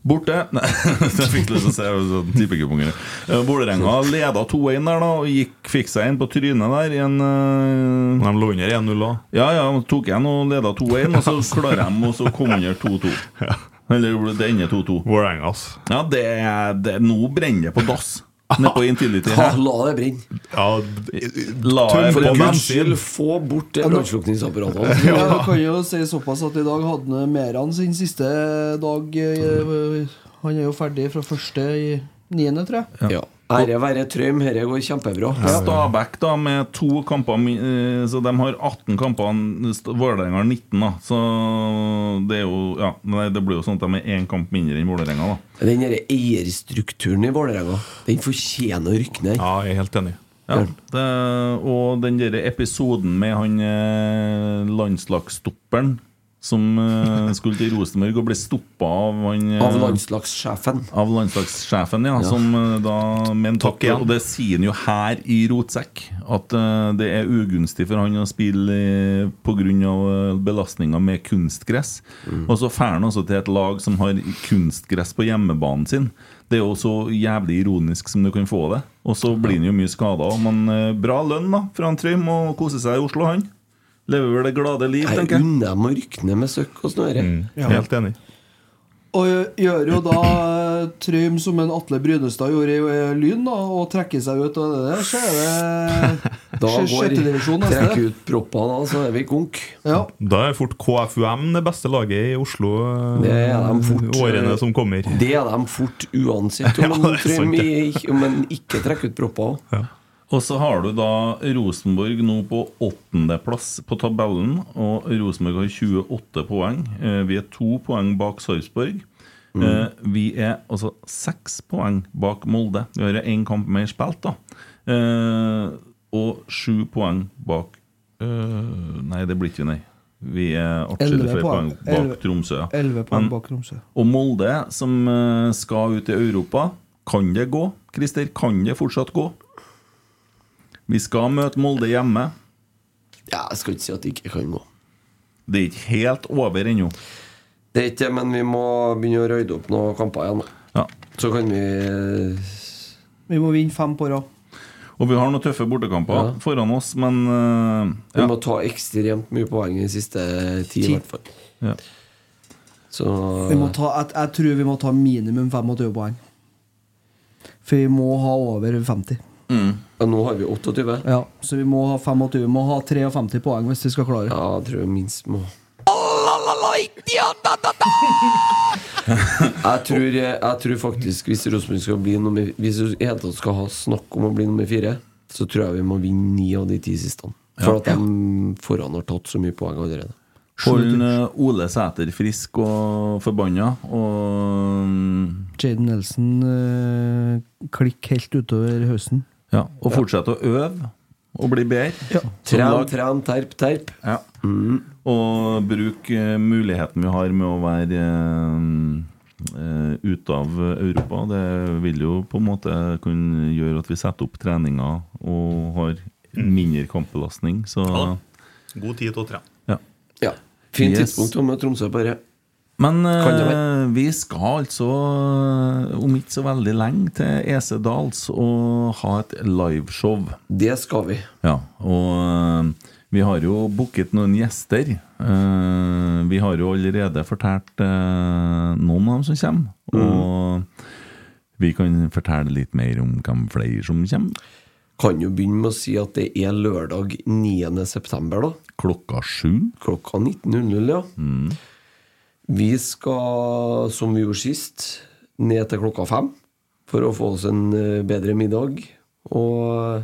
Borte Nei, jeg fikk lyst til å si sånn tippekuponger. Eh, Vålerenga leda 2-1 der, da, og gikk, fikk seg en på trynet der. I en, eh,
de lå under 1-0 da?
Ja, ja. de Tok igjen og leda 2-1, og så klarer de å så komme under 2-2. Eller det ender 2-2.
Vålerenga, ass.
Ja, det, det, nå brenner det på dass. Nede på Intility her.
La det brenne.
Ja,
La
Tøm
det
for
på
en guds
bensin.
skyld, få bort det
Ja, nå-
brannslukningsapparatet.
Ja, jeg kan jo si såpass at i dag hadde han Meran sin siste dag. eh,
Mm.
Han er jo ferdig fra første i niende, tror jeg.
Ja. Ære være Trøim, dette går kjempebra.
Stabæk da med to kamper min- eh, Så de har 18 kamper. St- Vålerenga har 19, da. Så det er jo Ja, nei, det blir jo sånn at de er én kamp mindre enn Vålerenga, da.
Den der eierstrukturen i Vålerenga, den fortjener å rykke ned.
Ja, jeg er helt enig.
Ja, det, og den der episoden med han eh, landslagsstopperen som eh, skulle til Rosenborg og ble stoppa av han eh,
Av landslagssjefen.
Av landslagssjefen, ja,
Ja.
Som eh, da men
Takk igjen.
Og det sier han jo her i Rotsekk, at eh, det er ugunstig for han å spille pga. belastninga eh, med kunstgress.
Mm.
Og så drar han også til et lag som har kunstgress på hjemmebanen sin. Det er jo så jævlig ironisk som du kan få det. Og så blir han jo mye skada. Men eh, bra lønn da fra han Trym, og koser seg i Oslo, han. Lever vel det glade liv,
Jeg
tenker jeg.
unner dem å rykke ned med søkk og snøre.
Mm.
Ja.
Helt enig.
Og gjø- gjør jo da eh, Trym som en Atle Brynestad gjorde i eh, Lyn, da, og trekker seg ut av det der, så er det
Da
sj-
går
sjettedivisjon
Trekk
neste.
ut proppene, da, så er vi konk.
Ja.
Da er fort KFUM det beste laget i Oslo eh,
Det er de fort.
årene som kommer.
Det er de fort uansett om
Ja, det er
Trøim
sant,
i- om en ikke trekker ut propper.
Og så har du da Rosenborg nå på åttendeplass på tabellen. Og Rosenborg har 28 poeng. Eh, Vi er to poeng bak Sarpsborg.
Mm.
Eh, Vi er altså seks poeng bak Molde. Vi har én kamp mer spilt, da. Eh, Og sju poeng bak eh, Nei, det blir ikke, nei. Vi er atskillig
Elleve
flere poeng
poeng.
bak
Elleve-
Tromsø. ja.
Elleve
Men-
poeng bak Tromsø.
og Molde, som eh, skal ut i Europa, kan det gå? Christer, kan det fortsatt gå? Vi skal møte Molde hjemme.
Ja, jeg skal ikke si at det ikke kan gå.
Det er ikke helt over ennå.
Det er ikke det, men vi må begynne å røyde opp noen kamper igjen.
Ja.
Så kan vi
Vi må vinne fem på rad.
Og vi har noen tøffe bortekamper
Ja.
foran oss, men eh,
Vi
ja.
må ta ekstremt mye poeng i siste ti, i
Ti.
hvert fall.
Ja.
Så
Vi må ta, jeg, jeg tror vi må ta minimum 25 poeng. For vi må ha over 50.
Mm.
Ja, Nå har vi 28.
Ja, så vi må ha 25, vi må ha 53 poeng hvis vi skal klare det.
Ja, jeg tror jeg minst må
All I like the other
Jeg tror, jeg tror faktisk hvis Rosenborg skal bli nummer Hvis du i det hele tatt skal ha snakk om å bli nummer fire, så tror jeg vi må vinne ni av de ti siste. For
Ja.
at de foran har tatt så mye poeng allerede.
Hold eh, Ole Sæter frisk og forbanna, og mm,
Jaden Nelson eh, klikk helt utover høsten.
Ja, og fortsette å øve og bli bedre. Som
Tren,
lag.
tren, terp, terp.
Ja. Og bruke eh, muligheten vi har med å være eh, eh, ute av Europa. Det vil jo på en måte kunne gjøre at vi setter opp treninger og har mindre kampbelastning. Så
Ja da. God tid til å trene.
Ja. Fint
Yes.
tidspunkt å møte Tromsø, bare.
Men
Kan det
eh, vi skal altså, eh, om ikke så veldig lenge, til EC Dals og ha et liveshow.
Det skal vi.
Ja, og eh, vi har jo booket noen gjester. Eh, Vi har jo allerede fortalt eh, noen av dem som kommer.
Mm.
Og vi kan fortelle litt mer om hvem flere som kommer.
Kan jo begynne med å si at det er lørdag 9. september, da.
Klokka sju.
Klokka 19.00, ja.
Mm.
Vi skal, som vi gjorde sist, ned til klokka fem for å få oss en eh, bedre middag. Og,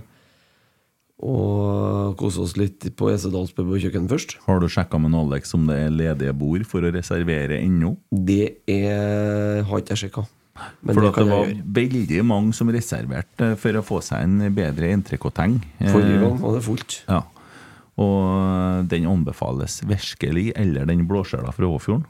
og kose oss litt på Esedals pub og kjøkken først.
Har du sjekka med Alex om det er ledige bord for å reservere ennå?
Det er, har ikke jeg sjekka. Men
For
det
det,
kan
det var
jeg
veldig mange som reserverte eh, for å få seg en bedre entrecôteng. Eh,
Forrige gang var det fullt.
Ja. Og den anbefales virkelig, eller den blåskjella fra Åfjorden.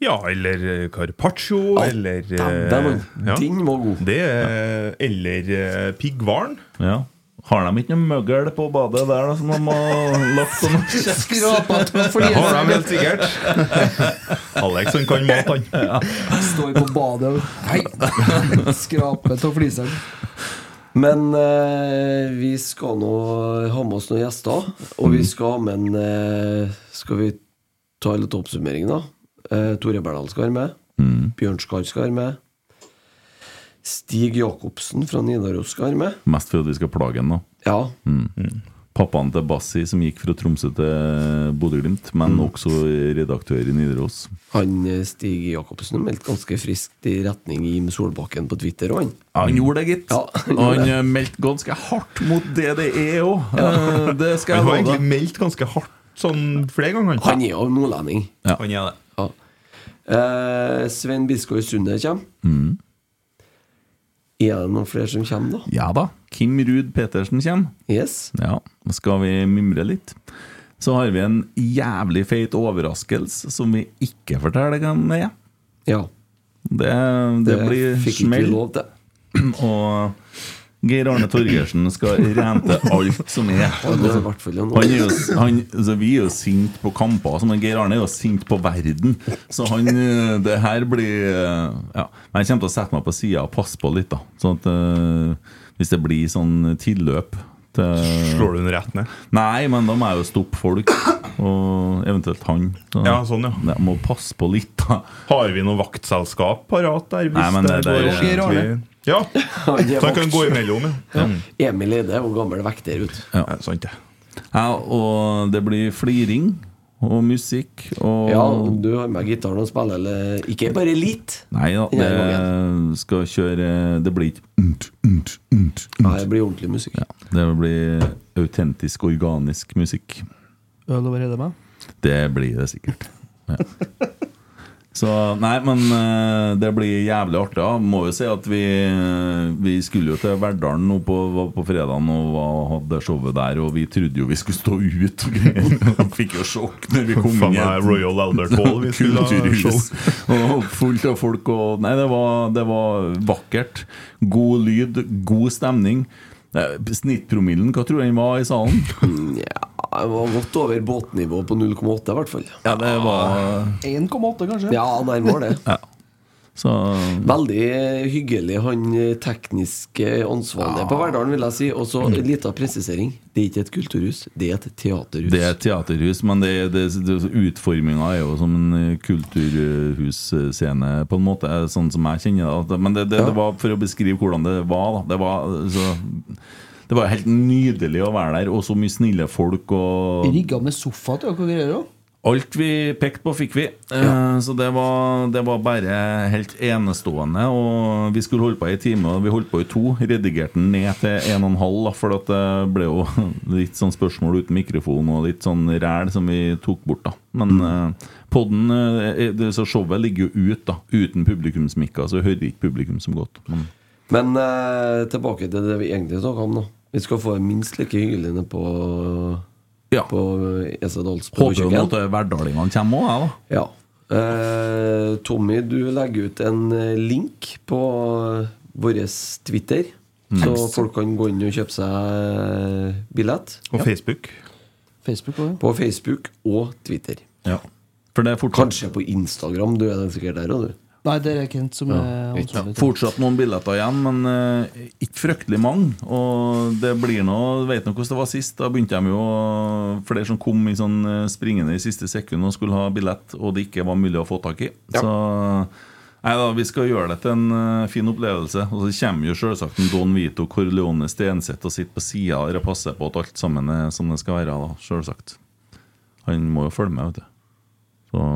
Ja, eller eh, carpaccio, eller eh,
dæven, den
var god.
Det, eh, Eller eh, pigghvalen.
Ja. Har de ikke noe møgl på badet der da, som de har lagt på noe
Skrapet med
Det har de helt sikkert. Alex, han kan mat, han.
Står på badet og Nei! Skrapet av fliseren.
Men eh, vi skal nå ha med oss noen gjester. Og
Mm.
vi skal ha med en eh, Skal vi ta litt oppsummering, da? Eh, Tore Berdal skal være med.
Mm,
Bjørn Skar skal være med. Stig Jacobsen fra Nidaros skal være med.
Mest fordi vi skal plage ham, da.
Ja.
Mm. Pappaen til Bassi, som gikk fra Tromsø til Bodø-Glimt, men
Mm.
også redaktør i Nidaros.
Han eh, Stig Jacobsen meldte ganske friskt i retning Jim Solbakken på Twitter. Og han.
Ja, Han gjorde det, gitt.
Ja, han
og
gjorde
han
det.
eh, meldte ganske hardt mot DDE òg.
Ja.
Det Eh, skal
Han har
jeg love.
egentlig meldt ganske hardt sånn flere ganger.
Han er jo nordlending.
Ja.
Han er det.
Ja. Eh, Svein Biskår Sunde kommer.
Mm.
Er det noen flere som kommer, da?
Ja da. Kim Ruud Petersen kommer.
Yes.
Ja, nå skal vi mimre litt. Så har vi en jævlig feit overraskelse som vi ikke forteller hvem det er.
Ja.
Det, det,
Det
blir
fikk ikke
smell.
vi lov til.
Og Geir Arne Torgersen skal rente alt som er.
Ja, det er i hvert fall en-
Han er jo, han, altså, vi er jo sint på kamper, altså, men Geir Arne er jo sint på verden. Så han eh, Det her blir eh, Ja. Men jeg kommer til å sette meg på sida og passe på litt, da. Sånn at eh, hvis det blir sånn tilløp til
Slår du den rett ned?
Nei, men da må jeg jo stoppe folk, og eventuelt han. Så
Ja, sånn, ja.
Jeg må passe på litt, da.
Har vi noe vaktselskap parat der? Hvis
Nei, men det
går
der-
ordentlig-
Geir Arne.
eh, Ja,
Han er
så han kan
vakt.
gå imellom. Ja.
Emil Eide er jo gammel vekter ut.
Ja.
Ja, sant det.
Ja, og det blir fliring og musikk og
Ja, du har med gitaren og spiller eller Ikke bare litt.
Nei da,
Ja, jeg
det skal kjøre Det blir ikke unt, unt, unt,
Nei,
unt.
det blir ordentlig musikk.
Det blir autentisk, organisk musikk.
Øl over hele meg.
Det blir det sikkert. Ja. Så Nei, men eh, det blir jævlig artig. da. Må jo si at vi, eh, vi skulle jo til Verdalen nå på, var på fredagen og var, hadde showet der, og vi trodde jo vi skulle stå ut og greier. Fikk jo sjokk når vi kom
Faen
inn i
meg
et
Royal Albert Hall vi skulle ha show.
kulturhus. Og fullt av folk og Nei, det var, det var vakkert. God lyd, god stemning. Eh, Snittpromillen, hva tror du den var i salen?
Mm, Ja, det var godt over båtnivå på 0,8 i hvert fall.
Ja, det var
1,8 kanskje?
Ja, nærmere det.
Så
Veldig eh, hyggelig han eh, tekniske ansvarlige på Verdalen, vil jeg si. Og så en liten presisering. Det er ikke et kulturhus, det er et teaterhus.
Det er et teaterhus, men det, det, det, utforminga er jo som en eh, kulturhusscene, på en måte. eh, Sånn som jeg kjenner det. At det. Men det, det, det var for å beskrive hvordan det var. Da. Det var så, det var helt nydelig å være der, og så mye snille folk. Og
Rigga med sofa til dere og greier òg.
Alt vi pekte på, fikk vi. Eh, Så det var, det var bare helt enestående. Og vi skulle holde på i en time, og vi holdt på i to. Redigerte den ned til en og en halv, da, for at det ble jo litt sånn spørsmål uten mikrofon og litt sånn ræl som vi tok bort, da. Men eh, podden eh, det, Så showet ligger jo ut, da. Uten publikumsmikker, så hører ikke publikum så godt. Men
Men eh, tilbake til det vi egentlig snakka om nå. Vi skal få det minst like hyggelig nede på
ja.
På eh, Esedals
håper jo nå at eh, verdalingene kommer òg, jeg, da.
Ja. Eh, Tommy, du legger ut en eh, link på eh, vår Twitter,
Mm.
så folk kan gå inn og kjøpe seg eh, billett.
Og Facebook.
På Facebook og Twitter. Kanskje på Instagram. Du er den sikkert der òg, du.
Nei, det er Kent som
Ja.
er
Ja.
ansvarlig.
Fortsatt noen billetter igjen, men eh, ikke fryktelig mange. Og det blir nå Vet nå hvordan det var sist. Da begynte de jo å- Flere som kom i sånn eh, springende i siste sekund og skulle ha billett, og det ikke var mulig å få tak i. Så Nei da, Vi skal gjøre det til en eh, fin opplevelse. Og så kommer jo selvsagt en Don Vito Corleone Stenseth og sitter på sida og passer på at alt sammen er som det skal være. da, selvsagt. Han må jo følge med, vet du. Så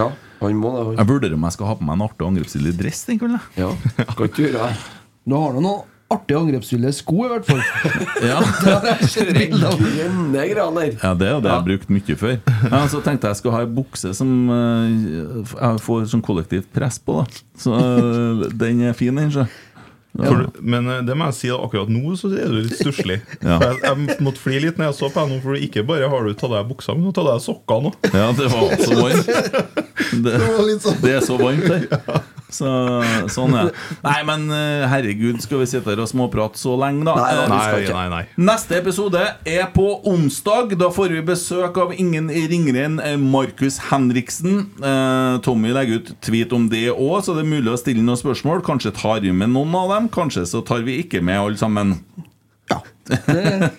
Ja, han må det.
Jeg vurderer om jeg skal ha på meg en artig og angrepsvillig dress den kvelden.
Ja, skal ikke gjøre det.
Nå har du noen artige angrepsvillige sko, i hvert fall.
Ja.
Det har jeg sett bilder av.
Grønne graner.
Ja, det er jo det jeg har brukt mye før. Ja, så tenkte jeg jeg skulle ha ei bukse som eh, jeg får sånn kollektivt press på. da Så eh, den er fin, den. så. Ja.
For, men eh, det må jeg si da, akkurat nå så er du litt stusslig.
Ja.
For Jeg, jeg måtte flire litt når jeg så på deg nå, for ikke bare har du tatt av deg buksa, men du har tatt av deg sokker nå.
Ja, det var så varmt. Det,
var litt sånn.
det er så varmt her. Så, sånn er det. Nei, men eh, herregud, skal vi sitte her og småprate så lenge, da?
Nei,
Eh,
nei,
vi skal ikke.
nei, nei.
Neste episode er på onsdag. Da får vi besøk av ingen ringere enn eh, Markus Henriksen. Eh, Tommy legger ut tweet om det òg, så det er mulig å stille noen spørsmål. Kanskje tar vi med noen av dem, kanskje så tar vi ikke med alle sammen.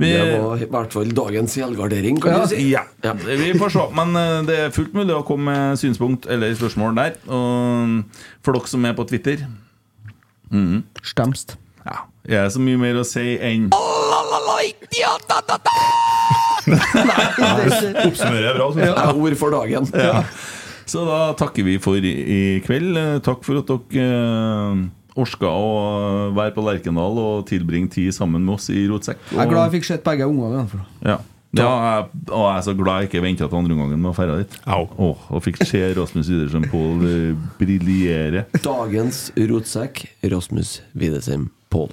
Vi-
Det var i hvert fall dagens helgardering, kan
ja.
du si.
Ja. Vi får se. Men eh, det er fullt mulig å komme med synspunkt eller spørsmål der. Og eh, for dere som er på Twitter Mhm.
Stemst.
Ja. Jeg er så mye mer å si enn
Oppsummerer jeg bra, synes jeg.
Ja, ord for dagen.
Ja. Så da takker vi for i i kveld. Eh, Takk for at dere eh, orska å eh, være på Lerkendal og tilbringe tid sammen med oss i Rotsekk.
Jeg er glad jeg fikk sett begge ungene. i hvert fall.
Ja. Ja, jeg, og jeg er så glad jeg ikke venta til andre gangen med å dra dit. Åh, og fikk se Rasmus Widersen Pål eh, briljere.
Dagens rotsekk, Rasmus Widesheim Pål.